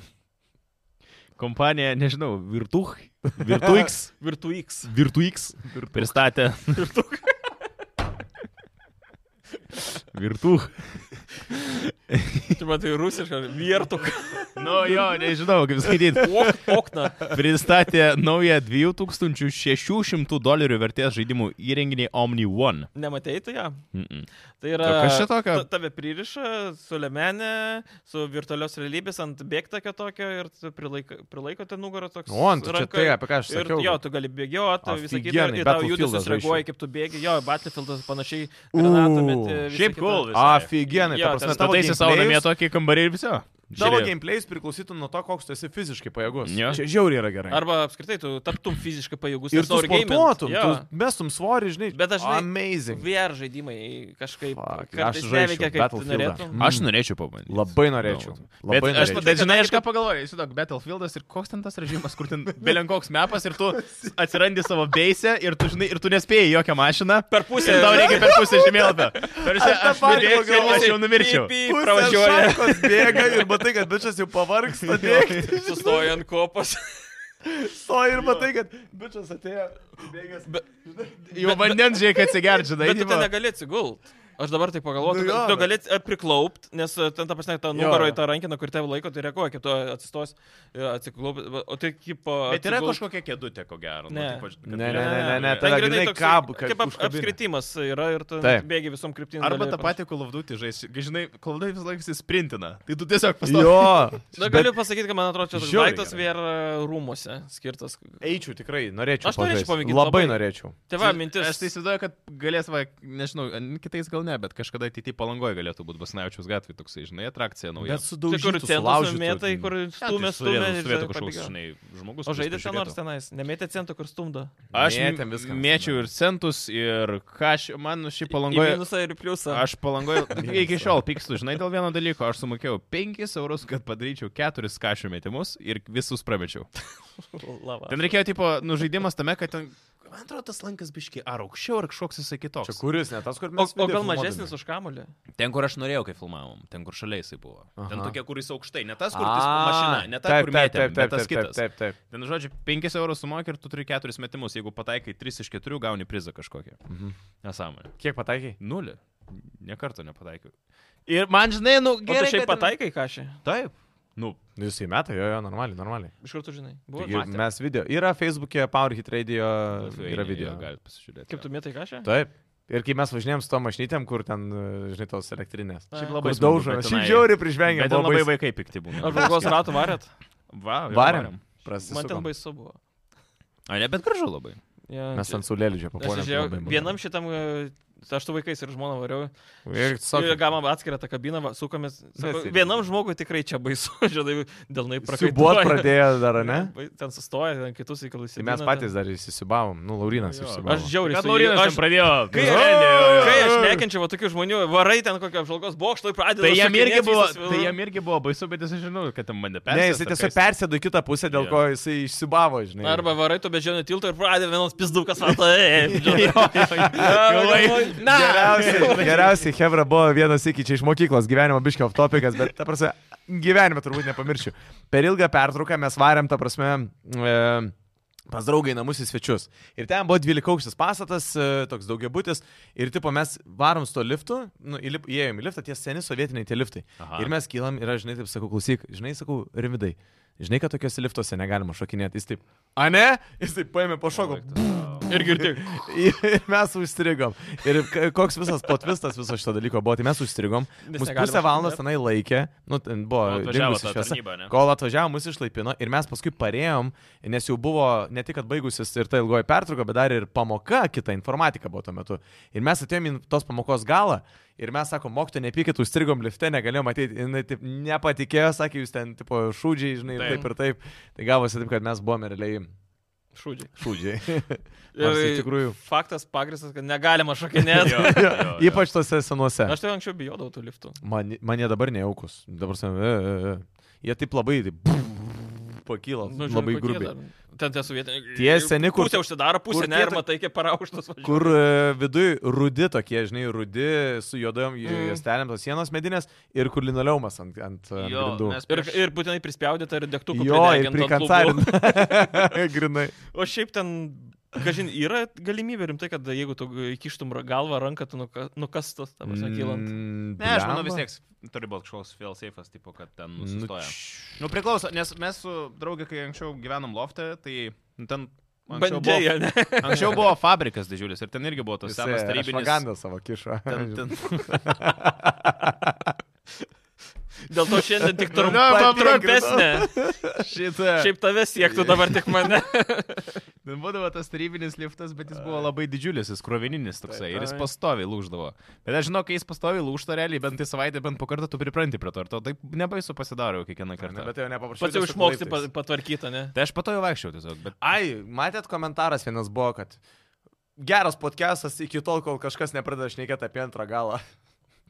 S3: Kompanija, nežinau, Virtuch. Virtuix.
S4: Virtuix.
S3: Virtuix. Pristatė. Virtuch.
S4: Čia matai, rusiška. Virtuk.
S3: Nu jo, nežinau, kaip skaityti.
S4: Ok, okna.
S3: pristatė naują 2600 dolerių vertės žaidimų įrenginį Omni One.
S4: Nematei tai ją?
S3: Mm -mm.
S4: Tai yra...
S3: To kas čia tokio?
S4: ta- Tave pririša su lemenė, su virtualios realybės ant bėgtakio tokio ir tu prilaiko, prilaiko ten nugarą toks.
S2: O, ant, čia
S4: ranka
S2: tai, apie ką aš
S4: Ir
S2: sakiau.
S4: jo, tu gali bėgioti, visą kitą,
S2: Aфигенai,
S4: ir tau
S2: Battlefieldas
S4: judesius reaguoja,
S2: žaisčiau. kaip
S4: kaip tu bėgi, jo, Battlefieldas panašiai.
S2: U.
S4: granatometi, visa
S3: Šiaip
S4: kita.
S3: cool.
S2: Aфиgenai,
S4: Jo,
S2: ta prasme,
S4: ten
S2: tavo
S3: Stataisi savo namie
S2: gameplayus-
S3: tokį kambarį ir viso.
S2: Tavo gameplay'is priklausytų nuo to, koks tu esi fiziškai pajėgus.
S3: Jo.
S2: Čia žiauriai yra gerai.
S4: Arba apskritai, tu taptum fiziškai pajėgus.
S2: Ir
S4: nes
S2: tu
S4: nori gamint.
S2: sportuotum,
S4: Jo.
S2: tu mestum svorį, žinai.
S4: Bet aš, žinai,
S2: Amazing.
S4: VR žaidimai kažkaip
S2: Fuck,
S4: kartais
S2: aš žaisčiau
S4: neveikia, kaip tu
S2: Battlefieldą.
S4: norėtum.
S2: Mm.
S3: Aš norėčiau pabandyti.
S2: Labai norėčiau.
S3: Nu. Bet
S2: Labai
S3: aš,
S2: norėčiau.
S3: bet žinai, aš ką pagalvoju, esu toks Battlefieldas ir koks ten tas režimas, kur ten belenkoks mepas ir tu atsirandi savo beisę ir tu, žinai, ir tu nespėjai jokią mašiną.
S4: Per
S3: Ir
S4: pusę
S3: tau reikia per pusę žemėlapio. Ir aš,
S2: tą
S3: aš,
S2: patį
S3: mirėčiau,
S2: pagalvojau.
S3: aš jau numirčiau.
S4: Pi,
S2: Pusę
S4: pravažiuoja,
S2: šakos bėga ir matai, kad bičias jau pavargsta bėgti.
S4: sustoja ant kopos.
S2: Stoji ir matai, kad bičias atėjo bėgęs.
S3: Jau vandens žiūrėk atsigerdžina.
S4: Bet tu ten negali atsigult. Aš dabar tai pagalvoju,
S2: Nu
S4: tu,
S2: jo,
S4: tu
S2: bet-
S4: gali priklaupt, nes e, ten ta prasme, ta
S2: Jo,
S4: nugaroje
S2: jo.
S4: ta rankina, kur tave laiko, tai reaguoja, kaip tu atsistos, atsiklaupt, o tai kaip... e,
S3: Bet yra
S4: atsigult-
S3: kažkokia kėdutė, ko gero.
S4: Ne.
S3: Nu, taip,
S2: Ne, ne, ne, ne,
S3: tai
S2: ne.
S4: Ten
S2: Tada
S4: grynai
S2: grinai
S4: toksai
S2: kab, kad
S4: Kaip ap-
S2: užkabini.
S4: apskritimas yra ir tu
S2: Taip.
S4: bėgi visom kryptim.
S3: Arba
S4: gali
S3: tą
S4: ir
S3: patį kolavdutį žaisti. Kai žinai, kolavdai vis laikas įsprintina. Tai tu tiesiog pastovi.
S2: Jo.
S4: panašiai. Na, Nu, galiu pasakyti, kad man atrodo, čia toks
S2: Žiauriai
S4: daiktas
S2: gerai.
S4: vėl rūmose skirtas.
S2: Eičiau tikrai, norėčiau.
S4: Aš norėčiau
S2: pažaist.
S4: pamėgint,
S2: Labai
S4: labai.
S2: norėčiau.
S4: Tai va, mintis.
S3: Aš tai įsivaizduoju, kad galės, va, nežinau, an- kitais gal ne, bet kažkada ateityje palangoje galėtų būti Basnavičiaus gatvė toksai, žinai, atrakcija nauja.
S2: Bet
S4: Tai kur
S2: sudaužytų,
S4: centus
S2: sulaužytų. tai
S4: mėtai, kur stumė, stumė.
S3: stovėtų, stovėtų
S4: ir žinai,
S3: kažkoks,
S4: pabėgioja.
S3: žinai, žmogus.
S4: O
S3: kuris
S4: žaidė ten
S3: prižiūrėtų.
S4: nors tenais, nemėtė centų, kur stumdo.
S3: Aš
S2: Mėtėm
S3: mėtėm
S2: viską,
S3: viską. Mėčiau ir centus, ir ką aš, man nu šiaip
S4: Į
S3: palangoje.
S4: minusą ir į pliusą.
S3: Aš palangoju, iki šiol pykstu, žinai, dėl vieno dalyko, aš sumokėjau 5 eurus, kad padaryčiau 4 kašių metimus ir visus pramečiau.
S4: Lava.
S3: Ten reikėjo, tipo, nužaidimas tame, kad ten, man atrodo, tas lankas biški ar aukščiau, ar kažkoks jisai
S2: Čia
S3: kitoks.
S2: kuris, ne tas, kur
S4: O,
S2: mes.
S4: o gal mažesnis už kamulį?
S3: Ten, kur aš norėjau, kai filmavom, ten, kur šalia jisai buvo. Aha. Ten
S2: Aha.
S3: tokie, kur jis aukštai, ne tas, kur jis mašina, ne tas, kur
S2: taip,
S3: mėtėm,
S2: taip,
S3: bet
S2: taip,
S3: tas
S2: taip,
S3: kitas.
S2: taip, taip, taip.
S3: Ten, žodžiu, 5 eurus sumokė ir tu turi 4 metimus. Jeigu pataikai 3 iš 4, gauni prizą kažkokį.
S2: Mhm.
S3: Nesąmonė.
S2: Kiek pataikiai?
S3: Nulį. Nekarto nepataikiau. Ir man, žinai, nu,
S4: O tu
S3: gerai.
S4: šiaip
S3: kad ten-
S4: pataikai kažį?
S3: Taip. Nu,
S2: Jūs į metą, jo, jo, normaliai, normaliai.
S4: Iš kur tu žinai? Buvo?
S2: Taigi,
S3: matę.
S2: mes video. Yra Facebook'e Powerhit Radio,
S3: feini,
S2: yra video.
S3: jo, Galit pasižiūrėti.
S4: Kaip tu mėtai kažį?
S2: Taip. Ir kai mes važinėjom su to mašnytėm, kur ten, e, žinai, tos elektrinės.
S4: Šiaip
S3: labai
S2: Kur
S3: smagu,
S2: daužo.
S3: bet
S2: Šiaip
S3: tenai-
S2: žiauriai prižvengė.
S3: Bet ten labai vaikai pikti
S4: Ar
S3: Tai būna.
S4: žmogaus ratų varėt?
S3: Va, jo,
S2: Varėm.
S4: Man ten
S2: Prasisukom.
S4: baisu buvo.
S3: A, ne, bet gražu labai.
S4: Ja,
S2: Mes
S4: čia-
S2: ant saulėlydžio
S4: Aš žiūrėjau,
S2: papuolėm.
S4: vienam šitam, e, aš tu vaikais ir žmona variau.
S2: Ir
S4: Ir
S2: tiesiog
S4: gama atskirą tą kabiną, va, sukomės. Sako,
S2: Nesėdi.
S4: vienam žmogui tikrai čia baisu, žinai, delnai
S2: Siubuot
S4: prakaituoja.
S2: pradėjo dar, ne?
S4: Ten sustoja, ten kitus įkalasi.
S2: Tai mes patys dar įsisibavom. Nu, Laurinas
S3: Jo.
S2: įsisibavom.
S4: Aš žiauriai.
S3: Kad
S4: su-
S3: Laurinas
S4: aš-
S3: ten pradėjo.
S4: Kai
S3: Nu,
S4: aš, kai
S3: jo,
S4: aš
S3: jo, jo.
S4: nekenčiu va tokių žmonių, varai ten kokią apžvalgos bokštą ir pradeda.
S3: Tai jam, irgi
S4: šokinėt
S3: buvo,
S4: visas vilnas.
S3: tai jam irgi buvo baisu, bet jis žinau, kad ten mane persės.
S2: Ne, jisai tiesiog persėdo į kitą pusę, dėl
S3: Jo.
S2: ko jisai išsibavo, žinai.
S4: Arba varai to bežionio tilto ir pradeda vienas pizdukas matai.
S3: persės.
S4: Na,
S2: Geriausiai, geriausiai Hebra buvo vienas iki čia iš mokyklos gyvenimo biškio off-topikas, bet, ta prasme, gyvenime turbūt nepamiršiu. Per ilgą pertrauką mes varėm, ta prasme, e, pas draugai į namus į svečius. Ir ten buvo 12 aukštas pastatas, e, toks daugiabutis. Ir, tipo, mes varom su tuo liftu, nu, įlip- įėjom į liftą, tie seni sovietiniai tie liftai.
S3: Aha.
S2: Ir mes kylam ir aš, žinai, taip sakau, klausyk, žinai, sakau, rimidai. Žinai, kad tokiuose liftuose negalima šokinėti. Jis taip, a ne? Jis taip paėmė pašoko.
S4: Ir girdi.
S2: Ir mes užstrigom. Ir k- koks visas potvistas viso šito dalyko buvo, tai mes užstrigom.
S4: Nes
S2: Mus
S4: negalima
S2: pusę valandos
S4: šokinėt.
S2: tenai laikė, nu, ten buvo
S3: Kol atvažiavo
S2: dingusi
S3: ta
S2: šviesa.
S3: tarnyba, ne?
S2: Kol atvažiavo, mus išlaipino ir mes paskui parėjom, nes jau buvo ne tik kad baigusis ir ta ilgoji pertrauka, bet dar ir pamoka, kita informatika buvo tuo metu. Ir mes atėjom į tos pamokos galą ir mes sakom, mokyto nepykit, užstrigom lifte, negalėjom matyti, jinai taip nepatikėjo, sakė, jūs ten tipo šūdžiai, žinai, taip.
S3: Taip.
S2: taip ir taip. Tai gavosi taip, kad mes buvome realiai
S4: Šūdžiai.
S2: šūdžiai. Nors iš tikrųjų.
S4: Faktas pagristas, kad negalima šokinėti.
S2: Ypač tose senuose.
S4: Aš tai anksčiau bijodavau tų liftų.
S2: Man, man jie dabar nejaukus. Dabar sen, e, e, e. Jie taip labai taip, pakyla. Nu,
S4: žiūri,
S2: labai
S4: kokie
S2: grubiai.
S4: dar. Ten tie sovietiniai.
S2: Tie seni, kur-
S4: Pusė užsidaro,
S2: kur
S4: pusė ne,
S2: tie
S4: ir
S2: to-
S4: matai, kaip parauštas važiuoja.
S2: Kur e, viduj rudi tokie, žinai, rudi su juodom
S4: Mm.
S2: juostelėm tos sienos medinės ir kur linoleumas ant, ant ant grindų.
S4: Ir, ir būtinai prispaudyta ir degtukų.
S2: Jo, ir
S4: prideginta ant lubų.
S2: prikancarinta. Grinai.
S4: O šiaip ten, kažin, yra galimybė rimtai, kad jeigu tu įkištum ra- galvą, ranką, tu nuka- nukastas, tam sakylant.
S2: Mm,
S3: Ne, aš manau
S2: blemba.
S3: vis tiek turi būti kažkoks failsafe'as, tipo, kad ten
S2: Nu,
S3: nusistoja.
S2: č-
S3: Nu, priklauso, nes mes su draugė, kai anksčiau gyvenom loftą, tai nu, ten anksčiau buvo,
S4: Bandėja, ne?
S3: anksčiau buvo fabrikas didžiulis ir ten irgi buvo tas
S2: jisai
S3: senas tarybinis.
S2: Propagandą savo kišo.
S3: Ten, ten,
S4: Dėl to šiandien tik
S3: Nu, ne,
S4: trumpa,
S3: man
S4: trumpesnė.
S3: šitą.
S4: Šiaip tave siektų dabar tik mane.
S3: Ten būdavo tas tarybinis liftas, bet jis buvo labai didžiulis, jis krovininis toksai ir jis
S2: Ai.
S3: pastoviai lūždavo. Bet aš žinau, kai jis pastoviai lūžta realiai, bent į savaitę, bent po kartą tu pripranti prie to ir to taip nebaisu pasidaro jau kiekvieną
S2: Ne,
S3: kartą.
S2: Bet jau nepaprašiau.
S4: Pats jau
S2: tiesiog
S4: išmoksti
S2: laiptais.
S4: pa- patvarkytą, ne?
S3: Tai aš pato jau vaikščiau tiesiog, bet...
S2: Ai, matėt komentaras vienas buvo, kad geras podcastas iki tol, kol kažkas nepradeda šnekėti apie antrą galą.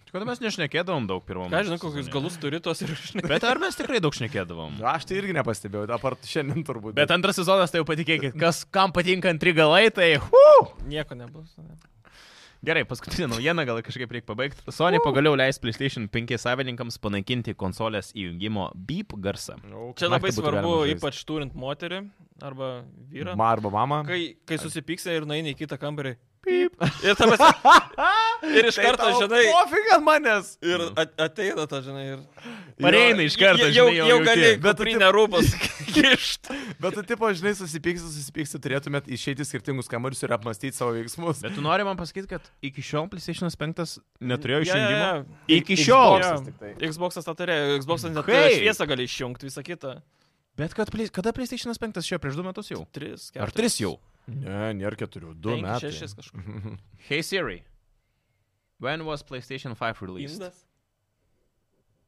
S3: Kodėl mes nešnekėdavom daug pirmam?
S4: Ką žinau, kokius galus turi tos ir aš ne.
S3: Bet ar mes tikrai daug šnekėdavom?
S2: Aš tai irgi nepastebėjau, apart šiandien turbūt.
S3: Bet antras sezonas, tai jau patikėkit, kas kam patinka antri galai, tai... Huu!
S4: Nieko nebus. ne.
S3: Gerai, paskutinė naujiena, gal kažkaip reikia pabaigti. Sony pagaliau leis PlayStation 5 savininkams panaikinti konsolės įjungimo beep garsą.
S2: nu,
S4: Čia labai svarbu, ypač turint moterį arba vyrą.
S2: Marba mama.
S4: Kai, kai susipyksia ir nueini į kitą kambarį. Pip. Ir, ta prasme, ir
S3: Tai
S4: iš karto, žinai,
S2: Pofig Tai ant manęs.
S4: ir at- ateina ta, žinai, ir...
S3: Pareina iš karto,
S4: Jau-
S3: žinai,
S4: jau,
S3: jau
S4: jau gali,
S3: jauti.
S4: bet tai nerūpas. Kišt.
S2: Bet tu, tipo, žinai, susipyksti, susipyksti, turėtumėt išeiti į skirtingus kamarius ir apmastyti savo veiksmus.
S3: Bet tu nori man pasakyti, kad iki šiol PlayStation 5 neturėjo
S4: Jo, jo,
S3: išjungimo?
S4: jo.
S3: Iki šiol.
S4: Xboxas
S2: Xboxas tik tai.
S4: Xbox'as tą turėjo, Xbox'as net
S3: Kai?
S4: hey. šviesą gali išjungti, visą kitą.
S3: Bet kad, plei- kada PlayStation 5 šio prieš du metus jau?
S4: 3, 4.
S3: Ar tris jau?
S2: Ne, nėra keturių, du metai.
S4: 6 kažkur.
S3: Hey Siri. When was PlayStation 5 released?
S4: Indas.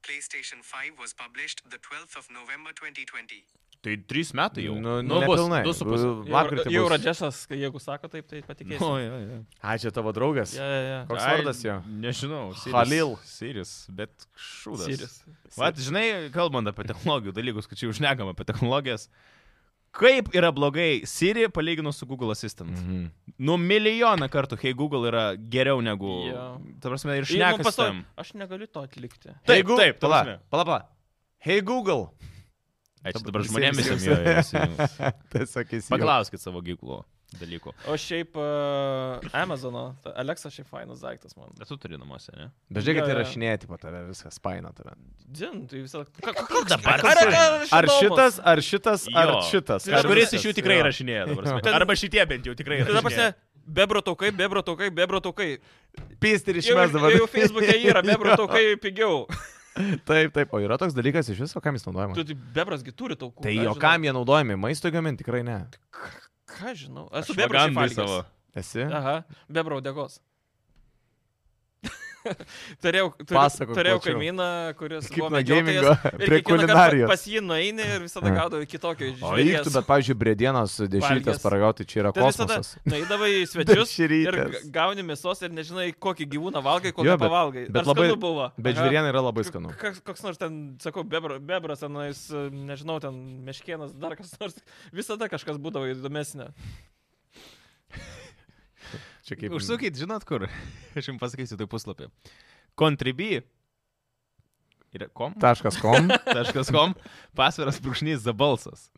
S5: PlayStation 5 was published the 12th of November 2020.
S3: Tai 3 metai jau.
S2: Nu,
S3: nu bus,
S2: nepilnai.
S3: du su puse.
S2: Uh,
S4: Jau-
S2: Lapkritį.
S4: Jau
S2: bus.
S4: Radžesas, kai- jeigu sako taip, tai patikėsiu.
S3: Nu, jo, jo.
S2: Ai, čia tavo draugas.
S4: Ja, ja, ja.
S2: Koks
S3: Ai,
S2: vardas jo?
S3: Nežinau. Siris.
S2: Halil.
S3: Siris, bet šūdas.
S4: Siris.
S3: Vat, žinai, kalbant apie technologijų dalykus, kad čia užnegam apie technologijas. Kaip yra blogai Siri palyginus su Google Assistant? Mm.
S2: Mhm.
S3: Nu, milijoną kartų, hei Google yra geriau negu...
S4: Jo.
S3: Ta prasme, ir
S4: Ir man
S3: šnekas
S4: pastovi-
S3: tam.
S4: Aš negaliu to atlikti.
S3: Taip, taip, ta
S2: Mhm. pala,
S3: prasme.
S2: pala, pala. Hey Google.
S3: Ačiū
S2: Dabar
S3: dabar žmonėms
S2: visiems
S3: visiems.
S2: Tai sakys.
S3: Paklauskit savo Google dalykų.
S4: O šiaip uh, Amazono, ta Alexa šiaip fainas daiktas man.
S3: Bet tu turi namuose, ne?
S2: Dažnai,
S4: Jo,
S2: kad tai
S4: jo.
S2: rašinėti po tave, viskas paina tave.
S4: Dzin, tai visą...
S3: dabar?
S2: Ar šitas, ar šitas, ar
S3: Jo.
S2: šitas.
S4: Tai dabar
S2: ar
S3: Kažkuris
S2: šitas,
S3: iš jų tikrai
S2: jo.
S3: rašinėja dabar.
S4: Ten-
S3: Arba šitie bent jau tikrai
S4: Tai dabar ne.
S3: rašinėja.
S4: Bebro taukai, bebro taukai, bebro taukai.
S2: Pysti ir
S4: Jau,
S2: išmes dabar.
S4: jau Facebook'e yra, bebro taukai pigiau.
S2: Taip, taip, o yra toks dalykas iš viso, kam jis naudojamas.
S4: Tu tai bebrasgi turi taukų.
S2: Tai
S4: ką
S2: jo,
S4: žinau.
S2: kam jie naudojami, maisto gaminti tikrai ne.
S4: Ką žinau, esu bebro
S3: Propagandai
S4: savo.
S3: savo.
S2: Esi?
S4: Aha, bebro degos. turėjau turiu-
S2: Pasakok
S4: turėjau
S2: plačiau.
S4: kaimyną, kuris
S2: Kaip
S4: buvo
S2: nuo
S4: medžiotojas
S2: gamingo
S4: ir
S2: prie
S4: kiekvieną kartą
S2: kulinarijos.
S4: Pas jį nueini ir visada gaudavo kitokio
S2: O reiktų, bet,
S4: žvilgsnio.
S2: pavyzdžiui, briedienos dešimtas
S4: Valgęs.
S2: paragauti, čia yra
S4: Tai visada
S2: kosmosas.
S4: naidavai į svečius ir
S2: Dešrytės.
S4: ga- gauni mėsos ir nežinai, kokį gyvūną valgai, kokį
S2: Jo, bet-
S4: pavalgai.
S2: bet
S4: Ar
S2: labai-
S4: skanu buvo.
S2: Bet
S4: Aha.
S2: žvėriena yra labai skanu.
S4: Koks, koks nors ten, sakau, bebra- bebras, tenais, e, nežinau, ten meškienas, dar kas nors. Visada kažkas būdavo įdomesnė.
S2: Čia kaip...
S3: Užsukit, žinot kur. Aš jums pasakysiu tai puslapį. Contribui. Ir kom?
S2: Taškas kom.
S3: Taškas.com. Pasviras brūkšnys za balsas.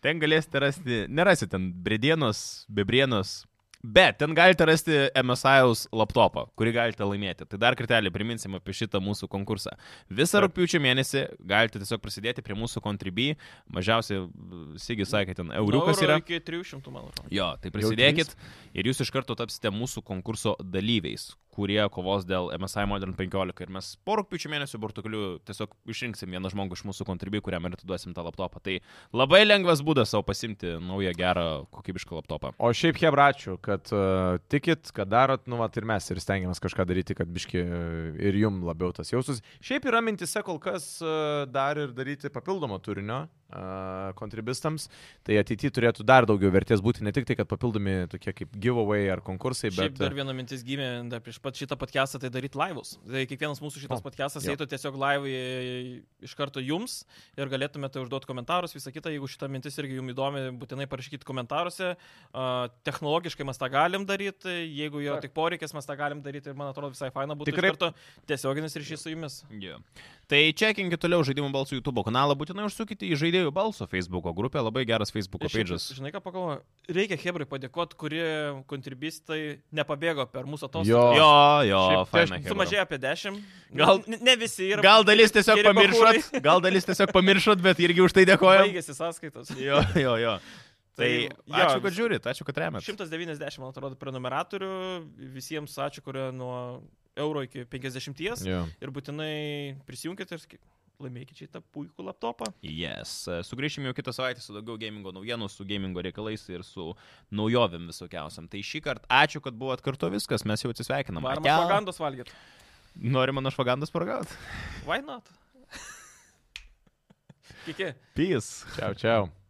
S3: Ten galėsite rasti, nerasite ten bredienos, bebrienos, bet ten galite rasti MSI'aus laptopą, kurį galite laimėti. Tai dar kartelį priminsim apie šitą mūsų konkursą. Visą rūpiučio mėnesį galite tiesiog prisidėti prie mūsų Contribui. Mažiausiai, Sigi sakė, ten euriukas
S4: Nuo
S3: yra.
S4: euro Iki 300, man atrodo.
S3: Jo, tai prisidėkit ir jūs iš karto tapsite mūsų konkurso dalyviais, kurie kovos dėl MSI Modern 15. Ir mes po rūpiučio mėnesio burtuklių tiesiog išrinksim vieną žmogų iš mūsų kontribui, kuriam ir atiduosim tą laptopą. Tai labai lengvas būdas savo pasimti naują gerą kokybišką laptopą.
S2: O šiaip hebračių, kad uh, tikit, kad darot, nu, vat ir mes ir stengiamės kažką daryti, kad biški uh, ir jum labiau tas jausus. Šiaip yra mintise kol kas uh, dar ir daryti papildomo turinio uh, kontribistams, tai ateityje turėtų dar daugiau vertės būti, ne tik tai, kad papildomi tokie kaip giveaway ar konkursai,
S4: Šiaip
S2: bet...
S3: e,
S2: e,
S4: dar viena mintis gimė dar prieš pat šitą podcastą, tai daryti laivus. Tai kiekvienas mūsų šitas
S2: O,
S4: podcastas
S2: jo.
S4: eitų tiesiog laivai iš karto jums ir galėtumėte užduoti komentarus, visą kitą, jeigu šita mintis irgi jums įdomi, būtinai parašykit komentaruose. A, Technologiškai mes tą galim daryti, jeigu yra
S2: Taip.
S4: tik poreikis, mes tą galim daryti ir man atrodo visai faina būtų
S2: Tikrai-
S4: Tikrai... iš karto tiesioginis ryšys su jumis.
S3: Yeah. Tai čekinkit toliau žaidimų balsų YouTube kanalą, būtinai užsukite į žaidėjų balsų Facebook grupę, labai geras Facebook
S4: Ir šiaip,
S3: page'as.
S4: Žinai ką pagalvoju, reikia Hebrai padėkoti, kurie kontribistai nepabėgo per mūsų
S2: Jo.
S4: atostogas.
S3: Jo, jo,
S2: Šiaip tai aš
S3: fainai.
S4: Sumažėjo apie 10.
S3: Gal-
S4: ne, ne visi yra.
S3: Gal dalis tiesiog
S4: Geri
S3: pamiršot, gal dalis tiesiog pamiršot, bet irgi už tai dėkojam.
S4: Baigėsi sąskaitos.
S3: Jo, jo, jo. Tai
S4: Tai jo,
S3: ačiū, kad
S4: vis-
S3: žiūrit, ačiū, kad remet.
S4: 190, man atrodo, prenumeratorių. Visiems ačiū, kurie nuo euro iki 50.
S2: Yeah.
S4: Ir būtinai prisijunkit ir sk- laimėkit šitą puikų laptopą.
S3: Yes. E, Sugrįšim jau kitą savaitę su daugiau gamingo naujienų, su gamingo reikalais ir su naujovėm visokiausiam. Tai šį kartą ačiū, kad buvot kartu viskas, mes jau atsisveikinam.
S4: Varmas
S3: Ate.
S4: propagandos valgyt.
S3: Nori mano švagandas paragauti?
S4: Why not? Kiki.
S3: Peace.
S2: Čiau, čiau.